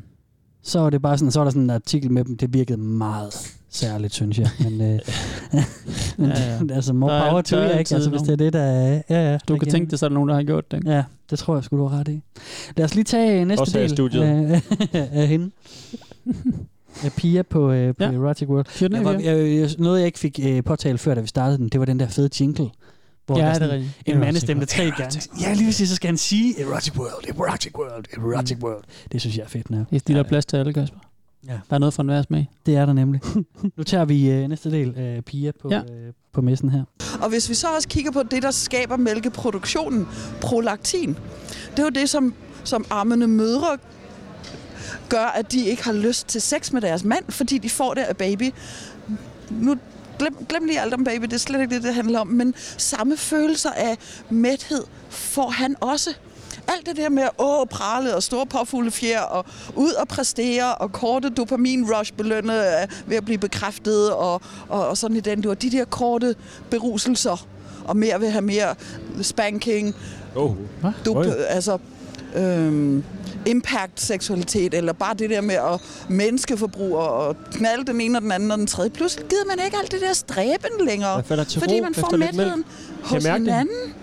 Speaker 5: Så var det bare sådan, så var der sådan en artikel med dem, det virkede meget særligt, synes jeg. Men, øh, men
Speaker 4: Ja,
Speaker 5: ja,
Speaker 4: ja.
Speaker 5: ja. altså, more
Speaker 4: Der er-
Speaker 5: power to
Speaker 4: der er
Speaker 5: jer, ikke?
Speaker 4: altid
Speaker 5: Altså, hvis det er det, der er... Ja, ja,
Speaker 4: Du kan
Speaker 5: igen.
Speaker 4: tænke det, så er der nogen, der har gjort det. Ikke?
Speaker 5: Ja, det tror jeg skulle du har ret i. Lad os lige tage øh, næste
Speaker 4: Også her i
Speaker 5: del
Speaker 4: studiet.
Speaker 5: Af, af hende. af Pia på, øh, på ja. Erotic World.
Speaker 4: den af,
Speaker 5: Jeg var,
Speaker 4: Pia.
Speaker 5: jeg, jeg, noget, jeg ikke fik øh, påtalt før, da vi startede den, det var den der fede jingle. Hvor
Speaker 4: Ja,
Speaker 5: der
Speaker 4: det er
Speaker 5: sådan
Speaker 4: rigtigt.
Speaker 5: en
Speaker 4: Erotic
Speaker 5: mandestemme, der tre
Speaker 4: World.
Speaker 5: gange. Ja, lige præcis, så skal han sige Erotic World, Erotic World, Erotic mm. World. Det synes jeg er fedt nu.
Speaker 4: Det er fordi, der er plads til alle, Kasper.
Speaker 5: Ja.
Speaker 4: Der er noget for enhver smag.
Speaker 5: Det er der nemlig. nu tager vi øh, næste del af Pia på, ja. øh, på messen her.
Speaker 11: Og hvis vi så også kigger på det, der skaber mælkeproduktionen, prolaktin, det er jo det, som, som armende mødre gør, at de ikke har lyst til sex med deres mand, fordi de får det af baby. Nu glem, glem lige alt om baby, det er slet ikke det, det handler om, men samme følelser af mæthed får han også. Alt det der med åh, prale og store påfuglefjer og ud og præstere og korte dopaminrush belønne øh, ved at blive bekræftet og, og, og sådan i den dur. De der korte beruselser og mere vil have mere spanking,
Speaker 3: Oh.
Speaker 11: du, altså, øhm, impact-seksualitet, eller bare det der med at menneskeforbrug og- og knalde den ene og den anden og den tredje. Pludselig gider man ikke alt det der stræben længere,
Speaker 3: Man falder til
Speaker 11: fordi
Speaker 3: ro
Speaker 11: man
Speaker 3: efter
Speaker 11: får
Speaker 3: lidt mælk.
Speaker 11: mætheden
Speaker 3: Kan
Speaker 11: hos
Speaker 3: jeg mærke det?
Speaker 11: hinanden.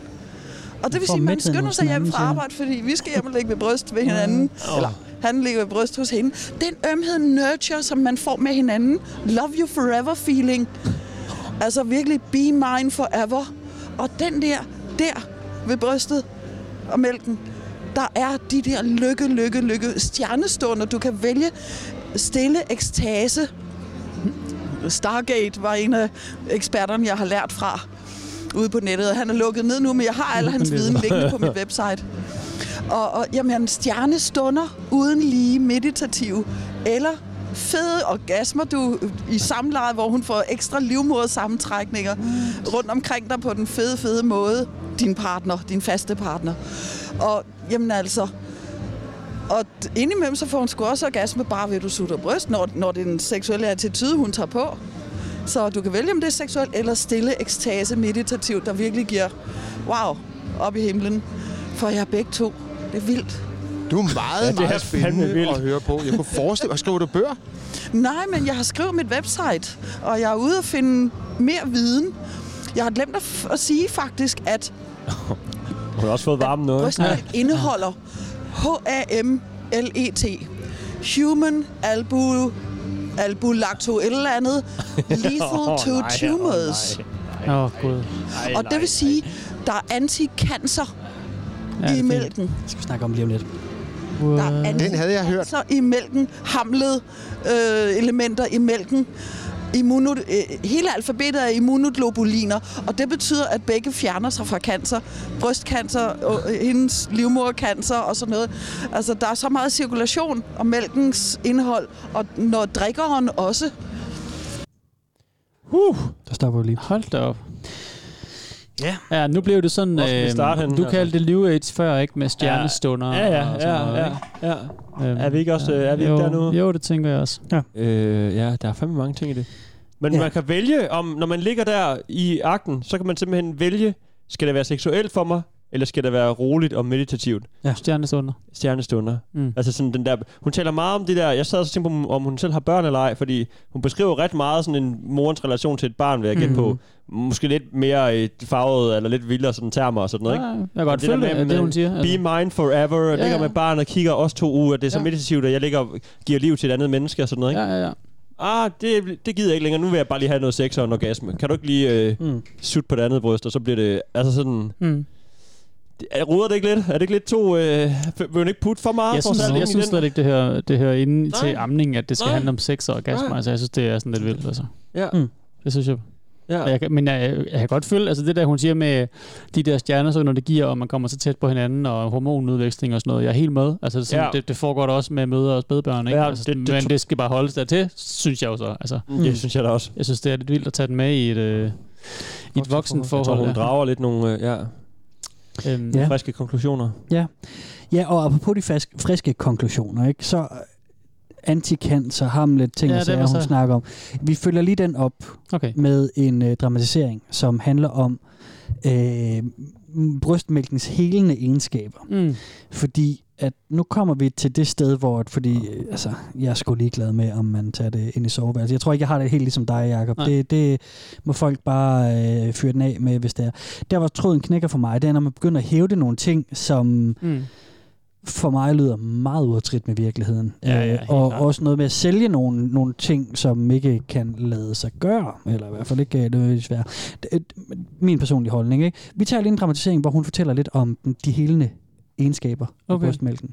Speaker 11: Og det vil
Speaker 5: får
Speaker 11: sige, at man
Speaker 5: mætheden
Speaker 11: skynder
Speaker 5: hos
Speaker 11: sig hjem
Speaker 5: hinanden,
Speaker 11: fra
Speaker 5: siger han.
Speaker 11: arbejde, fordi vi skal hjem og ligge ved bryst ved hinanden.
Speaker 5: Åh.
Speaker 11: Eller han ligger ved bryst hos hende. Den ømhed nurture, som man får med hinanden. Love you forever feeling. Altså virkelig be mine forever. Og den der, der ved brystet og mælken, der er de der lykke, lykke, lykke stjernestunder. Du kan vælge stille ekstase. Stargate var en af eksperterne, jeg har lært fra ude på nettet. Han er lukket ned nu, men jeg har al
Speaker 5: Ude på
Speaker 11: hans viden
Speaker 5: nettet.
Speaker 11: liggende på mit website. Og, og jamen, han stjernestunder uden lige meditativ. Eller fede orgasmer, du i samleje, hvor hun får ekstra livmodersammentrækninger rundt omkring dig på den fede, fede måde. Din partner, din faste partner. Og jamen altså, og d- indimellem så får hun sgu også orgasme bare ved, at du sutter bryst, når, når det er den seksuelle attitude, hun tager på. Så du kan vælge, om det er seksuelt eller stille ekstase meditativt, der virkelig giver wow op i himlen. For jeg er begge to. Det er vildt.
Speaker 10: Du er meget,
Speaker 11: Ja,
Speaker 10: ja,
Speaker 11: det
Speaker 10: det
Speaker 11: er
Speaker 10: meget spændende
Speaker 11: fandme vildt.
Speaker 10: at høre på. Jeg kunne forestille mig, skriver du bøger?
Speaker 11: Nej, men jeg har skrevet mit website, og jeg er ude at finde mere viden. Jeg har glemt at, f- at sige faktisk, at
Speaker 3: Hun har også fået varmen noget.
Speaker 11: brystmælk indeholder H-A-M-L-E-T. E Human albu albulacto et eller andet lethal
Speaker 4: Åh,
Speaker 11: to
Speaker 4: nej,
Speaker 11: tumors.
Speaker 4: Åh, oh, gud.
Speaker 11: Og det vil sige, der er anti-cancer
Speaker 5: det er
Speaker 11: i
Speaker 5: fint.
Speaker 11: mælken.
Speaker 5: Det skal vi snakke om lige om lidt. Øh.
Speaker 11: Der er
Speaker 10: Den havde jeg hørt.
Speaker 11: Så i mælken, hamlede øh, elementer i mælken. Immuno, øh, hele alfabetet er immunoglobuliner, og det betyder, at begge fjerner sig fra cancer. Brystcancer, og, øh, hendes livmodercancer og sådan noget. Altså, der er så meget cirkulation om mælkens indhold, og når drikkeren også.
Speaker 4: Uh,
Speaker 5: Der stopper vi lige.
Speaker 4: hold da op.
Speaker 5: Ja.
Speaker 4: Ja, nu blev det sådan,
Speaker 3: Hvor skal vi
Speaker 4: øh,
Speaker 3: starte henne,
Speaker 4: du
Speaker 3: altså?
Speaker 4: kaldte det New Age før, ikke? Med stjernestunder
Speaker 3: Ja, ja,
Speaker 4: og sådan
Speaker 3: ja,
Speaker 4: noget,
Speaker 3: ja,
Speaker 4: ikke?
Speaker 3: ja.
Speaker 4: Øhm,
Speaker 3: Er vi ikke også, øh, er vi ikke
Speaker 4: jo,
Speaker 3: der nu?
Speaker 4: Jo, det tænker jeg også.
Speaker 5: Ja.
Speaker 3: Øh, ja, der er fandme mange ting i det. Men
Speaker 5: Ja.
Speaker 3: ja. man kan vælge, om når man ligger der i akten, så kan man simpelthen vælge, skal det være seksuelt for mig, eller skal det være roligt og meditativt?
Speaker 4: Stjernestunder.
Speaker 3: Stjernestunder.
Speaker 4: Mm.
Speaker 3: Mm. Altså sådan den der, hun taler meget om det der, jeg sad og tænkte på, om- om hun selv har børn eller ej, fordi hun beskriver ret meget sådan en morens relation til et barn, vil jeg gætte
Speaker 4: Mm.
Speaker 3: mm. på. Måske lidt mere øh, farvet, eller lidt vildere sådan termer og sådan noget, ikke?
Speaker 4: Ja, jeg kan godt
Speaker 3: Det der
Speaker 4: følge det,
Speaker 3: med,
Speaker 4: at det,
Speaker 3: øh,
Speaker 4: hun siger.
Speaker 3: Be mine forever, og
Speaker 4: Ja,
Speaker 3: ja, ligger
Speaker 4: ja.
Speaker 3: med barnet og kigger os to uger, det er så
Speaker 4: Ja.
Speaker 3: ja. meditativt, at jeg ligger og giver liv til et andet menneske og sådan noget, ikke?
Speaker 4: ja, ja, ja.
Speaker 3: ah, det, det gider jeg ikke længere, nu vil jeg bare lige have noget sex og en orgasme. Kan du ikke lige øh,
Speaker 5: Mm.
Speaker 3: mm. sutte på det andet bryst, og så bliver det, altså sådan...
Speaker 4: Mm.
Speaker 3: Det- er- Roder det ikke lidt? Er det ikke lidt to... Øh, vil hun ikke putte for meget?
Speaker 4: Jeg
Speaker 3: for
Speaker 4: synes,
Speaker 3: sig selv
Speaker 4: jeg
Speaker 3: i
Speaker 4: synes
Speaker 3: den?
Speaker 4: slet ikke, det hører, det hører inde Nej.
Speaker 3: Nej.
Speaker 4: til amning, at det skal Nej.
Speaker 3: Nej.
Speaker 4: handle om sex og orgasmer.
Speaker 3: Nej.
Speaker 4: Altså, jeg synes, det er sådan lidt vildt. Altså.
Speaker 3: Ja.
Speaker 5: Mm.
Speaker 4: Det synes jeg. Og
Speaker 3: Ja.
Speaker 4: jeg kan, men jeg, jeg kan godt følge, altså det der, hun siger med de der stjerner, så når det giver, og man kommer så tæt på hinanden, og hormonudveksling og sådan noget, jeg er helt med. Altså det, er sådan,
Speaker 3: Ja.
Speaker 4: ja. det, det foregår da også med mødre og spædbørn, ikke?
Speaker 3: Ja,
Speaker 4: altså,
Speaker 3: det- det
Speaker 4: men
Speaker 3: tr-
Speaker 4: det skal bare holdes der til, synes jeg jo så. Altså,
Speaker 3: Det synes jeg da også.
Speaker 4: jeg synes, det er lidt vildt at tage den med i et, øh, i et
Speaker 3: Jeg tror,
Speaker 4: voksenforhold.
Speaker 3: hun drager lidt nogle øh, ja,
Speaker 4: ja. Øhm,
Speaker 5: Ja.
Speaker 4: ja.
Speaker 3: friske konklusioner.
Speaker 5: Ja, og apropos de fas- friske konklusioner, ikke? så øh, anticancer, Hamlet, ting
Speaker 4: Ja,
Speaker 5: ja,
Speaker 4: det
Speaker 5: og sager,
Speaker 4: var
Speaker 5: hun
Speaker 4: så-
Speaker 5: snakker om. Vi følger lige den op
Speaker 4: Okay.
Speaker 5: med en øh, dramatisering, som handler om øh, m- brystmælkens helende egenskaber.
Speaker 4: Mm.
Speaker 5: Fordi at nu kommer vi til det sted, hvor at, fordi, øh, altså, jeg er sgu ligeglad med, om man tager det ind i soveværelset. Jeg tror ikke, jeg har det helt ligesom dig, Jacob.
Speaker 4: Nej.
Speaker 5: Det, det må folk bare øh, fyre den af med, hvis det er. Der, hvor tråden knækker for mig, det er, når man begynder at hæve det nogle ting, som
Speaker 4: Mm.
Speaker 5: for mig lyder meget udtrit med virkeligheden.
Speaker 4: Ja, ja,
Speaker 5: Øh,
Speaker 4: helt
Speaker 5: og
Speaker 4: klart.
Speaker 5: også noget med at sælge nogle, nogle ting, som ikke kan lade sig gøre, eller i hvert fald ikke øh, nødvendigvis være. Det er Min personlige holdning. Ikke? Vi tager lige en dramatisering, hvor hun fortæller lidt om den- de helende egenskaber okay.
Speaker 4: Okay.
Speaker 5: af brystmælken.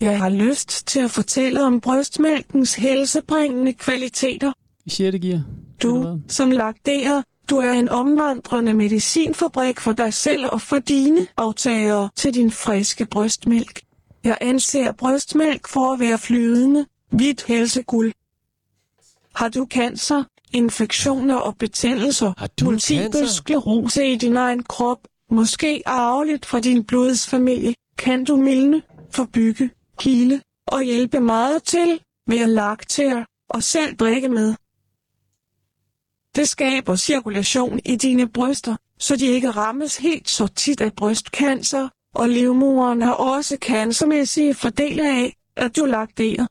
Speaker 7: Jeg har lyst til at fortælle om brystmælkens helsebringende kvaliteter.
Speaker 4: I 6. gear. Eller
Speaker 7: Du,
Speaker 4: hvad?
Speaker 7: som lakterer, du er en omvandrende medicinfabrik for dig selv og for dine aftagere til din friske brystmælk. Jeg anser brystmælk for at være flydende, hvidt helseguld. Har du cancer, infektioner og betændelser,
Speaker 3: Har du
Speaker 7: multiple
Speaker 3: cancer?
Speaker 7: sklerose i din egen krop, måske arveligt fra din blodsfamilie, kan du mildne, forbygge, hele og hjælpe meget til ved at laktere og selv drikke med. Det skaber cirkulation i dine bryster, så de ikke rammes helt så tit af brystcancer, og livmoderen har også cancermæssige fordele af, at du lakterer.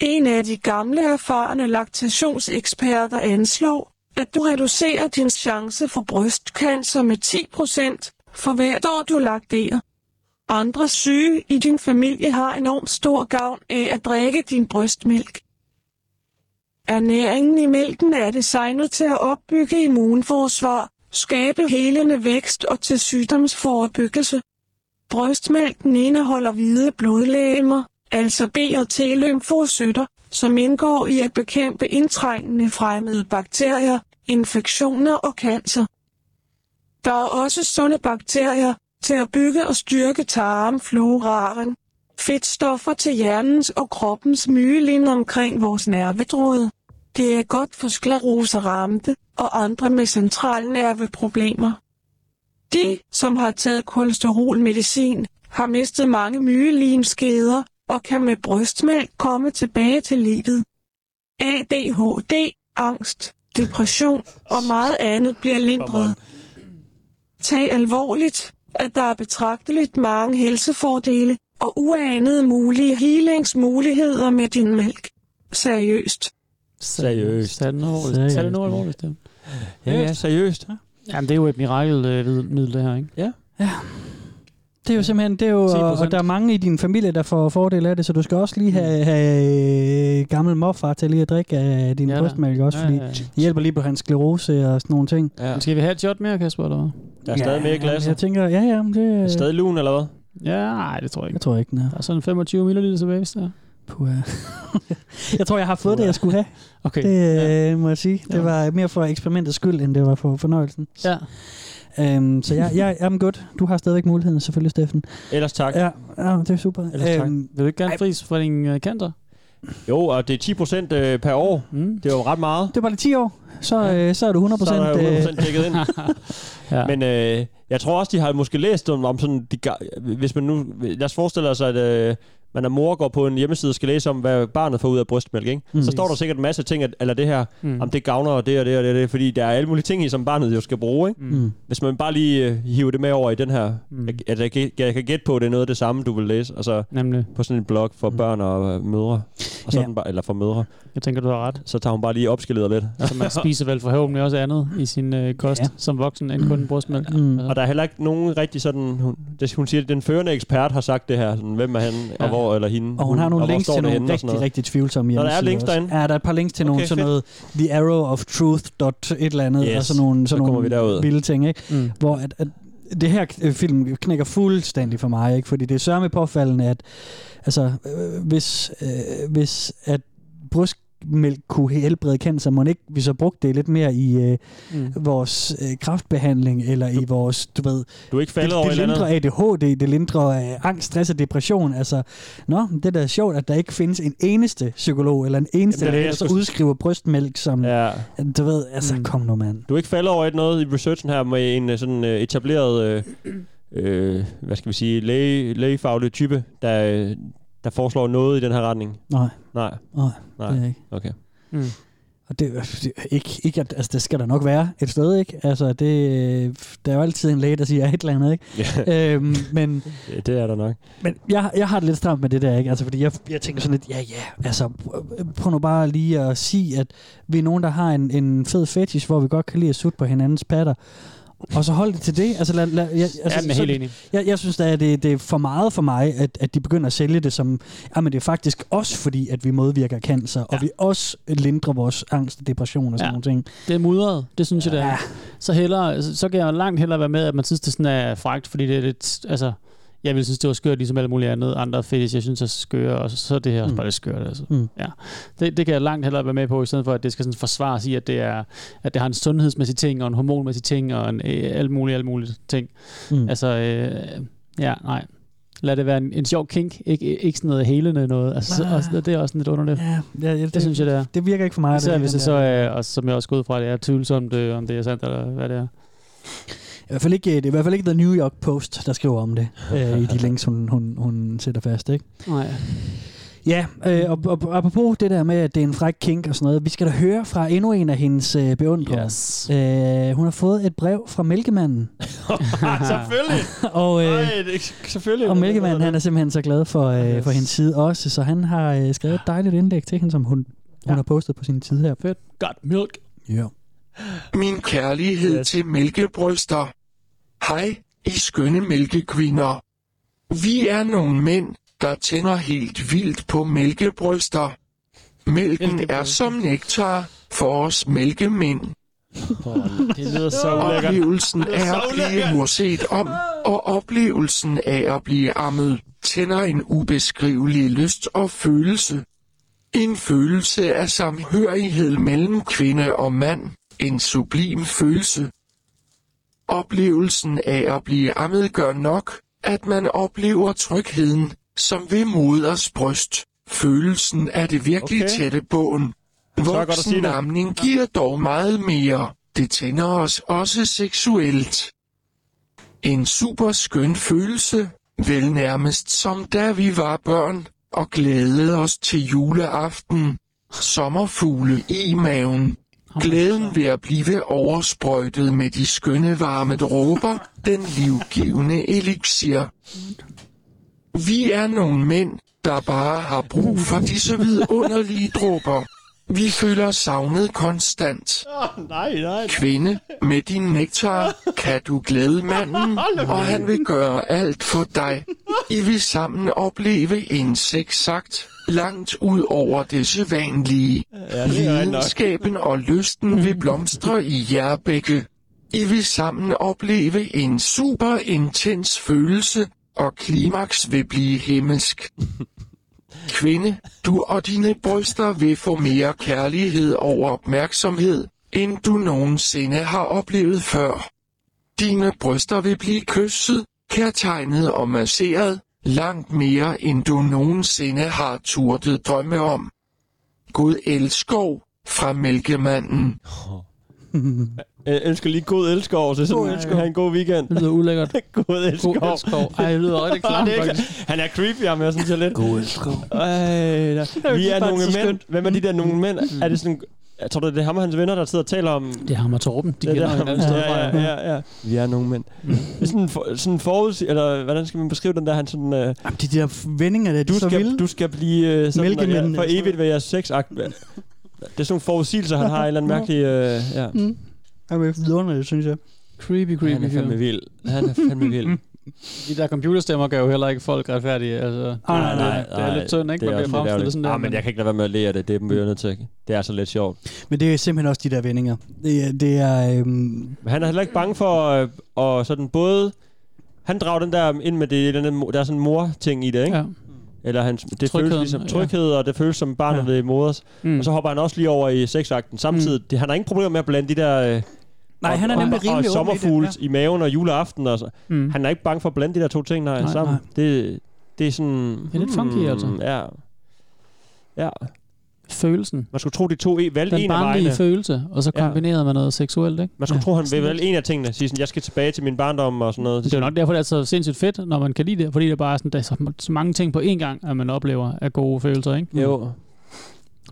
Speaker 7: En af de gamle erfarne laktationseksperter anslår, at du reducerer din chance for brystcancer med 10% for hvert år du lakterer. Andre syge i din familie har enormt stor gavn af at drikke din brystmælk. Ernæringen i mælken er designet til at opbygge immunforsvar, skabe helende vækst og til sygdomsforebyggelse. Brystmælken indeholder hvide blodlegemer, altså B- og T-lymfocytter, som indgår i at bekæmpe indtrængende fremmede bakterier, infektioner og cancer. Der er også sunde bakterier til at bygge og styrke tarmfloraren, fedtstoffer til hjernens og kroppens myelin omkring vores nervedråde. Det er godt for skleroseramte og andre med centralnerveproblemer. De, som har taget kolesterolmedicin, har mistet mange myelinskeder og kan med brystmælk komme tilbage til livet. ADHD, angst, depression og meget andet bliver lindret. Tag alvorligt, at der er betragteligt mange helsefordele og uanede mulige healingsmuligheder med din mælk. Seriøst.
Speaker 3: Seriøst.
Speaker 4: Tag det nu alvorligt.
Speaker 5: Seriøst.
Speaker 4: Tag det nu alvorligt. det.
Speaker 3: Ja, ja, seriøst.
Speaker 4: Jamen, det er jo et mirakelmiddel, det her, ikke?
Speaker 3: Ja.
Speaker 5: Det er jo simpelthen, det er jo, og,
Speaker 4: 10%.
Speaker 5: og der er mange i din familie, der får fordel af det, så du skal også lige have, have øh, gammel morfar til lige at drikke af din
Speaker 4: Ja
Speaker 5: ja,
Speaker 4: da.
Speaker 5: brystmælk også,
Speaker 4: Ja,
Speaker 5: fordi
Speaker 4: ja, ja.
Speaker 5: det hjælper lige på hans sklerose og sådan nogle ting.
Speaker 3: Ja.
Speaker 4: Skal vi have et shot mere, Kasper, eller hvad?
Speaker 3: Der er stadig mere i glasset.
Speaker 5: Jeg tænker, ja, ja, men det...
Speaker 3: Er stadig lun, eller hvad?
Speaker 4: Ja, nej, det tror jeg ikke.
Speaker 5: Jeg tror ikke, den er.
Speaker 4: Der er sådan 25 ml tilbage, hvis der.
Speaker 5: Puha. jeg tror, jeg har fået det, jeg skulle have.
Speaker 4: Okay.
Speaker 5: Det øh, må jeg sige. Det var mere for eksperimentets skyld, end det var for fornøjelsen.
Speaker 4: Ja.
Speaker 5: Øhm, så jeg, jeg, I'm good. Du har stadigvæk muligheden, selvfølgelig, Steffen.
Speaker 3: Ellers tak.
Speaker 5: Ja, ja det er super.
Speaker 3: Ellers tak.
Speaker 5: Øhm,
Speaker 4: Vil du ikke gerne fris for din øh, kanter?
Speaker 3: Jo, og det er 10 procent øh, per år.
Speaker 4: Mm.
Speaker 3: Det er jo ret meget.
Speaker 5: det var det 10 år, så, øh, så er du 100%.
Speaker 3: Så er der jo 100
Speaker 5: øh,
Speaker 3: dækket ind.
Speaker 4: Ja.
Speaker 3: Men øh, jeg tror også, de har måske læst om, om sådan, de, ga- hvis man nu, lad os forestille sig, at øh, man er mor og går på en hjemmeside og skal læse om, hvad barnet får ud af brystmælk, ikke? Mm. Så står der sikkert en masse ting, at, eller det her,
Speaker 4: Mm.
Speaker 3: mm. om det gavner og det og det og det, og det, fordi der er alle mulige ting i, som barnet jo skal bruge, ikke?
Speaker 5: Mm.
Speaker 3: Hvis man bare lige øh, hiver det med over i den her, mm. jeg, at jeg, kan- jeg kan gætte på, at det er noget af det samme, du vil læse, altså
Speaker 4: Nemlig.
Speaker 3: på sådan en blog for børn og øh, mødre, og
Speaker 5: Mm. Ja.
Speaker 3: sådan bare, eller for mødre,
Speaker 4: Jeg tænker, du har ret.
Speaker 3: så tager hun bare lige opskaleret lidt.
Speaker 4: Så Altså, man spiser vel forhåbentlig også andet i sin øh, kost ja.
Speaker 5: Ja.
Speaker 4: som voksen end kun brystmælk.
Speaker 5: Mm.
Speaker 4: Altså,
Speaker 3: Og der er heller ikke nogen rigtig sådan... Hun, det, hun siger, at den førende ekspert har sagt det her. Sådan, hvem er han, ja.
Speaker 4: Ja.
Speaker 3: og hvor eller hende?
Speaker 5: Og hun har nogle
Speaker 3: og hvor
Speaker 5: links
Speaker 3: står det
Speaker 5: til nogle
Speaker 3: henne og sådan
Speaker 5: rigtig,
Speaker 3: noget.
Speaker 5: rigtig tvivlsomme
Speaker 3: Nå, der er
Speaker 5: hjemmesider.
Speaker 3: links
Speaker 5: også.
Speaker 3: derinde?
Speaker 5: Ja, der er et par links til
Speaker 3: Okay,
Speaker 5: nogle sådan
Speaker 3: fedt.
Speaker 5: noget The Arrow of Truth dot et eller andet,
Speaker 3: Yes,
Speaker 5: og sådan nogle,
Speaker 3: så
Speaker 5: sådan
Speaker 3: kommer
Speaker 5: nogle
Speaker 3: vi derud.
Speaker 5: vilde ting, ikke?
Speaker 4: Mm.
Speaker 5: Hvor at, at det her øh, film knækker fuldstændig for mig, ikke? Fordi det er sørme påfaldende, at altså, øh, hvis, øh, hvis at brystmælk kunne helbrede cancer, må ikke vi så brugte det lidt mere i øh,
Speaker 4: Mm.
Speaker 5: vores øh, kraftbehandling, eller i vores, du ved,
Speaker 3: Du er ikke faldet
Speaker 5: det,
Speaker 3: over
Speaker 5: det
Speaker 3: et eller
Speaker 5: lindrer
Speaker 3: andet?
Speaker 5: ADHD, det lindrer øh, angst, stress og depression. Altså, nå, det er da sjovt, at der ikke findes en eneste psykolog eller en eneste
Speaker 3: Jamen, det er det,
Speaker 5: læge, der
Speaker 3: jeg skulle-
Speaker 5: udskriver brystmælk, som, ja.
Speaker 3: Ja.
Speaker 5: du ved, altså,
Speaker 4: Mm.
Speaker 5: mm. kom nu, mand.
Speaker 3: Du er ikke faldet over et noget i researchen her med en øh, sådan øh, etableret, øh, øh, hvad skal vi sige, læge, lægefaglig type, der, øh, der foreslår noget i den her retning?
Speaker 5: Nej,
Speaker 3: Nej,
Speaker 5: nej,
Speaker 3: nej.
Speaker 5: det er ikke.
Speaker 3: Okay.
Speaker 4: Mm.
Speaker 5: Og det, det er ikke, ikke at, altså, det skal der nok være et sted, ikke? Altså, det, øh, der er jo altid en læge, der siger et eller andet, ikke?
Speaker 3: Ja,
Speaker 5: øhm, men
Speaker 3: det er der nok.
Speaker 5: men jeg, jeg har det lidt stramt med det der, ikke? Altså, fordi jeg, jeg tænker sådan lidt, ja, ja, altså, prøv nu bare lige at sige, at vi er nogen, der har en, en fed fetish, hvor vi godt kan lide at sutte på hinandens patter. Og så hold det til det. Altså, lad, lad, jeg,
Speaker 4: Altså,
Speaker 5: altså,
Speaker 4: ja, men
Speaker 5: så-
Speaker 4: helt enig.
Speaker 5: jeg, jeg synes da, at det, det er for meget for mig, at, at de begynder at sælge det som, jamen det er faktisk også fordi, at vi modvirker cancer, ja.
Speaker 4: Ja.
Speaker 5: og vi også lindrer vores angst og depression og sådan
Speaker 4: Ja.
Speaker 5: ja. nogle ting.
Speaker 4: Det er mudret, det synes jeg, det er.
Speaker 5: Ja.
Speaker 4: Så, hellere, så, så kan jeg langt hellere være med, at man synes, det sådan er fragt, fordi det er lidt, altså, jeg ville synes, det var skørt, ligesom alt muligt andet, andre fetish, jeg synes er skøre, og så, så er det her også
Speaker 5: Mm.
Speaker 4: bare lidt skørt, altså.
Speaker 5: Mm.
Speaker 4: Ja. Det, det, kan jeg langt hellere være med på, i stedet for, at det skal sådan forsvares i, at det, er, at det har en sundhedsmæssig ting, og en hormonmæssig ting, og en øh, alt muligt, alt muligt ting.
Speaker 5: Mm.
Speaker 4: Altså, øh, ja, nej. Lad det være en, en sjov kink, ikke, ikke sådan noget helende noget. Altså, så,
Speaker 5: Nej.
Speaker 4: også, det er også sådan lidt underligt.
Speaker 5: Ja, ja, ja, det,
Speaker 4: Det synes jeg, det er.
Speaker 5: det virker ikke for mig.
Speaker 4: Især
Speaker 5: det,
Speaker 4: hvis
Speaker 5: den
Speaker 4: det
Speaker 5: der-
Speaker 4: så er, og som jeg også går ud fra, det er tvivlsomt, øh, om det er sandt eller hvad det er.
Speaker 5: I hvert fald ikke, øh, det er i hvert fald ikke The New York Post, der skriver om det, øh, i de links, hun, hun, hun sætter fast. Ikke?
Speaker 4: Nej.
Speaker 5: Ja, øh, og, og apropos det der med, at det er en fræk kink og sådan noget, vi skal da høre fra endnu en af hendes øh, beundrere.
Speaker 4: Yes.
Speaker 5: Øh, hun har fået et brev fra Mælkemanden,
Speaker 3: selvfølgelig!
Speaker 5: og, øh,
Speaker 3: Nej, det, er- selvfølgelig.
Speaker 5: og Mælkemanden han er simpelthen så glad for, øh,
Speaker 4: Yes.
Speaker 5: for hendes side også, så han har øh, skrevet et dejligt indlæg til hende, som hun, hun
Speaker 4: Ja.
Speaker 5: har postet på sin side her. Fedt.
Speaker 4: Godt milk.
Speaker 5: Ja.
Speaker 12: Min kærlighed
Speaker 4: Yes.
Speaker 12: yes. til mælkebryster. Hej, I skønne mælkekvinder. Vi er nogle mænd, der tænder helt vildt på mælkebryster. Mælken er som nektar for os mælkemænd.
Speaker 3: Det lyder så ulækkert.
Speaker 12: Oplevelsen
Speaker 3: er
Speaker 12: af
Speaker 3: så
Speaker 12: at blive
Speaker 3: ulækkert.
Speaker 12: murset om, og oplevelsen af at blive ammet, tænder en ubeskrivelig lyst og følelse. En følelse af samhørighed mellem kvinde og mand, en sublim følelse. Oplevelsen af at blive ammet gør nok, at man oplever trygheden, som ved moders bryst. Følelsen af det virkelig
Speaker 3: Okay.
Speaker 12: okay. tætte bånd.
Speaker 3: tør godt at sige det.
Speaker 12: Voksenamning giver dog meget mere. Det tænder os også seksuelt. En super skøn følelse, vel nærmest som da vi var børn og glædede os til juleaften. Sommerfugle i maven. Glæden ved at blive oversprøjtet med de skønne varme dråber, den livgivende elixir. Vi er nogle mænd, der bare har brug for disse vidunderlige dråber. Vi føler savnet konstant.
Speaker 3: Oh, nej, nej.
Speaker 12: Kvinde, med din nektar kan du glæde manden, og han vil gøre alt for dig. I vil sammen opleve en sexakt, langt ud over det sædvanlige.
Speaker 3: Ja, det er nok.
Speaker 12: Lidenskaben og lysten vil blomstre i jer begge. I vil sammen opleve en super intens følelse, og klimaks vil blive himmelsk. Kvinde, du og dine bryster vil få mere kærlighed og opmærksomhed, end du nogensinde har oplevet før. Dine bryster vil blive kysset, kærtegnet og masseret, langt mere end du nogensinde har turtet drømme om. Gud elskov fra Mælkemanden.
Speaker 3: Jeg ønsker lige god elskov, så sådan,
Speaker 4: elskov.
Speaker 3: have en god weekend.
Speaker 4: Det lyder ulækkert.
Speaker 3: god elskov.
Speaker 4: God elskov. Ej, det lyder rigtig
Speaker 3: Ah,
Speaker 4: klamt,
Speaker 3: det er ikke-
Speaker 4: faktisk.
Speaker 3: Han er creepy, ham jeg synes jeg lidt.
Speaker 4: God elskov.
Speaker 3: Ej, da. Vi
Speaker 4: Det
Speaker 3: er
Speaker 4: er bare
Speaker 3: nogle
Speaker 4: så
Speaker 3: mænd.
Speaker 4: skønt.
Speaker 3: Hvem er de der nogle mænd? Er det sådan... Jeg tror, det er ham og hans venner, der sidder og taler om...
Speaker 4: Det er ham og Torben. De kender
Speaker 3: der,
Speaker 4: hinanden et sted fra,
Speaker 3: ja, ja, ja, ja. Vi er nogle mænd. Det er sådan, for, sådan forudsig... Eller hvordan skal man beskrive den der, han sådan... Øh,
Speaker 5: Jamen, de der vendinger, der, de
Speaker 3: du,
Speaker 5: så
Speaker 3: skal,
Speaker 5: vilde.
Speaker 3: du skal blive øh, sådan, og jeg,
Speaker 5: Mælkemændene,
Speaker 3: for
Speaker 5: jeg tror,
Speaker 3: evigt ved jeres sexakt. Det er sådan nogle forudsigelser, han har en eller anden mærkelig... Øh, ja.
Speaker 5: Mm. Han er vidunderlig, synes jeg.
Speaker 4: Creepy, creepy.
Speaker 3: Han er fandme
Speaker 4: fyr.
Speaker 3: vild. Han er fandme vild.
Speaker 4: De der computerstemmer gør jo heller ikke folk retfærdige. Altså,
Speaker 5: Ah, nej, nej,
Speaker 4: det, det er lidt synd, ikke? Man bliver fremstillet sådan der.
Speaker 3: Ah, men jeg kan ikke lade være med at lære det. Det er jeg nødt til. Det er så lidt sjovt.
Speaker 5: Men det er simpelthen også de der vendinger. Det, er- det er... Øhm,
Speaker 3: Men han er heller ikke bange for øh, og sådan både... Han drager den der ind med det, den der, der er sådan en mor-ting i det, ikke?
Speaker 4: Ja.
Speaker 3: Eller han, det føles
Speaker 4: Trygheden,
Speaker 3: ligesom
Speaker 4: ja.
Speaker 3: tryghed, og det føles som barnet
Speaker 4: Ja.
Speaker 3: ved moders.
Speaker 4: Mm.
Speaker 3: Og så hopper han også lige over i sexakten. Samtidig, det, han har ingen problemer med at blande de der... Øh,
Speaker 5: nej, han er
Speaker 3: og,
Speaker 5: nemlig
Speaker 3: og, og
Speaker 5: rimelig åben i det.
Speaker 3: sommerfugle i, maven og juleaften. Og så.
Speaker 4: Mm.
Speaker 3: Han er ikke bange for at blande de der to ting nej,
Speaker 4: Nej,
Speaker 3: sammen. Det, det er sådan... Hmm,
Speaker 4: Det er lidt funky, altså.
Speaker 3: Ja. Ja,
Speaker 4: Følelsen.
Speaker 3: man skulle tro, de to e- valgte
Speaker 4: Den
Speaker 3: en af vejene.
Speaker 4: barnlige følelse, og så
Speaker 3: Ja.
Speaker 4: kombineret med noget seksuelt, ikke?
Speaker 3: Man skulle ja. tro, han
Speaker 4: Sådan
Speaker 3: ville
Speaker 4: lidt.
Speaker 3: vælge en af tingene. Sige sådan, jeg skal tilbage til min barndom og sådan noget.
Speaker 4: Det er jo nok derfor, det er så sindssygt fedt, når man kan lide det, fordi det bare er sådan, der er så, så mange ting på én gang, at man oplever af gode følelser, ikke?
Speaker 3: Jo.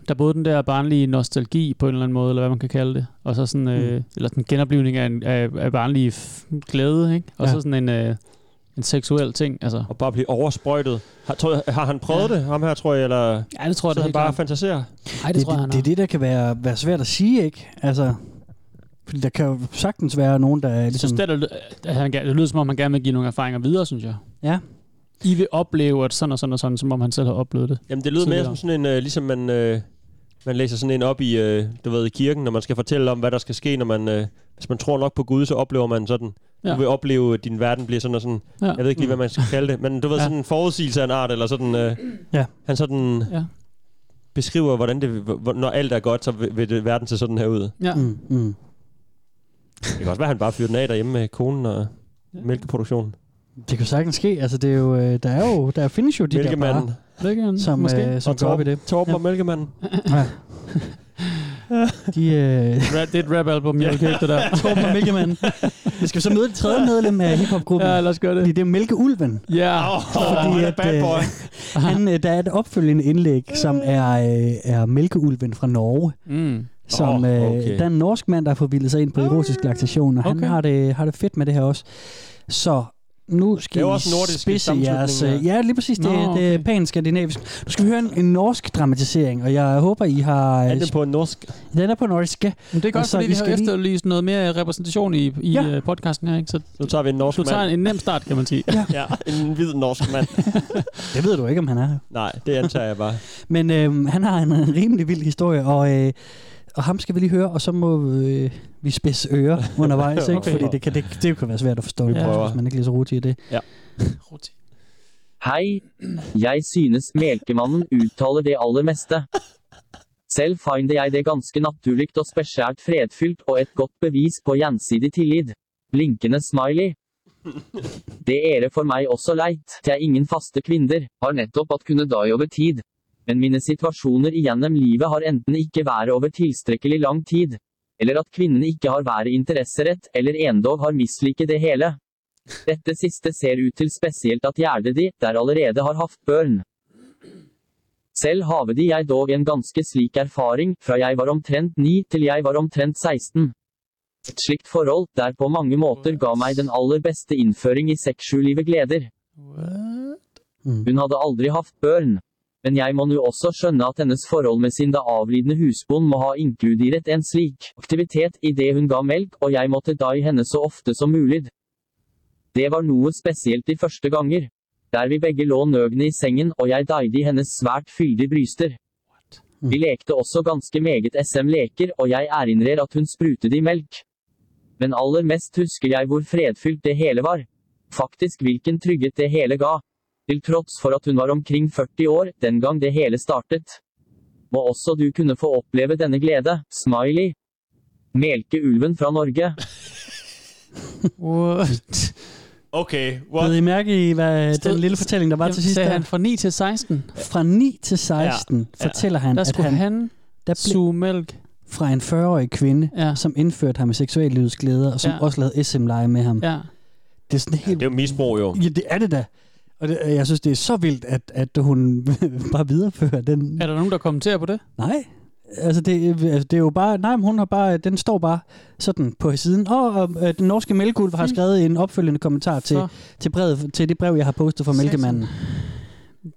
Speaker 4: Der er både den der barnlige nostalgi på en eller anden måde, eller hvad man kan kalde det, og så sådan, øh,
Speaker 3: Mm.
Speaker 4: eller sådan en genoplivning af, en, af, af barnlig f- glæde, ikke? Og
Speaker 3: Ja.
Speaker 4: så sådan en, øh, en seksuel ting, altså.
Speaker 3: Og bare blive oversprøjtet. Har, tror, har han prøvet ja. det, ham her, tror jeg, eller jeg
Speaker 4: Ja, det tror jeg,
Speaker 3: så
Speaker 4: det er
Speaker 3: han
Speaker 4: helt
Speaker 3: bare
Speaker 4: bare
Speaker 3: fantaserer?
Speaker 4: Nej, det,
Speaker 5: det,
Speaker 4: tror jeg, han
Speaker 5: det, det er det, der kan være, være svært at sige, ikke? Altså, fordi der kan jo sagtens være nogen, der er
Speaker 4: Jeg synes,
Speaker 5: ligesom...
Speaker 4: det, der, lyder- at han, gerne- det lyder som om, han gerne vil give nogle erfaringer videre, synes jeg.
Speaker 5: Ja.
Speaker 4: I vil opleve, at sådan og sådan og sådan, som om han selv har oplevet det.
Speaker 3: Jamen, det lyder mere
Speaker 4: Tidligere.
Speaker 3: som sådan en, øh, ligesom man, øh, man læser sådan en op i, øh, du ved, i kirken, når man skal fortælle om, hvad der skal ske, når man, øh, hvis man tror nok på Gud, så oplever man sådan. Ja.
Speaker 4: Ja.
Speaker 3: Du vil opleve, at din verden bliver sådan og sådan.
Speaker 4: Ja. Mm.
Speaker 3: Jeg ved ikke lige, hvad man skal kalde det, men du ved,
Speaker 4: Ja.
Speaker 3: sådan en forudsigelse af en art, eller sådan, øh,
Speaker 5: Ja.
Speaker 3: han sådan
Speaker 4: Ja.
Speaker 3: beskriver, hvordan det, hvor- når alt er godt, så vil, vil det, verden se sådan her ud.
Speaker 4: Ja.
Speaker 5: Mm, mm.
Speaker 3: Det kan også være, at han bare fyrer den af derhjemme med konen og mælkeproduktionen.
Speaker 5: Det kan jo sagtens ske. Altså, det er jo, øh, der er jo, der findes jo de der
Speaker 3: Mælkemanden.
Speaker 5: bare,
Speaker 4: Lækkeren,
Speaker 5: som,
Speaker 4: måske.
Speaker 5: øh, som
Speaker 3: og
Speaker 5: går op i
Speaker 3: Torben,
Speaker 5: det.
Speaker 3: Torben
Speaker 5: Ja.
Speaker 3: ja. og mælkemanden.
Speaker 5: De, øh,
Speaker 4: Rap, det er et rap-album, jeg vil købe det der.
Speaker 5: Torben og Mælkemanden. Vi skal jo så møde det tredje medlem af hiphopgruppen.
Speaker 4: ja,
Speaker 5: Ja,
Speaker 4: lad os gøre det.
Speaker 5: fordi det er Mælkeulven.
Speaker 4: Ja.
Speaker 5: Fordi
Speaker 3: han er
Speaker 5: at,
Speaker 3: bad
Speaker 5: øh,
Speaker 3: boy.
Speaker 5: Han, øh, der er et opfølgende indlæg, som er, øh, er Mælkeulven fra Norge.
Speaker 4: Mm.
Speaker 5: Som,
Speaker 3: Åh,
Speaker 5: oh,
Speaker 3: okay.
Speaker 5: okay. øh, der er en norsk mand, der har forvildet sig ind på erotisk laktation, og okay.
Speaker 4: Ah. Okay.
Speaker 5: han har det, har det fedt med det her også. Så nu skal
Speaker 3: Det er jo
Speaker 5: I
Speaker 3: også nordiske
Speaker 5: spidse jeres...
Speaker 3: sammenslutninger.
Speaker 5: øh, Ja, lige præcis. Det,
Speaker 4: Nå,
Speaker 5: Nå, det er
Speaker 4: okay.
Speaker 5: pan-skandinavisk. Nu skal vi høre en, en norsk dramatisering, og jeg håber, I har... øh,
Speaker 3: Han er på norsk.
Speaker 5: Den er på norsk, ja.
Speaker 4: Men det er godt, altså,
Speaker 5: Altså,
Speaker 4: fordi
Speaker 5: vi
Speaker 4: vi har
Speaker 5: skal lige-
Speaker 4: efterlyst noget mere repræsentation i, i
Speaker 5: Ja.
Speaker 4: ja. podcasten her, ikke? Så
Speaker 3: Nu tager vi en norsk
Speaker 4: du tager
Speaker 3: mand.
Speaker 4: en, en nem start, kan man sige.
Speaker 3: Ja, en hvid norsk mand.
Speaker 5: Det ved du ikke, om han er.
Speaker 3: Nej, det antager jeg bare.
Speaker 5: Men øh, han har en, en rimelig vild historie, og, øh, og ham skal vi lige høre, og så må øh, vi spidse ører undervejs, ikke?
Speaker 3: Okay.
Speaker 5: fordi det kan, det, det kan være svært at forstå,
Speaker 4: Vi
Speaker 5: ja.
Speaker 3: prøver.
Speaker 5: hvis man ikke er lige så rotig i det.
Speaker 13: Hei, jeg synes Melkemannen uttaler det aller meste. Selv finder jeg det ganske naturlig og spesielt fredfylt og et godt bevis på gjensidig tillit. Blinkende smiley. Det er for meg også leit, til jeg ingen faste kvinner, har nettopp at kunne die over tid. Men mine situasjoner igjennom livet har enten ikke været over tilstrekkelig lang tid, eller at kvinnen ikke har været interesserett, eller endog har misliket det hele. Dette siste ser ut til spesielt at gjerdet de, der allerede har haft børn. Selv have de jeg dog en ganske slik erfaring, fra jeg var omtrent 9 til jeg var omtrent 16. Et slikt forhold, der på mange måter gav mig den aller bedste innføring i sexulivet gleder.
Speaker 4: What?
Speaker 5: Mm.
Speaker 13: Hun hadde aldri haft børn. Men jeg må nu også skjønne at hennes forhold med sin da avlidende husbond må ha inkluderet en slik aktivitet i det hun ga melk, og jeg måtte da i henne så ofte som mulig. Det var noe spesielt de første ganger. Der vi begge lå nøgne i sengen, og jeg deide i hennes svært fyldige bryster. Vi lekte også ganske meget SM-leker, og jeg erindrer at hun sprutet i melk. Men aller mest husker jeg hvor fredfylt det hele var. Faktisk hvilken trygghet det hele ga. Til tross for at hun var omkring 40 år den gang det hele startet. Må også du kunne få oppleve denne glede, smiley. Melkeulven fra Norge.
Speaker 4: What?
Speaker 3: Okay,
Speaker 5: Bed I mærke i, hvad den lille fortælling, der var til sidst?
Speaker 4: Sagde
Speaker 5: der?
Speaker 4: han fra 9 til 16.
Speaker 5: Fra 9 til 16
Speaker 4: Ja.
Speaker 5: ja. fortæller han,
Speaker 4: Der
Speaker 5: at
Speaker 4: skulle
Speaker 5: han,
Speaker 4: han
Speaker 5: der
Speaker 4: suge mælk
Speaker 5: fra en 40-årig kvinde, ja. som indførte ham i seksuellivets glæder, og som
Speaker 4: Ja.
Speaker 5: ja. også lavede SM-leje med ham.
Speaker 4: Ja.
Speaker 5: Det er sådan helt...
Speaker 3: Det er jo misbrug, jo.
Speaker 5: Ja, det er det da. Og det, jeg synes, det er så vildt, at, at hun bare viderefører den.
Speaker 4: Er der nogen, der kommenterer på det?
Speaker 5: Nej. Altså det, altså det er jo bare, nej, men hun har bare, den står bare sådan på siden. Og, og øh, den norske mælkeulv har skrevet en opfølgende kommentar til,
Speaker 4: Hmm. Så.
Speaker 5: til, brevet, til det brev, jeg har postet fra Mælkemanden.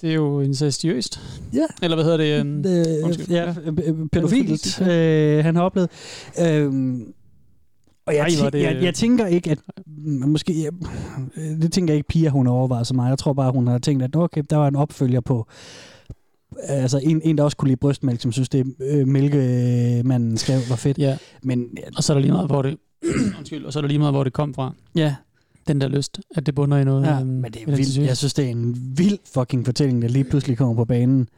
Speaker 4: Det er jo incestuøst.
Speaker 5: Ja.
Speaker 4: Eller hvad hedder det? øhm,
Speaker 5: Øh,
Speaker 4: undskyld.
Speaker 5: ja, øh, pædofilt, øh, han har oplevet. Øhm, og jeg,
Speaker 4: Ej, hvor er
Speaker 5: tæ-
Speaker 4: det-
Speaker 5: jeg, jeg tænker ikke, at... m- Måske, jeg, det tænker jeg ikke, Pia hun overvejer så meget. Jeg tror bare, hun har tænkt, at okay, der var en opfølger på... Altså en, en, der også kunne lide brystmælk, som synes, det øh, mælkemanden skrev var fedt.
Speaker 4: Ja.
Speaker 5: Men,
Speaker 4: Og så er der lige meget, hvor det... Undskyld, og så er der lige meget, hvor det kom fra.
Speaker 5: Ja.
Speaker 4: Den der lyst, at det bunder i noget.
Speaker 5: Ja,
Speaker 4: øhm,
Speaker 5: men det er
Speaker 4: identitet.
Speaker 5: vildt. Jeg synes, det er en vild fucking fortælling, der lige pludselig kommer på banen.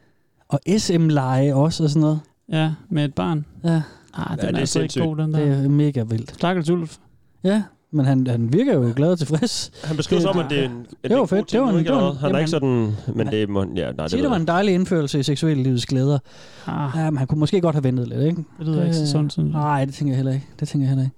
Speaker 5: Og SM-leje også og sådan noget.
Speaker 4: Ja, med et barn.
Speaker 5: Ja.
Speaker 4: Ah, den er, altså ikke god, den der.
Speaker 5: Det er mega vildt.
Speaker 4: Stakkels Ulf. Ah.
Speaker 5: Ja, men han, han virker jo glad og tilfreds.
Speaker 3: Han beskriver som, at det er en, en
Speaker 5: det var
Speaker 3: god
Speaker 5: fedt.
Speaker 3: ting,
Speaker 5: Det var
Speaker 3: nu,
Speaker 5: en,
Speaker 3: ikke,
Speaker 5: det
Speaker 3: eller
Speaker 5: var en,
Speaker 3: hvad? Han er ikke sådan... Men det må... Ja, nej, det,
Speaker 5: Sige, det
Speaker 3: ved
Speaker 5: var
Speaker 3: jeg.
Speaker 5: en dejlig indførelse i seksuellivets glæder.
Speaker 4: Ah.
Speaker 5: Ja, men han kunne måske godt have ventet lidt, ikke? Øh,
Speaker 4: Det lyder ikke så sundt, synes jeg.
Speaker 5: Nej, det tænker jeg heller ikke. Det tænker jeg heller ikke.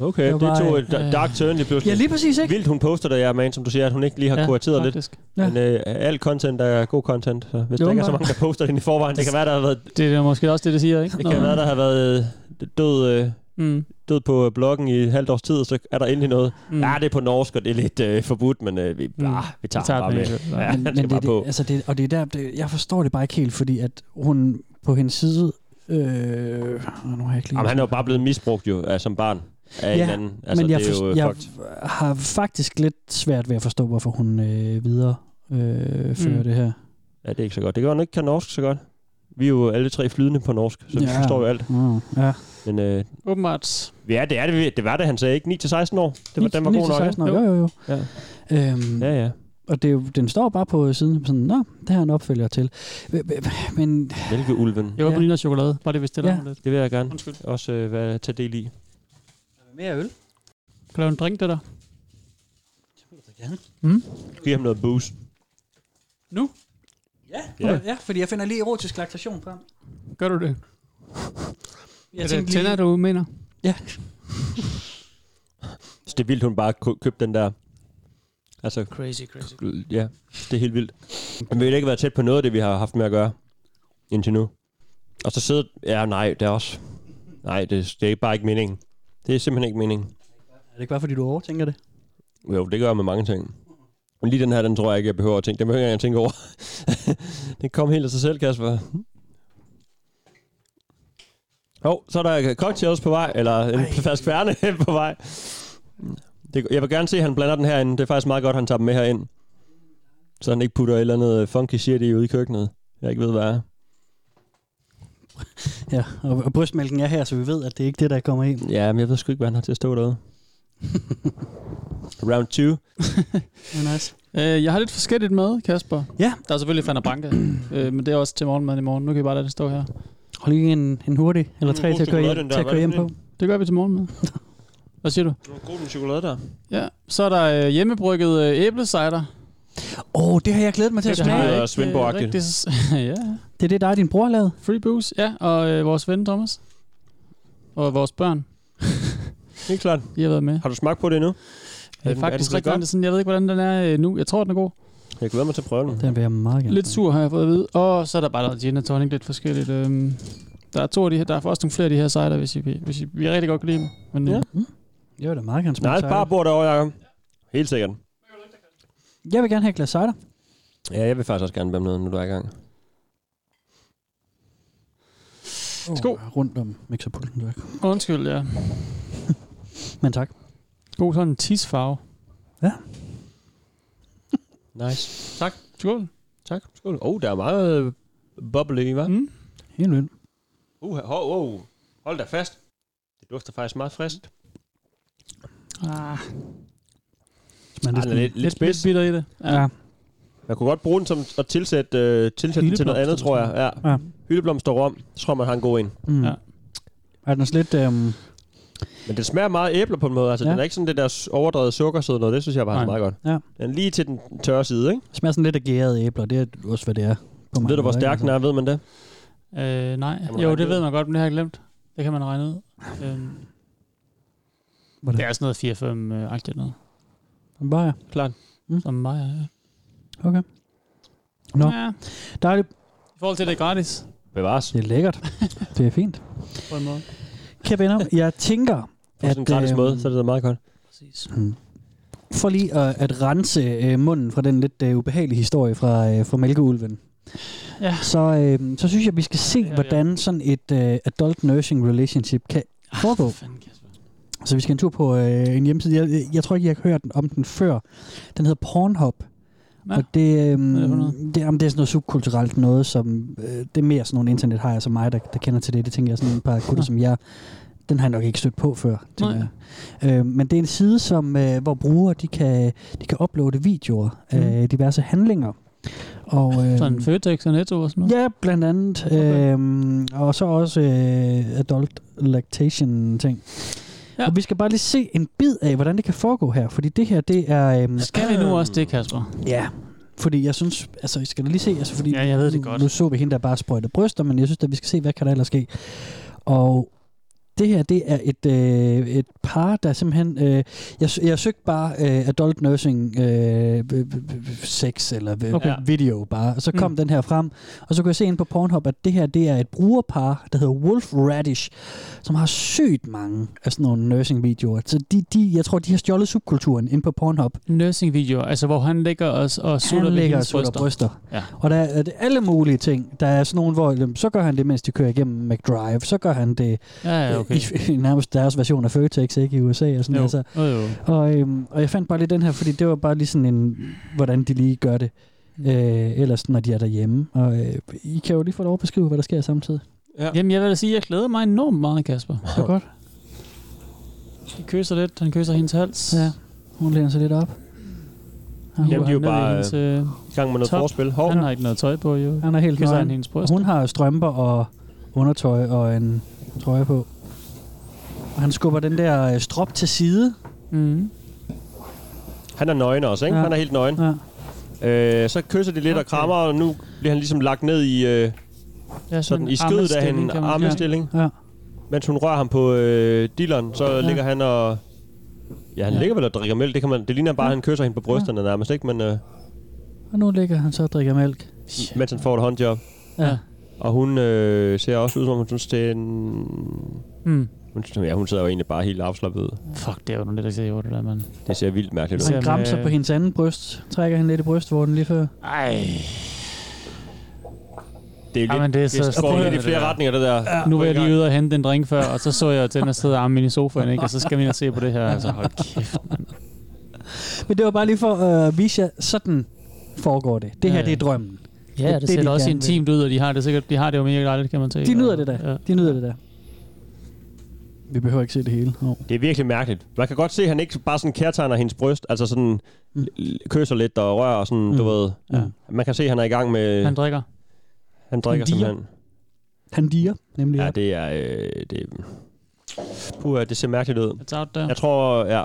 Speaker 3: Okay, det,
Speaker 5: Det var
Speaker 3: det
Speaker 5: bare-
Speaker 3: tog et
Speaker 5: øh,
Speaker 3: dark turn lige pludselig.
Speaker 5: Ja, lige præcis, ikke?
Speaker 3: Vildt, hun poster det, ja, man, som du siger, at hun ikke lige har
Speaker 5: Ja,
Speaker 3: ja, kurateret
Speaker 5: faktisk.
Speaker 3: lidt.
Speaker 5: Ja.
Speaker 3: Ja. Men øh, alt content er god content, så hvis
Speaker 5: Jo,
Speaker 3: der ikke er så
Speaker 5: bare-
Speaker 3: mange, der poster den i forvejen, det kan være, der har været...
Speaker 4: Det er måske også det, det siger, ikke?
Speaker 3: Det kan være, der har været øh, død, øh,
Speaker 4: Mm.
Speaker 3: død på øh, bloggen i et halvt års tid, og så er der endelig noget.
Speaker 4: Mm.
Speaker 3: Mm. Ja, det er på norsk, og det er lidt øh, forbudt, men øh, vi, mm. ah, vi tager, vi tager bare
Speaker 5: den
Speaker 3: med.
Speaker 5: ikke.
Speaker 3: Ja,
Speaker 5: men,
Speaker 3: det
Speaker 5: men
Speaker 3: skal
Speaker 5: det,
Speaker 3: bare
Speaker 5: er
Speaker 3: på.
Speaker 5: det, altså det, og det er der, det, jeg forstår det bare ikke helt, fordi at hun på hendes side... Øh, åh, nu har jeg ikke lige...
Speaker 3: Jamen, han er jo bare blevet misbrugt jo, øh, som barn af en anden. Altså,
Speaker 5: men jeg,
Speaker 3: det er
Speaker 5: forst-
Speaker 3: jo øh,
Speaker 5: jeg
Speaker 3: fucked.
Speaker 5: har faktisk lidt svært ved at forstå, hvorfor hun øh, videre øh, fører
Speaker 3: Mm.
Speaker 5: det her.
Speaker 3: Ja, det er ikke så godt. Det kan godt, hun ikke kan norsk så godt. Vi er jo alle tre flydende på norsk, så vi
Speaker 5: Ja.
Speaker 3: forstår jo alt.
Speaker 5: Mm, ja.
Speaker 3: Men øh,
Speaker 4: Åbenbart.
Speaker 3: ja, det, er det, vi- det var det, han sagde, ikke? 9-16 år? Det var, den var
Speaker 5: 9
Speaker 3: god
Speaker 5: til
Speaker 3: nok.
Speaker 5: 16 år, jo, jo, jo.
Speaker 3: Ja.
Speaker 5: Øhm,
Speaker 3: ja, ja.
Speaker 5: Og det er jo, den står bare på siden, sådan, nå, det her er en opfølger til. Men...
Speaker 3: Mælkeulven.
Speaker 4: Jeg var på ja. chokolade. Var det vist det, der
Speaker 5: Ja.
Speaker 4: var lidt?
Speaker 3: Det vil jeg gerne Undskyld. også øh, være, tage del i.
Speaker 5: Mere øl?
Speaker 4: Kan du lave en drink, det der?
Speaker 5: Mm.
Speaker 3: Giv ham noget boost.
Speaker 4: Nu?
Speaker 3: Ja.
Speaker 5: Ja. ja, fordi jeg finder lige erotisk laktation frem.
Speaker 4: Gør du det?
Speaker 5: Jeg
Speaker 4: Jeg er det
Speaker 5: tænkte
Speaker 4: tænder,
Speaker 5: lige-
Speaker 4: du mener?
Speaker 5: Ja.
Speaker 3: Så det er vildt, hun bare kø- købte den der... Altså,
Speaker 4: crazy, crazy.
Speaker 3: Ja, det er helt vildt. Men vi har ikke været tæt på noget af det, vi har haft med at gøre indtil nu. Og så sidder... Ja, nej, det er også... Nej, det, det er bare ikke meningen. Det er simpelthen ikke meningen.
Speaker 5: Er det ikke bare, fordi du overtænker det?
Speaker 3: Jo, det gør jeg med mange ting. Men lige den her, den tror jeg ikke, jeg behøver at tænke. Den behøver jeg ikke engang at tænke over. den kom helt af sig selv, Kasper. Jo, så er der cocktails på vej, eller en Ej. flaske færne på vej. Det, jeg vil gerne se, at han blander den her ind. Det er faktisk meget godt, at han tager dem med herind. Så han ikke putter et eller andet funky shit i ude i køkkenet. Jeg ikke ved, hvad er.
Speaker 5: Ja, og, og brystmælken er her, så vi ved, at det er ikke det, der kommer ind.
Speaker 3: Ja, men jeg ved sgu ikke, hvad han har til at stå derude. Round 2.
Speaker 5: nice.
Speaker 4: Øh, jeg har lidt forskelligt med, Kasper.
Speaker 5: Ja.
Speaker 4: Der er selvfølgelig Fanna Branca, øh, men det er også til morgenmad i morgen. Nu kan I bare lade det stå her.
Speaker 5: Hold lige en, en hurtig, eller
Speaker 4: Mm,
Speaker 5: tre,
Speaker 4: god
Speaker 5: til at køre
Speaker 4: chokolade,
Speaker 5: hjem,
Speaker 4: den der.
Speaker 5: til at
Speaker 4: Hvad er
Speaker 5: køre hjem
Speaker 4: det
Speaker 5: på.
Speaker 4: Det gør vi til morgenmad. Hvad siger du?
Speaker 3: God den chokolade der.
Speaker 4: Ja, så er der øh, hjemmebrygget øh, æblecider.
Speaker 5: Åh, oh, det har jeg glædet mig til at
Speaker 4: Det har
Speaker 5: smage.
Speaker 4: jeg ikke, øh, Svendborg-agtigt. rigtig- ja.
Speaker 5: Det er det, der er din bror har lavet.
Speaker 4: Free booze, ja, og øh, vores ven Thomas. Og vores børn.
Speaker 3: Helt klart.
Speaker 4: I har været med.
Speaker 3: Har du smagt på det endnu?
Speaker 4: Jeg
Speaker 3: Er
Speaker 4: er
Speaker 3: den-
Speaker 4: faktisk
Speaker 3: er den
Speaker 4: rigtig
Speaker 3: blevet
Speaker 4: godt. Sådan, jeg ved ikke, hvordan den er øh, nu. Jeg tror, den er god.
Speaker 3: Jeg glæder mig til at prøve den.
Speaker 5: Den vil jeg meget gerne.
Speaker 4: Lidt sur har jeg fået at vide. Og så er der bare noget gin og tonic, lidt forskelligt. Øhm, der er to af de her. Der er også nogle flere af de her cider, hvis I, hvis I, vi rigtig godt kan lide dem. Men, øh, ja.
Speaker 3: Ja.
Speaker 5: Jeg vil da meget gerne smage
Speaker 3: Nej,
Speaker 5: cider.
Speaker 3: bare bord derovre, Jacob. Helt sikkert.
Speaker 5: Jeg vil gerne have et glas cider.
Speaker 3: Ja, jeg vil faktisk også gerne være med, nu du er i gang.
Speaker 4: Skål.
Speaker 5: rundt om mixerpulten. Der.
Speaker 4: Undskyld, ja.
Speaker 5: Men tak.
Speaker 4: God sådan en tisfarve.
Speaker 3: Nice. Tak.
Speaker 4: Skål.
Speaker 3: Tak. Skål. Oh, der er meget øh, bubble i, hva'? Mm.
Speaker 5: Helt vildt.
Speaker 3: Uh, oh, oh. Hold da fast. Det dufter faktisk meget friskt.
Speaker 4: Ah.
Speaker 3: Men det er lidt, lidt, spids.
Speaker 4: lidt bitter i det.
Speaker 5: Ja.
Speaker 3: Man kunne godt bruge den som at tilsætte, øh, tilsætte den til noget andet, tror jeg. Ja.
Speaker 5: Ja.
Speaker 3: ja. Hyldeblomster og rom, så tror jeg, man har en god en.
Speaker 5: Mm. Ja. Er den også lidt... Øhm,
Speaker 3: Men den smager meget æbler på en måde. Altså,
Speaker 5: Ja.
Speaker 3: ja. den er ikke sådan det der s- overdrevet sukkersøde noget. Det synes jeg bare er
Speaker 5: Nej.
Speaker 3: meget godt.
Speaker 5: Ja.
Speaker 3: Den er lige til den tørre side, ikke?
Speaker 5: smager sådan lidt af gærede æbler. Det er også, hvad det er. På mange
Speaker 3: Ved du, hvor
Speaker 5: måder, ikke?
Speaker 3: stærk den er? Ved man det?
Speaker 4: Øh, nej.
Speaker 3: man
Speaker 4: Jo,
Speaker 3: regne
Speaker 4: det
Speaker 3: ud?
Speaker 4: ved man godt, men det har jeg glemt. Det kan man regne ud. Øhm,
Speaker 5: Hvordan?
Speaker 4: det er sådan noget 4-5-agtigt noget.
Speaker 5: Som bajer.
Speaker 3: Klart.
Speaker 5: Altså. Mm.
Speaker 4: Som bajer, ja.
Speaker 5: Okay. Nå.
Speaker 4: Ja.
Speaker 5: Dejligt.
Speaker 4: I forhold til, at det er gratis,
Speaker 3: Bevares.
Speaker 5: Det er lækkert. det er fint.
Speaker 4: på en måde.
Speaker 5: Kære venner, jeg tænker...
Speaker 3: På sådan en gratis
Speaker 5: øhm,
Speaker 3: måde, så er det da meget godt.
Speaker 5: Mm. For lige at, at rense øh, munden fra den lidt øh, ubehagelige historie fra, øh, fra Mælkeulven,
Speaker 4: Ja.
Speaker 5: så, øh, så synes jeg, vi skal se, hvordan sådan et øh, adult nursing relationship kan
Speaker 4: Ah,
Speaker 5: foregå. Så vi skal en tur på øh, en hjemmeside. Jeg, jeg tror ikke, jeg har hørt om den før. Den hedder Pornhub.
Speaker 4: Ja.
Speaker 5: Og det, øhm,
Speaker 4: Hvad er det for
Speaker 5: det, jamen, det er sådan noget subkulturelt noget, som øh, det er mere sådan nogle internethajer som mig, der, der kender til det. Det tænker jeg sådan et par gutter som jeg, den har jeg nok ikke stødt på før. tænker
Speaker 4: Nej.
Speaker 5: jeg. Øh, men det er en side, som, øh, hvor brugere de kan, de kan uploade videoer af diverse handlinger. Og, øh,
Speaker 4: Mm. Sådan Føtex og Netto og sådan noget.
Speaker 5: Ja, blandt andet. Okay. Øhm, og så også øh, adult lactation ting.
Speaker 4: Ja.
Speaker 5: Ja. Og vi skal bare lige se en bid af, hvordan det kan foregå her. Fordi det her, det er... Øhm,
Speaker 4: Skal vi nu også det, Kasper?
Speaker 5: Ja. Fordi jeg synes, altså jeg skal da lige se, altså fordi
Speaker 4: Ja, jeg ved det
Speaker 5: nu-
Speaker 4: godt.
Speaker 5: nu så vi hende, der bare sprøjter bryster, men jeg synes, at vi skal se, hvad kan der ellers ske. Og det her, det er et, øh, et par, der simpelthen... Øh, jeg, sø- jeg søgte bare øh, adult nursing øh, b- b- b- sex eller
Speaker 4: Okay.
Speaker 5: v- okay. video bare, og så kom mm. den her frem, og så kunne jeg se ind på Pornhub, at det her, det er et brugerpar, der hedder Wolf Radish, som har sygt mange af sådan nogle nursing-videoer. Så de, de, jeg tror, de har stjålet subkulturen ind på Pornhub.
Speaker 4: Nursing-videoer, altså hvor han ligger og, og sutter
Speaker 5: Han
Speaker 4: ved
Speaker 5: ligger og
Speaker 4: hendes
Speaker 5: sutter
Speaker 4: bryster.
Speaker 5: bryster.
Speaker 4: Ja.
Speaker 5: Og der er det alle mulige ting. Der er sådan nogle, hvor øhm, så gør han det, mens de kører igennem McDrive. Så gør han det
Speaker 4: Ja, ja,
Speaker 5: øh,
Speaker 4: okay.
Speaker 5: i, i nærmest deres version af Føtex ikke, i USA. Og, sådan,
Speaker 4: Jo.
Speaker 5: altså.
Speaker 4: Jo, jo.
Speaker 5: og, øhm, og jeg fandt bare lige den her, fordi det var bare lige sådan en, hvordan de lige gør det.
Speaker 4: Mm.
Speaker 5: Øh, ellers når de er derhjemme. Og øh, I kan jo lige få lov at beskrive, hvad der sker samtidig.
Speaker 3: Ja.
Speaker 4: Jamen, jeg vil da sige, at jeg glæder mig enormt meget, Kasper.
Speaker 5: Så godt.
Speaker 4: De kysser lidt, han kysser hendes hals.
Speaker 5: Ja. Hun læner sig lidt op.
Speaker 4: Han
Speaker 3: Jamen, de er jo
Speaker 4: ned i
Speaker 3: bare,
Speaker 4: hendes,
Speaker 3: øh,
Speaker 4: øh,
Speaker 3: I gang med noget
Speaker 4: top.
Speaker 3: forspil. Hov.
Speaker 4: Han har ikke noget tøj på, jo.
Speaker 5: Han er helt
Speaker 4: Kysser han
Speaker 5: nøgen.
Speaker 4: hendes
Speaker 5: Og
Speaker 4: bryst.
Speaker 5: hun har strømper og undertøj og en trøje på. Og han skubber den der øh, strop til side.
Speaker 4: Mm.
Speaker 3: Han er nøgen også, ikke?
Speaker 5: Ja.
Speaker 3: Ja. Han er helt nøgen.
Speaker 5: Ja.
Speaker 3: Øh, så kysser de lidt okay. og krammer, og nu bliver han ligesom lagt ned i, øh,
Speaker 4: Ja,
Speaker 3: sådan, i skødet af hende armestilling.
Speaker 5: Ja.
Speaker 3: Mens hun rører ham på øh, dilleren, så ja. ligger han og... Ja, han
Speaker 5: Ja.
Speaker 3: ja. ligger vel og drikker mælk. Det, kan man, det ligner bare, at han kysser hende på brysterne ja. nærmest, ikke? Men, øh,
Speaker 5: Og nu ligger han så og drikker mælk.
Speaker 3: mens han får et håndjob.
Speaker 5: Ja.
Speaker 3: Og hun øh, ser også ud, som om hun synes, det er en...
Speaker 4: Mm.
Speaker 3: Hun, ja, hun sidder jo egentlig bare helt afslappet ud.
Speaker 4: Fuck, det er jo noget lidt at se over det der, mand.
Speaker 3: Det ser vildt mærkeligt ud.
Speaker 4: Ser-
Speaker 5: Han
Speaker 4: Jamen,
Speaker 5: gramser
Speaker 4: øh,
Speaker 5: på hendes anden bryst. Trækker hende lidt i brystvorten lige før.
Speaker 4: Ej.
Speaker 3: Det er jo
Speaker 4: Jamen,
Speaker 3: lidt,
Speaker 4: det er
Speaker 3: det,
Speaker 4: så-
Speaker 3: det går
Speaker 4: prøv at
Speaker 3: lidt i
Speaker 4: høre det
Speaker 3: flere
Speaker 4: der.
Speaker 3: retninger, det der.
Speaker 4: Nu var jeg lige ude og hente en drink før, og så så jeg til at sidde armen inde i sofaen, ikke? Og så skal vi ind og se på det her. Altså, hold kæft.
Speaker 5: Men det var bare lige for at øh, vise jer, sådan foregår det. Det her,
Speaker 4: Ja, ja.
Speaker 5: det er drømmen.
Speaker 4: Ja, det, det ser
Speaker 5: de
Speaker 4: da også
Speaker 5: gerne
Speaker 4: intimt ud, og de har det sikkert, de har det jo mega dejligt, kan man sige.
Speaker 5: vil. De nyder det der.
Speaker 4: Ja.
Speaker 5: De nyder det der. Vi behøver ikke se det hele. Oh.
Speaker 3: Det er virkelig mærkeligt. Man kan godt se, at han ikke bare sådan kærtegner hendes bryst, altså sådan
Speaker 5: Mm.
Speaker 3: l- kysser lidt og rører og sådan, mm. du ved.
Speaker 5: Ja.
Speaker 3: Man kan se, at han er i gang med...
Speaker 4: Han
Speaker 3: Han,
Speaker 4: drikker.
Speaker 3: han drikker
Speaker 5: han diger.
Speaker 3: simpelthen.
Speaker 5: Han diger, nemlig.
Speaker 3: Ja,
Speaker 5: Ja,
Speaker 3: det er... Øh, det, puh, det ser mærkeligt ud.
Speaker 4: It's out der.
Speaker 3: Jeg tror, ja...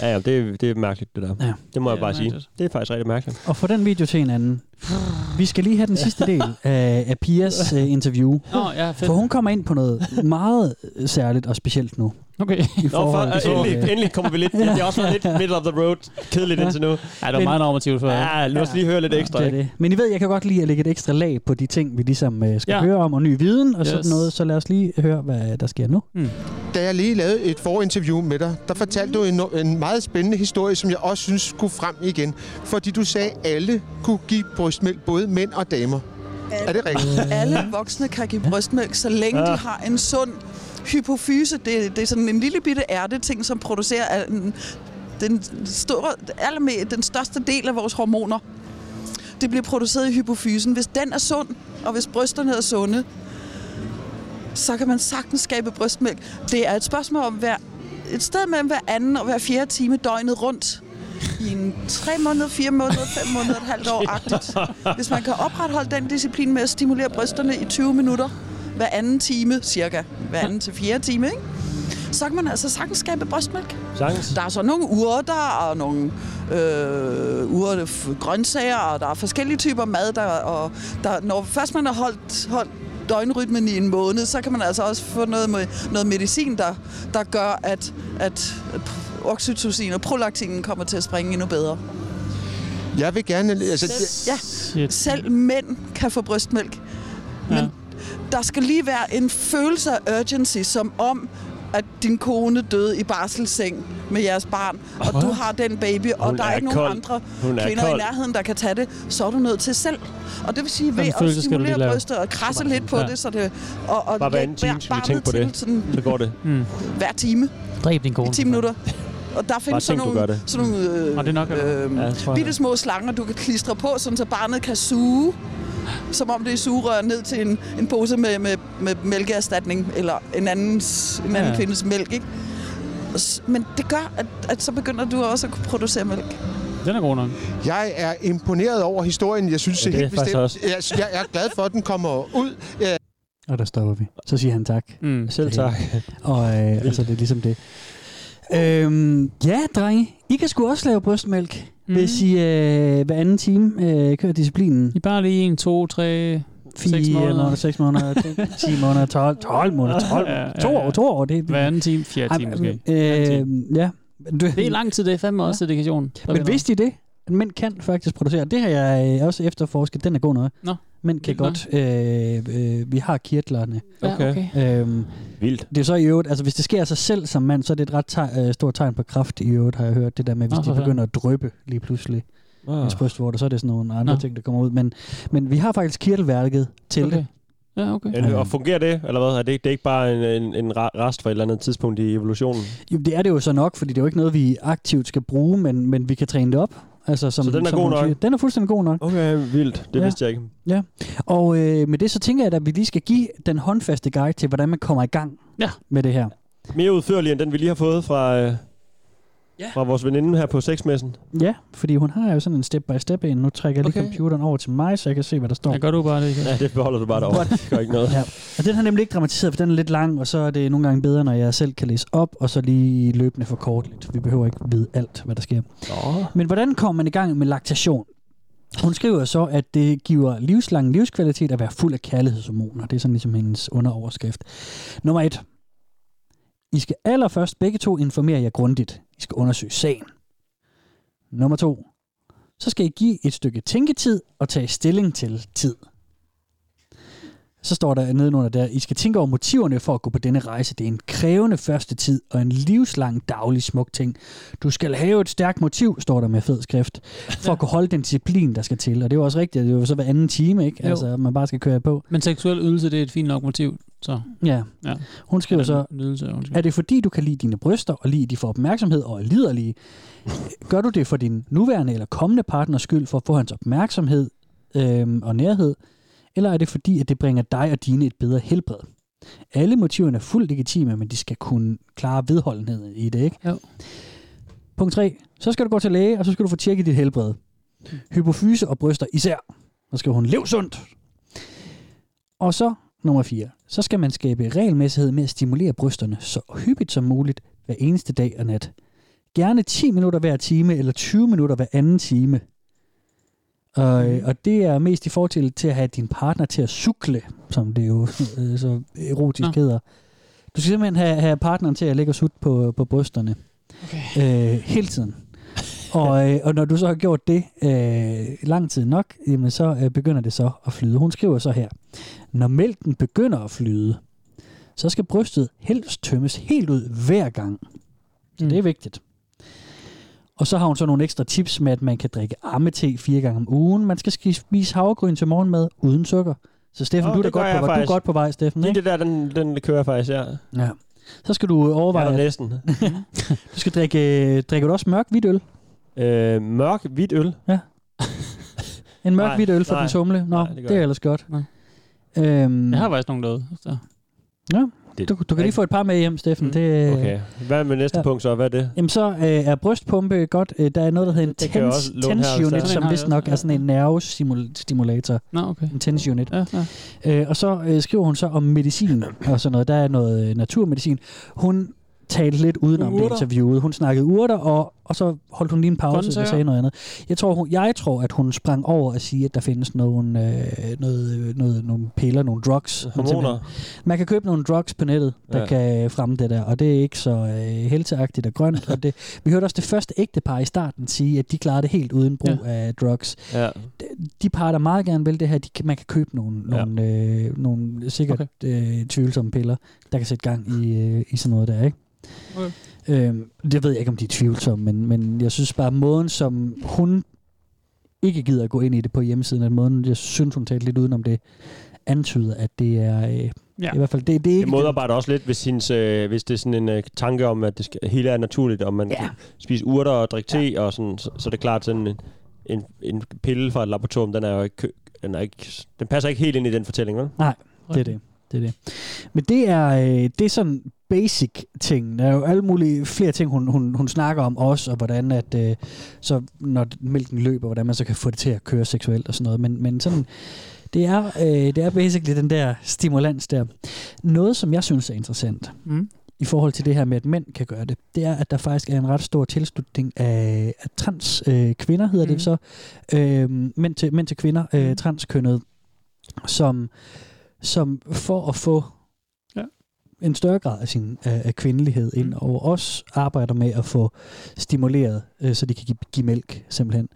Speaker 3: Ja, ja, det, er- det er mærkeligt, det der.
Speaker 5: Ja.
Speaker 3: Ja. Det må
Speaker 4: Det
Speaker 3: jeg
Speaker 4: er
Speaker 3: bare sige.
Speaker 4: mærkeligt.
Speaker 3: Det er faktisk rigtig mærkeligt.
Speaker 5: Og få den video til en anden. Vi skal lige have den sidste del af, af Pias øh, interview.
Speaker 4: Nå, ja, fedt.
Speaker 5: For hun kommer ind på noget meget særligt og specielt nu.
Speaker 4: Okay.
Speaker 5: I
Speaker 3: Nå, for,
Speaker 5: forhold til,
Speaker 3: endelig,
Speaker 5: øh,
Speaker 3: endelig kommer vi lidt... Det har også været lidt middle of the road. Kedeligt indtil nu.
Speaker 4: Ja, det var meget normativt for
Speaker 3: Ja, lad os lige høre lidt ekstra,
Speaker 5: det er
Speaker 3: ikke?
Speaker 5: det. Men I ved, jeg kan godt lide at lægge et ekstra lag på de ting, vi ligesom øh, skal
Speaker 4: Ja.
Speaker 5: ja. høre om, og ny viden og yes.
Speaker 4: Yes. Mm.
Speaker 5: sådan noget. Så lad os lige høre, hvad der sker nu.
Speaker 3: Mm.
Speaker 10: Da jeg lige lavede et forinterview med dig, der fortalte du en, en meget spændende historie, som jeg også synes skulle frem igen. Fordi du sagde, at alle kunne give brystmælk, både mænd og damer. Er det rigtigt?
Speaker 11: Alle voksne kan give brystmælk, så længe
Speaker 10: Mm. Ja.
Speaker 11: de har en sund hypofyse. Det, det er sådan en lille bitte ærteting, som producerer al- den, den, store, allerme, den største del af vores hormoner. Det bliver produceret i hypofysen. Hvis den er sund, og hvis brysterne er sunde, så kan man sagtens skabe brystmælk. Det er et spørgsmål om hver, et sted mellem hver anden og hver fjerde time døgnet rundt. I en tre måneder, fire måneder, fem måneder, et halvt år-agtigt. Hvis man kan opretholde den disciplin med at stimulere brysterne i 20 minutter hver anden time, cirka hver anden til fjerde time, ikke? så kan man altså sagtens skabe brystmælk.
Speaker 3: Sagtens.
Speaker 11: Der er så nogle urter og nogle øh, urter, f- grøntsager, og der er forskellige typer mad. Der, og der, når først man har holdt, holdt døgnrytmen i en måned, så kan man altså også få noget, med, noget medicin, der, der gør, at, at oxytocin og prolaktinen kommer til at springe endnu bedre.
Speaker 10: Jeg vil gerne... Altså,
Speaker 11: Ja, selv mænd kan få brystmælk. Men der skal lige være en følelse af urgency, som om, at din kone døde i barselsseng med jeres barn, og du har den baby, og
Speaker 3: Hun
Speaker 11: der er,
Speaker 3: er
Speaker 11: ikke nogen
Speaker 3: kold.
Speaker 11: andre
Speaker 3: Hun er
Speaker 11: kvinder
Speaker 3: kold.
Speaker 11: i nærheden, der kan tage det, så er du nødt til selv. Og det vil sige, ved
Speaker 3: Den
Speaker 11: at
Speaker 3: følelse skal du lige
Speaker 11: stimulere
Speaker 3: lave.
Speaker 11: brystet og krasse
Speaker 3: Bare-
Speaker 11: lidt på
Speaker 3: ja.
Speaker 11: det, så det, og, og
Speaker 3: Bare hver
Speaker 11: lægge
Speaker 3: anden time skal vi
Speaker 11: barnet
Speaker 3: tænke på
Speaker 11: til
Speaker 3: det.
Speaker 11: Sådan,
Speaker 3: Så går det.
Speaker 4: Mm.
Speaker 11: hver time.
Speaker 4: Dræb din kone.
Speaker 11: I 10 minutter. Og der findes sådan
Speaker 4: tænk, du gør
Speaker 11: nogle,
Speaker 4: det.
Speaker 11: sådan nogle øh,
Speaker 4: Og det er nok, eller?
Speaker 11: øhm,
Speaker 4: Ja, jeg tror, jeg-
Speaker 11: bitte små slanger, du kan klistre på, sådan så barnet kan suge, som om det er sugerør ned til en, en pose med, med, med mælkeerstatning, eller en, andens, en anden
Speaker 4: Ja.
Speaker 11: ja. kvindes mælk, ikke? Og s- Men det gør, at, at så begynder du også at kunne producere mælk.
Speaker 4: Den er god nok.
Speaker 10: Jeg er imponeret over historien. Jeg synes
Speaker 5: Ja,
Speaker 10: ja,
Speaker 5: det er
Speaker 10: helt
Speaker 5: faktisk
Speaker 10: bestemt.
Speaker 5: også.
Speaker 10: Jeg, jeg er glad for, at den kommer ud. Øh, Ja,
Speaker 5: Og der stopper vi. Så siger han tak.
Speaker 4: Mm.
Speaker 5: Selv
Speaker 3: tak.
Speaker 5: Og øh, altså, det er ligesom det. Øhm, ja, drenge. I kan sgu også lave brystmælk, mm. hvis I øh, hver anden time øh, kører disciplinen.
Speaker 4: I bare lige en, to, tre, seks
Speaker 5: 4
Speaker 4: måneder.
Speaker 5: måneder, 6 måneder, 10 måneder, 12, 12 måneder, 12
Speaker 4: Ja,
Speaker 5: måneder,
Speaker 4: ja,
Speaker 5: 2 år, 2 år. Det,
Speaker 4: Hver anden time, fjerde
Speaker 5: Ej,
Speaker 4: time
Speaker 5: men,
Speaker 4: måske.
Speaker 5: Øh, ja. Du,
Speaker 4: Det er lang tid, det er fandme også dedikation. der
Speaker 5: Men
Speaker 4: vinder.
Speaker 5: vidste I det? At mænd kan faktisk producere. Det har jeg øh, også efterforsket. Den er god nok.
Speaker 4: Nå.
Speaker 5: Mænd kan godt. Øh, øh, vi har kirtlerne.
Speaker 4: Ja, okay.
Speaker 5: Øhm,
Speaker 3: Vildt.
Speaker 5: Det er så i øvrigt, altså hvis det sker af sig selv som mand, så er det et ret teg- øh, stort tegn på kraft i øvrigt, har jeg hørt. Det der med, hvis
Speaker 4: Nå, for
Speaker 5: de
Speaker 4: fanden.
Speaker 5: begynder at drøbe lige pludselig.
Speaker 3: Ah.
Speaker 5: Ens brystvorter, så er det sådan nogle andre
Speaker 4: Nå.
Speaker 5: ting, der kommer ud. Men, men vi har faktisk kirtelværket til
Speaker 4: Okay.
Speaker 5: det.
Speaker 4: Ja, okay.
Speaker 3: Er det- Øh, Og fungerer det, eller hvad? Er det, ikke- det er ikke bare en, en, en ra- rest fra et eller andet tidspunkt i evolutionen?
Speaker 5: Jo, det er det jo så nok, fordi det er jo ikke noget, vi aktivt skal bruge, men, men vi kan træne det op. Altså, som,
Speaker 3: Så den er
Speaker 5: som
Speaker 3: god
Speaker 5: hun
Speaker 3: nok?
Speaker 5: siger. Den er fuldstændig god nok.
Speaker 3: Okay, vildt. Det
Speaker 5: Ja.
Speaker 3: vidste jeg ikke.
Speaker 5: Ja, og øh, med det så tænker jeg, at vi lige skal give den håndfaste guide til, hvordan man kommer i gang
Speaker 4: Ja.
Speaker 5: med det her.
Speaker 3: Mere udførlig end den, vi lige har fået fra, øh,
Speaker 5: ja.
Speaker 3: fra vores veninde her på sexmessen.
Speaker 5: Ja, fordi hun har jo sådan en step-by-step en. Nu trækker jeg lige
Speaker 3: Okay.
Speaker 5: okay. computeren over til mig, så jeg kan se, hvad der står.
Speaker 4: Ja, gør du bare det.
Speaker 3: Ja, det beholder du bare derovre. Det gør ikke noget.
Speaker 5: Ja. Og den har nemlig ikke dramatiseret, for den er lidt lang, og så er det nogle gange bedre, når jeg selv kan læse op, og så lige løbende for kort lidt. Vi behøver ikke vide alt, hvad der sker.
Speaker 3: Nå.
Speaker 5: Men hvordan kommer man i gang med laktation? Hun skriver så, at det giver livslang livskvalitet at være fuld af kærlighedshormoner. Det er sådan ligesom hendes underoverskrift. Nummer et. I skal allerførst begge to informere jer grundigt. I skal undersøge sagen. Nummer to. Så skal I give et stykke tænketid og tage stilling til tid. Så står der nedenunder der, I skal tænke over motiverne for at gå på denne rejse. Det er en krævende første tid og en livslang daglig smuk ting. Du skal have et stærkt motiv, står der med fed skrift, for at kunne holde den disciplin, der skal til. Og det er jo også rigtigt, det er jo så hver anden time, ikke?
Speaker 4: Jo.
Speaker 5: Altså, at man bare skal køre på.
Speaker 4: Men seksuel ydelse, det er et fint nok motiv. Så.
Speaker 5: Ja.
Speaker 4: ja.
Speaker 5: Hun skriver
Speaker 4: Eller
Speaker 5: så,
Speaker 4: Nydelse, undskyld.
Speaker 5: er det fordi, du kan lide dine bryster, og lide, at de får opmærksomhed og er liderlige? Gør du det for din nuværende eller kommende partners skyld, for at få hans opmærksomhed øhm, og nærhed? Eller er det fordi, at det bringer dig og dine et bedre helbred? Alle motiverne er fuldt legitime, men de skal kunne klare vedholdenheden i det, ikke?
Speaker 4: Jo.
Speaker 5: Punkt 3. Så skal du gå til læge, og så skal du få tjekket dit helbred. Hypofyse og bryster især. Så skal hun leve sundt. Og så nummer 4. Så skal man skabe regelmæssighed med at stimulere brysterne så hyppigt som muligt hver eneste dag og nat. Gerne 10 minutter hver time, eller 20 minutter hver anden time. Og, øh, og det er mest i forhold til, til at have din partner til at sukle, som det jo øh, så erotisk
Speaker 4: Nå.
Speaker 5: ja. hedder. Du skal simpelthen have, have partneren til at lægge og sutte på, på brysterne. Okay. Øh, hele tiden. Og, øh, og når du så har gjort det øh, lang tid nok, jamen så øh, begynder det så at flyde. Hun skriver så her, når mælken begynder at flyde, så skal
Speaker 3: Mm.
Speaker 5: brystet helst tømmes helt ud hver gang. Så det er vigtigt. Og så har hun så nogle ekstra tips med, at man kan drikke ammete fire gange om ugen. Man skal sk- spise havregryn til morgenmad uden sukker. Så Steffen,
Speaker 3: Nå,
Speaker 5: oh, du er da
Speaker 3: det gør
Speaker 5: godt
Speaker 3: jeg
Speaker 5: på, vej. du er
Speaker 3: faktisk.
Speaker 5: godt på vej, Steffen.
Speaker 3: Lige
Speaker 5: Ikke?
Speaker 3: det der, den, den kører jeg faktisk, ja.
Speaker 5: Ja. Så skal du overveje...
Speaker 3: Jeg er der
Speaker 5: at-
Speaker 3: næsten.
Speaker 5: du skal drikke... øh, Drikker du også mørk hvidøl?
Speaker 3: Øh, mørk hvidt øl?
Speaker 5: Ja. En mørk
Speaker 3: Nej,
Speaker 5: hvidøl for
Speaker 3: nej.
Speaker 5: den tumle? Nå,
Speaker 3: Nej, det gør
Speaker 5: nej, det, det er
Speaker 3: jeg.
Speaker 5: ellers godt. Øhm,
Speaker 4: Jeg har faktisk nogen derude. Så.
Speaker 5: Ja,
Speaker 3: Det-
Speaker 5: du, du kan lige få et par med hjem, Steffen. Mm. Det, øh,
Speaker 3: Okay. Hvad med næste
Speaker 5: Ja.
Speaker 3: ja. punkt så? Hvad er det?
Speaker 5: Jamen så øh, er brystpumpe godt. Øh, der er noget, der hedder en
Speaker 3: Det kan jeg også
Speaker 5: tens,
Speaker 3: låne her, hvis der
Speaker 5: tens
Speaker 3: er.
Speaker 5: unit,
Speaker 3: Den har
Speaker 5: som
Speaker 3: jeg
Speaker 5: vist
Speaker 3: også,
Speaker 5: nok er sådan en nervestimulator.
Speaker 4: Nå, okay.
Speaker 5: En tens unit.
Speaker 4: Ja,
Speaker 5: ja. Øh, og så øh, skriver hun så om medicin og sådan noget. Der er noget øh, naturmedicin. Hun talte lidt udenom det
Speaker 14: Urter.
Speaker 5: interviewet. Hun snakkede urter, og, og så holdt hun lige en pause
Speaker 14: Grøntsager.
Speaker 5: og sagde noget andet. Jeg tror, hun, jeg tror, at hun sprang over at sige, at der findes nogle, øh, noget, noget, nogle piller, nogle drugs. Hun
Speaker 3: Hormoner.
Speaker 5: simpelthen- Man kan købe nogle drugs på nettet, der
Speaker 3: Ja.
Speaker 5: ja. kan øh, fremme det der, og det er ikke så øh, helteagtigt og grønt. og det, vi hørte også det første ægtepar i starten sige, at de klarer det helt uden brug ja. af drugs.
Speaker 3: Ja.
Speaker 5: De par, der meget gerne vil det her, de kan, man kan købe nogle,
Speaker 3: Ja.
Speaker 5: ja. nogle, øh, nogle sikkert okay. øh, tvivlsomme piller, der kan sætte gang i, øh, i sådan noget der, ikke?
Speaker 4: Okay.
Speaker 5: Øhm, det ved jeg ikke, om de er tvivlsomme, men, men jeg synes bare, måden, som hun ikke gider at gå ind i det på hjemmesiden, at måden, jeg synes, hun talte lidt udenom det, antyder, at det er... Øh, ja. I hvert fald, det, det er
Speaker 3: Det
Speaker 5: ikke...
Speaker 3: modarbejder også lidt, hvis, hendes, øh, hvis det er sådan en øh, tanke om, at det skal, hele er naturligt, og man ja. kan spise urter og drikke te, og sådan, så, så er det klart sådan en, en, en pille fra et laboratorium, den er jo ikke, kø- den, er ikke, den passer ikke helt ind i den fortælling, vel?
Speaker 5: Nej, det er det. det er det. Men det er, øh, det er sådan basic ting. Der er jo alle mulige flere ting, hun, hun, hun snakker om også, og hvordan at, øh, så når mælken løber, hvordan man så kan få det til at køre seksuelt og sådan noget. Men, men sådan, det er, øh, det er basically den der stimulans der. Noget, som jeg synes er interessant,
Speaker 4: Mm.
Speaker 5: i forhold til det her med, at mænd kan gøre det, det er, at der faktisk er en ret stor tilslutning af, af trans øh, kvinder, hedder mm. det så, øh, mænd, til, mænd til kvinder, øh, transkønnet, som, som for at få
Speaker 4: ja. Mm.
Speaker 5: en større grad af sin af, af kvindelighed ind over os, arbejder med at få stimuleret, øh, så de kan give, give mælk, simpelthen.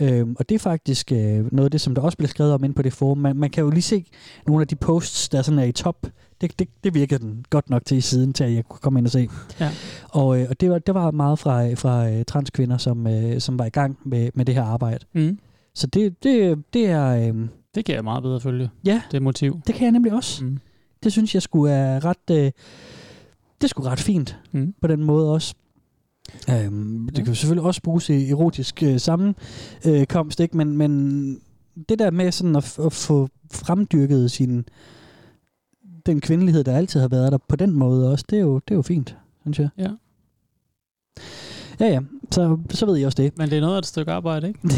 Speaker 5: Øhm, og det er faktisk øh, noget af det, som der også bliver skrevet om inde på det forum. Man, man kan jo lige se nogle af de posts, der sådan er i top. Det, det, det virkede den godt nok til i siden, til at jeg kunne komme ind og se.
Speaker 4: Ja.
Speaker 5: Og, øh, og det, var, det var meget fra, øh, fra øh, transkvinder, som, øh, som var i gang med, med det her arbejde.
Speaker 4: Mm.
Speaker 5: Så det, det, det er... Øh,
Speaker 4: Det kan jeg meget bedre følge.
Speaker 5: Ja.
Speaker 4: Det motiv.
Speaker 5: det kan jeg nemlig også.
Speaker 4: Mm.
Speaker 5: Det synes jeg skulle er ret... Øh, det skulle ret fint
Speaker 4: mm.
Speaker 5: på den måde også. Øhm, det kan jo selvfølgelig også bruges i erotisk øh, sammenkomst, øh, komst, ikke? Men, men det der med sådan at, f- at få fremdyrket sin den kvindelighed, der altid har været der på den måde også, det er jo, det er jo fint, synes jeg.
Speaker 4: Ja.
Speaker 5: Ja, ja. Så, så ved jeg også det.
Speaker 4: Men det er noget af et stykke arbejde, ikke?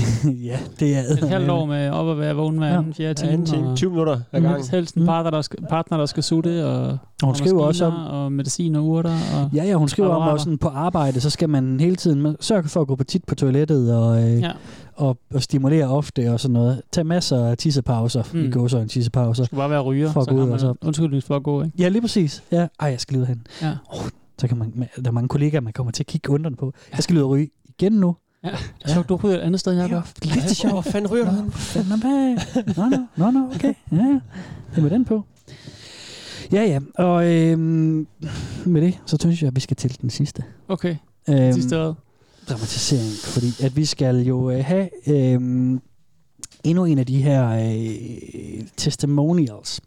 Speaker 5: ja, det er...
Speaker 4: Et halvt år med op at være vågen hver
Speaker 5: Ja.
Speaker 4: anden, fjerde time.
Speaker 5: Ja, anden time. 20 minutter ad
Speaker 4: ad
Speaker 5: gangen.
Speaker 4: gangen. Helst en partner, der skal, partner, der skal sutte, og, og
Speaker 5: hun skriver også om-
Speaker 4: maskiner, og medicin og urter. Og
Speaker 5: Ja, ja, hun skriver om,
Speaker 4: apparater.
Speaker 5: at sådan på arbejde, så skal man hele tiden man sørge for at gå på tit på toilettet og, øh,
Speaker 4: Ja.
Speaker 5: ja. og, og stimulere ofte og sådan noget. Tag masser af tissepauser, mm. i
Speaker 4: Mm.
Speaker 5: går så en tissepause.
Speaker 4: Du skal bare være ryger,
Speaker 5: for at
Speaker 4: så
Speaker 5: gå ud
Speaker 4: har
Speaker 5: og så.
Speaker 4: man undskyldning for at gå, ikke?
Speaker 5: Ja, lige præcis. Ja. Ej, jeg skal lige ud hen.
Speaker 4: Ja.
Speaker 5: Oh, så kan man, man- der er mange kollegaer, man kommer til at kigge undrende på. Jeg skal lige ud og ryge igen nu.
Speaker 4: Ja. Så du ryger et andet sted, Jacob.
Speaker 5: Lidt det er sjovt.
Speaker 3: Hvor fanden ryger du hen?
Speaker 5: Nå, hvad? Nå, nå, nå, nå, okay. Ja, ja. Det var den på. Ja, ja. Og øhm, med det, så synes jeg, at vi skal til den sidste.
Speaker 4: Okay.
Speaker 5: Øhm,
Speaker 4: Sidste øjet.
Speaker 5: dramatisering, fordi at vi skal jo øh, have øh, endnu en af de her øh, testimonials.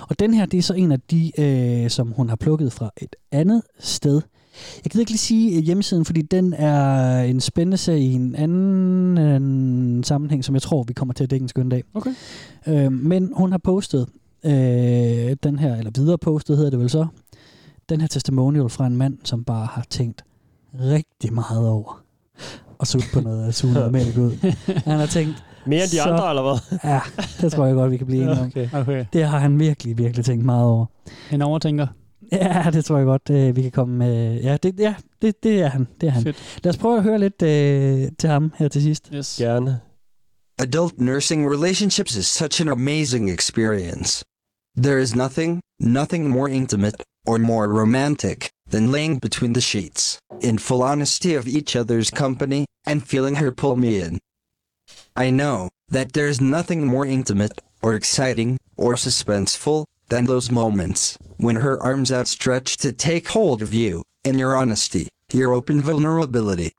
Speaker 5: Og den her, det er så en af de, øh, som hun har plukket fra et andet sted. Jeg gider ikke lige sige øh, hjemmesiden, fordi den er en spændende serie i en anden øh, sammenhæng, som jeg tror, vi kommer til at dække en skøn dag.
Speaker 4: Okay.
Speaker 5: Øh, men hun har postet øh, den her, eller videre postet hedder det vel så, den her testimonial fra en mand, som bare har tænkt rigtig meget over at sutte på noget, at suge noget mælk ud. Han har tænkt...
Speaker 3: Mere end de
Speaker 5: så-
Speaker 3: andre, eller hvad?
Speaker 5: Ja, det tror jeg godt, vi kan blive enige om.
Speaker 3: Okay.
Speaker 4: Okay.
Speaker 5: Det har han virkelig, virkelig tænkt meget over.
Speaker 4: En overtænker.
Speaker 5: Ja, det tror jeg godt, øh, vi kan komme med. Ja, det, ja, det, det er han. Det er han.
Speaker 4: Fedt.
Speaker 5: Lad os prøve at høre lidt øh, til ham her til sidst.
Speaker 4: Yes.
Speaker 3: Gerne.
Speaker 15: Adult nursing relationships is such an amazing experience. There is nothing, nothing more intimate or more romantic than laying between the sheets, in full honesty of each other's company, and feeling her pull me in. I know that there is nothing more intimate or exciting or suspenseful than those moments when her arms outstretched to take hold of you, in your honesty, your open vulnerability.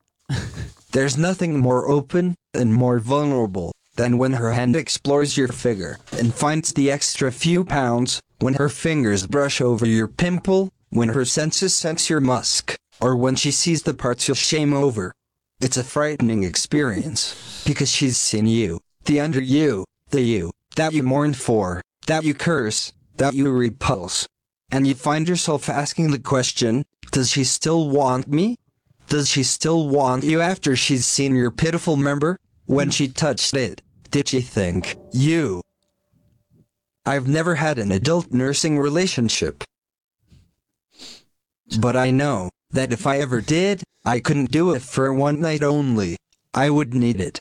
Speaker 15: There's nothing more open and more vulnerable than when her hand explores your figure and finds the extra few pounds, when her fingers brush over your pimple, when her senses sense your musk, or when she sees the parts you'll shame over. It's a frightening experience because she's seen you, the under you, the you that you mourn for, that you curse, that you repulse. And you find yourself asking the question, does she still want me? Does she still want you after she's seen your pitiful member? When she touched it, did she think, you? I've never had an adult nursing relationship. But I know that if I ever did, I couldn't do it for one night only. I would need it.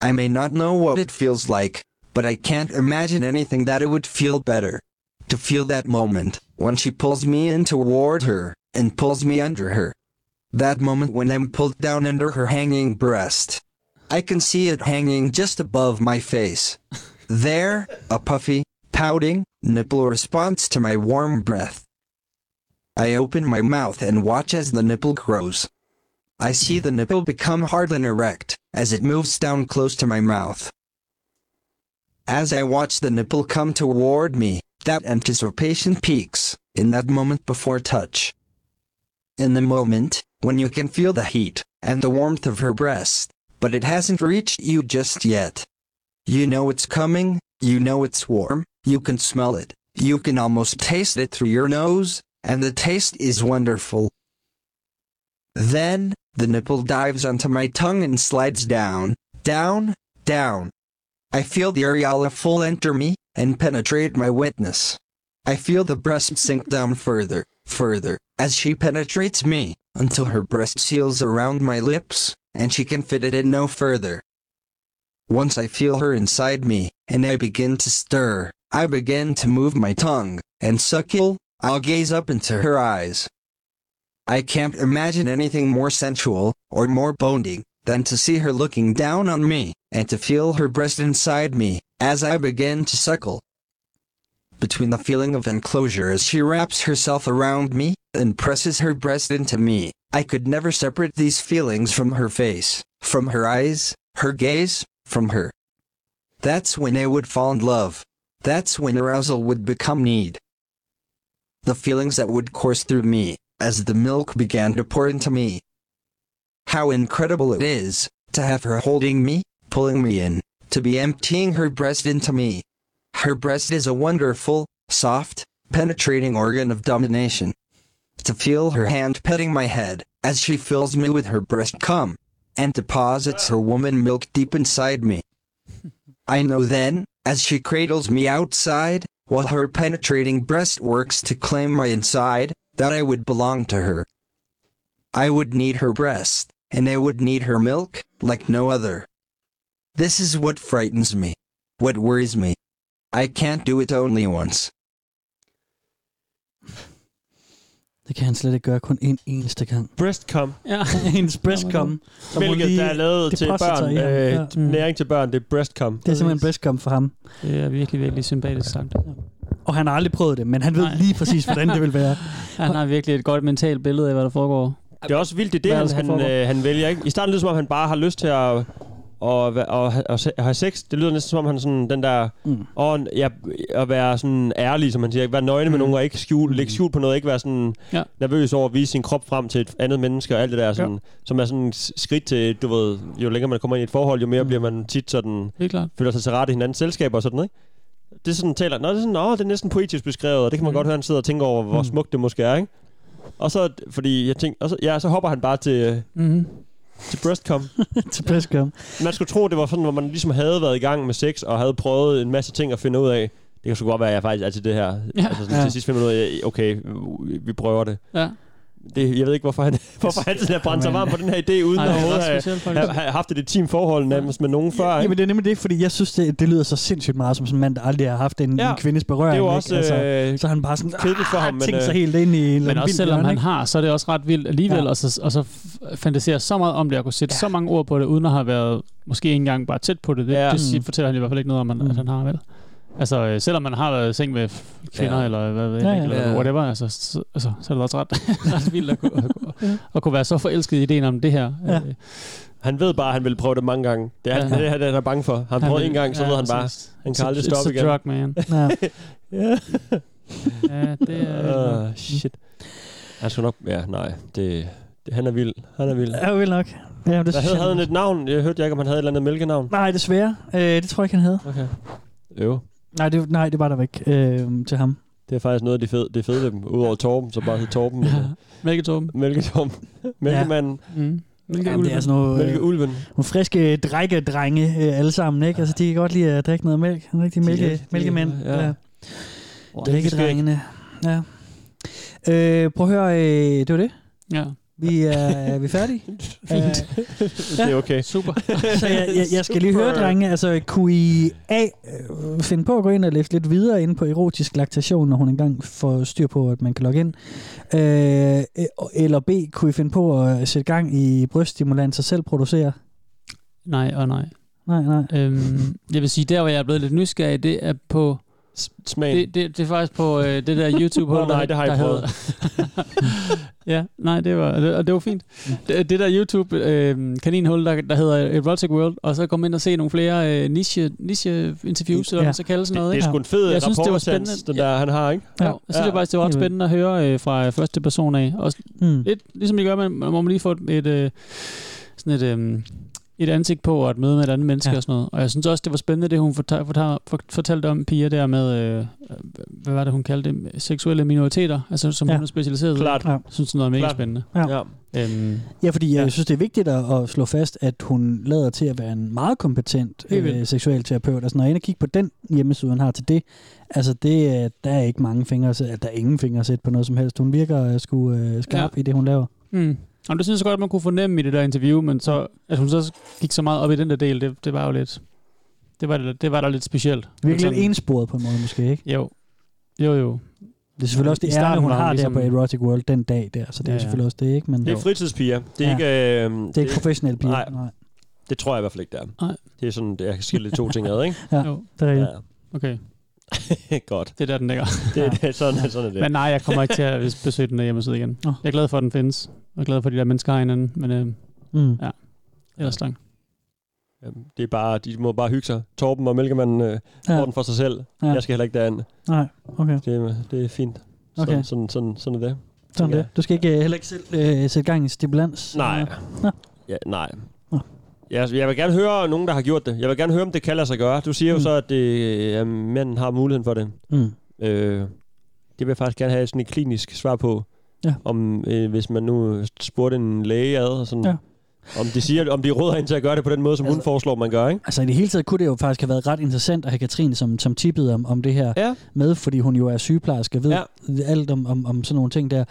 Speaker 15: I may not know what it feels like, but I can't imagine anything that it would feel better. To feel that moment when she pulls me in toward her and pulls me under her. That moment when I'm pulled down under her hanging breast. I can see it hanging just above my face. There, a puffy, pouting, nipple response to my warm breath. I open my mouth and watch as the nipple grows. I see the nipple become hard and erect as it moves down close to my mouth. As I watch the nipple come toward me, that anticipation peaks in that moment before touch. In the moment, when you can feel the heat and the warmth of her breast, but it hasn't reached you just yet. You know it's coming, you know it's warm, you can smell it, you can almost taste it through your nose, and the taste is wonderful. Then, the nipple dives onto my tongue and slides down, down, down. I feel the areola full enter me and penetrate my wetness. I feel the breast sink down further, further, as she penetrates me, until her breast seals around my lips, and she can fit it in no further. Once I feel her inside me, and I begin to stir, I begin to move my tongue, and suckle, I'll gaze up into her eyes. I can't imagine anything more sensual, or more bonding, than to see her looking down on me, and to feel her breast inside me, as I begin to suckle. Between the feeling of enclosure as she wraps herself around me, and presses her breast into me, I could never separate these feelings from her face, from her eyes, her gaze, from her. That's when I would fall in love. That's when arousal would become need. The feelings that would course through me, as the milk began to pour into me. How incredible it is, to have her holding me, pulling me in, to be emptying her breast into me. Her breast is a wonderful, soft, penetrating organ of domination. To feel her hand petting my head, as she fills me with her breast cum, and deposits her woman milk deep inside me. I know then, as she cradles me outside, while her penetrating breast works to claim my inside, that I would belong to her. I would need her breast, and I would need her milk, like no other. This is what frightens me, what worries me. I can't do it only once.
Speaker 5: Det kan han slet ikke gøre kun en eneste gang.
Speaker 3: Breast cum.
Speaker 5: Ja, hendes breast cum. som hun
Speaker 3: Hvilket
Speaker 5: lige
Speaker 3: der er lavet til
Speaker 5: depositer
Speaker 3: børn.
Speaker 5: i ham.
Speaker 3: Øh,
Speaker 5: Ja. Mm.
Speaker 3: Næring til børn, det er breast cum.
Speaker 5: Det er simpelthen breast cum for ham.
Speaker 4: Det er virkelig, virkelig sympatisk sagt.
Speaker 5: Og han har aldrig prøvet det, men han ved
Speaker 4: Nej.
Speaker 5: lige præcis, hvordan det vil være.
Speaker 4: Han har virkelig et godt mentalt billede af, hvad der foregår.
Speaker 3: Det er også vildt, det
Speaker 4: Hvad
Speaker 3: er
Speaker 4: der
Speaker 3: det,
Speaker 4: skal
Speaker 3: han,
Speaker 4: foregå.
Speaker 3: han, øh, han vælger. Ikke? I starten lyder det, som om han bare har lyst til at og, og, og, og have sex. Det lyder næsten som om han sådan den der mm. og, ja, at være sådan ærlig, som han siger, ikke være nøgne med nogen og ikke skjule, lægge skjul på noget, ikke være sådan
Speaker 4: Mm. ja.
Speaker 3: nervøs over at vise sin krop frem til et andet menneske og alt det der sådan, som er sådan en s- skridt til, du ved, jo længere man kommer ind i et forhold, jo mere bliver man tit sådan
Speaker 4: Mm. Helt klart.
Speaker 3: føler sig til rette i hinandens selskaber og sådan, ikke? Det er sådan taler, nå, det er sådan, åh, det er næsten poetisk beskrevet, og det kan man mm. godt høre, han sidder og tænker over, hvor
Speaker 4: Mm.
Speaker 3: smukt det måske er, ikke? Og så, fordi jeg tænkte, og så, ja, så hopper han bare til,
Speaker 5: Mm-hmm.
Speaker 3: til breastcom.
Speaker 5: til breastcom.
Speaker 3: Man skulle tro, det var sådan, hvor man ligesom havde været i gang med sex, og havde prøvet en masse ting at finde ud af. Det kan sgu godt være, at jeg faktisk er til det her.
Speaker 4: Ja.
Speaker 3: Ja. Altså sådan,
Speaker 4: Ja.
Speaker 3: til sidst finder man ud af, okay, vi prøver det.
Speaker 4: Ja.
Speaker 3: Det, jeg ved ikke, hvorfor han, hvorfor han sådan har brændt sig
Speaker 5: men-
Speaker 3: varm på den her idé, uden
Speaker 5: Ej,
Speaker 3: at
Speaker 5: det er
Speaker 3: overhovedet
Speaker 5: ret
Speaker 3: have,
Speaker 5: specielt, faktisk.
Speaker 3: have, have, haft et intimforhold nærmest med nogen før. Ikke?
Speaker 5: Jamen det er nemlig det, fordi jeg synes, det, det lyder så sindssygt meget som sådan en mand, der aldrig har haft en, ja. en kvindes berøring.
Speaker 3: Det er jo
Speaker 5: ikke?
Speaker 3: også,
Speaker 5: altså,
Speaker 3: øh,
Speaker 5: så er han bare sådan,
Speaker 3: kedeligt for ham,
Speaker 5: ah,
Speaker 3: men,
Speaker 5: tænkt sig
Speaker 3: øh,
Speaker 5: helt ind i en eller
Speaker 4: Men
Speaker 5: anden
Speaker 4: også
Speaker 5: vild
Speaker 4: selvom
Speaker 5: hjørne,
Speaker 4: han
Speaker 5: ikke?
Speaker 4: har, så er det også ret vildt alligevel,
Speaker 5: Ja.
Speaker 4: ja. og så, og så f- fantaserer så meget om det, og kunne sætte ja. så mange ord på det, uden at have været måske ikke engang bare tæt på det. Det, ja. det siger-
Speaker 5: Mm.
Speaker 4: fortæller han i hvert fald ikke noget om, han, at han har vel. Altså, øh, selvom man har været i seng med f- kvinder,
Speaker 5: Ja.
Speaker 4: ja. eller hvad ved jeg,
Speaker 5: Ja,
Speaker 4: ja,
Speaker 5: ja.
Speaker 4: ja. eller
Speaker 5: Ja.
Speaker 4: whatever, altså, så, altså, så er det også ret, ret vildt at kunne, at, kunne, at kunne være så forelsket i ideen om det her.
Speaker 5: Ja.
Speaker 4: Øh,
Speaker 3: Han ved bare, at han vil prøve det mange gange. Det er, ja. det, er, det, han er bange for. Han,
Speaker 4: Han
Speaker 3: prøver
Speaker 4: vil-
Speaker 3: en gang, så
Speaker 4: ja,
Speaker 3: ved han bare,
Speaker 4: præcis.
Speaker 3: han
Speaker 4: It's a-
Speaker 3: kan aldrig
Speaker 4: it's
Speaker 3: stoppe
Speaker 4: a
Speaker 3: igen.
Speaker 4: drug, man.
Speaker 3: ja.
Speaker 4: Ja.
Speaker 3: ja,
Speaker 4: det er-
Speaker 3: Uh, shit. Han skulle nok... Ja, nej. Det, det, han er vild. Han er vild.
Speaker 5: Ja, vild nok. Ja, det
Speaker 3: Hvad
Speaker 5: synes
Speaker 3: havde,
Speaker 5: jeg
Speaker 3: havde han
Speaker 5: også.
Speaker 3: et navn? Jeg hørte ikke, om han havde et eller andet mælkenavn.
Speaker 5: Nej, desværre. Øh, det tror jeg ikke, han havde.
Speaker 3: Okay. Jo.
Speaker 5: Nej, det, nej, det var der ikke øh, til ham.
Speaker 3: Det er faktisk noget af det fede, det fede ved dem. Udover Torben, så bare hed Torben.
Speaker 4: Mælketorben.
Speaker 3: Mælketorben. Mælkemanden.
Speaker 4: Ja. Mm.
Speaker 5: Jamen, det er sådan noget, øh,
Speaker 3: Mælkeulven.
Speaker 5: Nogle friske drække-drenge øh, alle sammen, ikke? Altså, de kan godt lide at drikke noget mælk. Nogle rigtige mælke,
Speaker 14: De er- de er-
Speaker 5: mælkemænd.
Speaker 14: ja.
Speaker 5: Ja.
Speaker 14: Wow.
Speaker 5: Drikkedrengene. Ja. Øh, prøv at høre, øh, det var det.
Speaker 4: Ja.
Speaker 5: Vi er, er vi færdige?
Speaker 3: Fint.
Speaker 5: Øh,
Speaker 3: det er okay.
Speaker 4: Super.
Speaker 5: så jeg, jeg, jeg skal lige høre, drenge, altså kunne I A, øh, finde på at gå ind og læse lidt videre inde på erotisk laktation, når hun engang får styr på, at man kan logge ind? Øh, eller B, kunne I finde på at sætte gang i bryststimulanser selv producerer?
Speaker 4: Nej og nej.
Speaker 5: Nej, nej.
Speaker 4: Øhm, jeg vil sige, der hvor jeg er blevet lidt nysgerrig, det er på...
Speaker 3: Smagen.
Speaker 4: Det, det, det er faktisk på øh, det der YouTube-hul,
Speaker 3: Åh, nej,
Speaker 4: der-
Speaker 3: det har jeg
Speaker 4: der
Speaker 3: prøvet.
Speaker 4: hedder- ja, nej, det var, og det, og det var fint.
Speaker 3: Mm.
Speaker 4: Det, det der YouTube-kaninhul, der, der hedder øh, Erotic World, og så kom ind og se nogle flere øh, niche, niche-interviews, eller hvad man så kalder sådan noget.
Speaker 3: Det, det er
Speaker 4: ikke?
Speaker 3: sgu en fed
Speaker 4: Jeg synes, det var
Speaker 3: rapportsans,
Speaker 4: spændende.
Speaker 3: den der, han har, ikke?
Speaker 4: Ja, jeg synes ja. faktisk, det var ret spændende at høre øh, fra første person af. Og
Speaker 5: mm.
Speaker 4: et, ligesom I gør, man, man må man lige få et, øh, sådan et, øh, et ansigt på og et møde med et andet menneske ja. og sådan noget. Og jeg synes også, det var spændende, det hun fortal, fortal, fort- fortalte om piger der med, øh, hvad var det, hun kaldte det, seksuelle minoriteter, altså som
Speaker 5: Ja.
Speaker 4: ja. hun er specialiseret
Speaker 5: Klart.
Speaker 4: i.
Speaker 5: Ja.
Speaker 4: Jeg synes, det er mega
Speaker 5: Klart.
Speaker 4: spændende.
Speaker 5: Ja.
Speaker 4: Øhm,
Speaker 5: Ja, fordi jeg ja. synes, det er vigtigt at, at slå fast, at hun lader til at være en meget kompetent
Speaker 4: Helt vildt.
Speaker 5: øh, seksuel terapeut. Altså, når jeg er inde og kigge på den hjemmeside, hun har til det, altså, det, er- der er ikke mange fingre, at sætte- eller der er ingen fingre at sætte på noget som helst. Hun virker øh, sgu øh, skarp ja. i det, hun laver.
Speaker 4: Mm. Jamen, det synes jeg godt, at man kunne fornemme i det der interview, men så, at hun så gik så meget op i den der del, det, det var jo lidt... Det var, det var da lidt specielt.
Speaker 5: Virkelig
Speaker 4: Sådan-
Speaker 5: lidt ensporet på en måde, måske, ikke?
Speaker 4: Jo. Jo, jo.
Speaker 5: Det er selvfølgelig også
Speaker 4: I
Speaker 5: det
Speaker 4: starten
Speaker 5: ærne, hun
Speaker 4: var hun
Speaker 5: har ligesom...
Speaker 4: ligesom-
Speaker 5: der på Erotic World den dag der, så det
Speaker 4: Ja,
Speaker 5: er ja,
Speaker 4: ja.
Speaker 5: selvfølgelig også det, ikke? Men
Speaker 3: Det er fritidspiger. Det er
Speaker 5: Ja.
Speaker 3: ikke... Øh,
Speaker 5: Det er ikke professionelle piger.
Speaker 3: Nej.
Speaker 5: Nej.
Speaker 3: Det tror jeg i hvert fald ikke, det er.
Speaker 4: Nej.
Speaker 3: Det er sådan, jeg kan skille de to ting ad, ikke?
Speaker 5: Ja, Jo. det er rigtigt.
Speaker 4: Okay.
Speaker 3: Godt.
Speaker 4: Det er der, den ligger.
Speaker 3: Det, ja. det, er sådan, ja. sådan er det.
Speaker 4: Men nej, jeg kommer ikke til at besøge den der hjemmeside igen.
Speaker 5: Nå.
Speaker 4: Jeg er glad for, at den findes. Jeg er glad for, at de der mennesker har hinanden. Men øh,
Speaker 5: mm.
Speaker 4: ja, ellers lang.
Speaker 3: Jamen, Øhm, det er bare, de må bare hygge sig. Torben og Mælkemanden øh, ja.
Speaker 5: Ja.
Speaker 3: får den for sig selv. Ja.
Speaker 5: Ja.
Speaker 3: Jeg skal heller ikke derind.
Speaker 5: Nej, okay.
Speaker 3: Det, er- det er fint. Sådan, okay.
Speaker 5: Okay.
Speaker 3: sådan, sådan, sådan er det.
Speaker 5: Sådan
Speaker 3: tænker
Speaker 5: det. Du skal ikke, øh, heller ikke selv øh, sætte gang i stimulans?
Speaker 3: Nej.
Speaker 5: Nå.
Speaker 3: Ja, nej. Jeg, jeg vil gerne høre nogen, der har gjort det. Jeg vil gerne høre, om det kan lade sig gøre. Du siger jo mm. så, at det, øh, manden har muligheden for det.
Speaker 5: Mm.
Speaker 3: Øh, det vil jeg faktisk gerne have sådan et klinisk svar på.
Speaker 5: Ja.
Speaker 3: Om, øh, hvis man nu spurgte en læge ad, og sådan, ja.
Speaker 5: Ja.
Speaker 3: om, de siger, om de råder ind til at gøre det på den måde, som altså, hun foreslår, man gør. Ikke?
Speaker 5: Altså i det hele taget kunne det jo faktisk have været ret interessant at have Katrine som, som tippede om, om det her
Speaker 3: ja.
Speaker 5: med, fordi hun jo er sygeplejerske og ved ja. alt om, om, om sådan nogle ting der.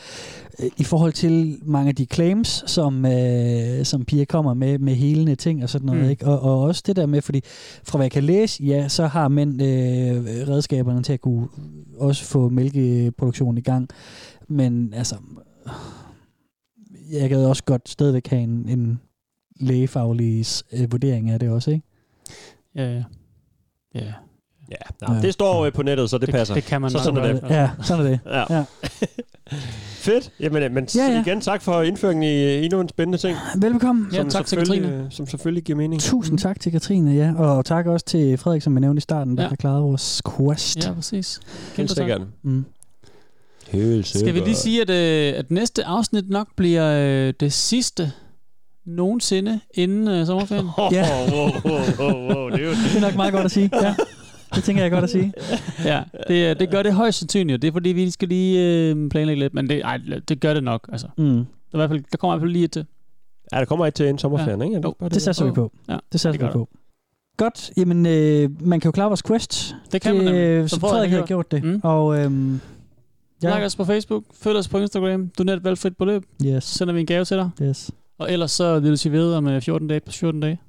Speaker 5: Øh, I forhold til mange af de claims, som, øh, som piger kommer med, med helende ting og sådan noget,
Speaker 14: Mm.
Speaker 5: mm. ikke? Og, og også det der med, fordi fra hvad jeg kan læse, ja, så har mænd øh, redskaberne til at kunne også få mælkeproduktionen i gang. Men altså, jeg gad også godt stadigvæk have en, en lægefaglig øh, vurdering af det også, ikke?
Speaker 4: Ja, ja. Ja.
Speaker 3: Ja, ja. Det står øh, på nettet, så det,
Speaker 4: Det-
Speaker 3: passer.
Speaker 4: det kan man
Speaker 3: så sådan er
Speaker 4: nok
Speaker 3: det.
Speaker 4: godt. Ja, sådan er det.
Speaker 3: Ja.
Speaker 5: Ja.
Speaker 3: Fedt. Jamen, øh, men ja,
Speaker 5: Ja,
Speaker 3: ja.
Speaker 5: ja.
Speaker 3: igen tak for indføringen i øh, endnu en spændende ting.
Speaker 5: Velbekomme.
Speaker 3: Som selvfølgelig, øh, Som selvfølgelig giver mening.
Speaker 4: Mm.
Speaker 5: Tusind tak til Katrine, ja. Og tak også til Frederik, som jeg nævnte i starten, der
Speaker 4: Ja.
Speaker 5: har klaret vores quest.
Speaker 4: Ja, præcis.
Speaker 3: Helt
Speaker 4: tak.
Speaker 3: sikkert.
Speaker 5: Mm.
Speaker 3: Helt
Speaker 4: Skal vi lige sige, at, øh, at næste afsnit nok bliver øh, det sidste nogensinde inden øh, sommerferien?
Speaker 5: Ja.
Speaker 3: Wow, wow, wow, wow, det er jo...
Speaker 5: Det er nok meget godt at sige, ja. Det tænker jeg godt at sige.
Speaker 4: ja, det, øh, det gør det højst sandsynligt. Det er fordi, vi skal lige øh, planlægge lidt, men det, ej, det gør det nok. Altså.
Speaker 5: Mm.
Speaker 4: Der, er i hvert fald, der kommer i hvert fald lige et til.
Speaker 3: Ja, der kommer et til en sommerferien, ja. ikke? Er
Speaker 4: Jo,
Speaker 3: bare
Speaker 5: Det satser vi
Speaker 4: Jo.
Speaker 5: på.
Speaker 4: Ja,
Speaker 5: Det satser
Speaker 4: gør
Speaker 5: vi på. Godt, jamen øh, man kan jo klare vores quest.
Speaker 4: Det kan man nemlig, som
Speaker 5: øh, Som
Speaker 4: Frederik
Speaker 5: Frederik
Speaker 4: har
Speaker 5: har gjort det. Mm. Og øhm,
Speaker 4: Ja. Like os på Facebook, følg os på Instagram, doner et valgfrit beløb,
Speaker 5: Yes.
Speaker 4: så sender vi en gave til dig.
Speaker 5: Yes.
Speaker 4: Og ellers så vil du sige ved om øh, 14 dage på 14 dage.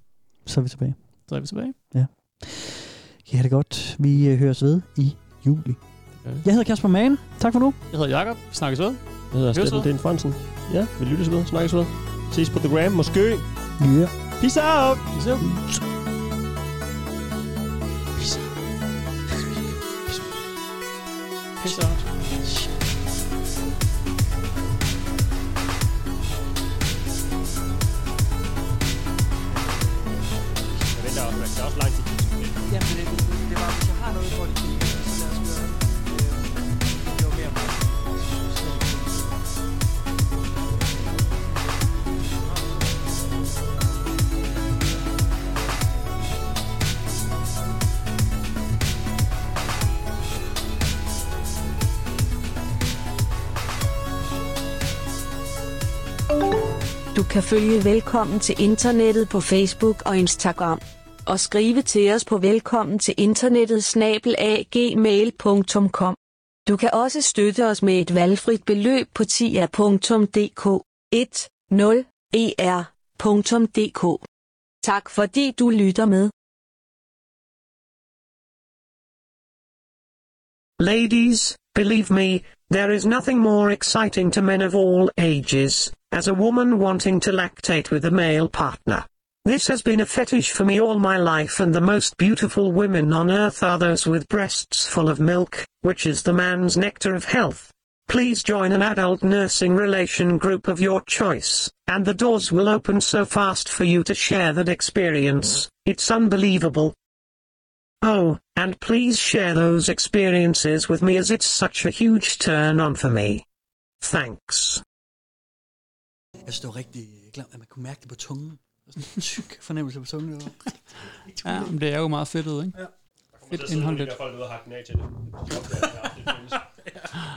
Speaker 5: så er vi tilbage.
Speaker 4: Så er vi tilbage.
Speaker 5: Ja, det er godt. Vi øh, høres ved i juli.
Speaker 4: vi.
Speaker 5: Jeg hedder Kasper Magen. Tak for nu.
Speaker 4: Jeg hedder Jakob. Vi snakkes ved.
Speaker 3: Jeg hedder
Speaker 4: Høres
Speaker 3: Steffen
Speaker 4: ved.
Speaker 3: Den Fransen. Ja, vi lyttes ved, snakkes ved. Ses på The Gram, måske.
Speaker 5: Ja.
Speaker 3: Peace out!
Speaker 4: Peace out! Peace out.
Speaker 16: Peace out.
Speaker 3: også lang tid.
Speaker 11: Jamen, det, det, det var, hvis jeg har noget, hvor de kan lide, så lad os gøre det. Øh, Det var mere mig.
Speaker 2: Du kan følge Velkommen til Internettet på Facebook og Instagram. Og skrive til os på velkommen til internettet snabelagmail.com. Du kan også støtte os med et valgfrit beløb på tia.dk E 10er.dk. Tak fordi du lytter med.
Speaker 16: Ladies, believe me, there is nothing more exciting to men of all ages, as a woman wanting to lactate with a male partner. This has been a fetish for me all my life and the most beautiful women on earth are those with breasts full of milk, which is the man's nectar of health. Please join an adult nursing relation group of your choice, and the doors will open so fast for you to share that experience, it's unbelievable. Oh, and please share those experiences with me as it's such a huge turn on for me. Thanks.
Speaker 14: Jeg står rigtig øh, glad, at man kunne mærke det på tungen. Der var Sådan en tyk fornemmelse på tungen. Det var rigtig, rigtig
Speaker 4: Ja,
Speaker 14: ulækkert.
Speaker 4: men det er jo meget fedt, ikke?
Speaker 14: Ja.
Speaker 4: Fedt indhold lidt.
Speaker 3: folk ude og hakke den af til det.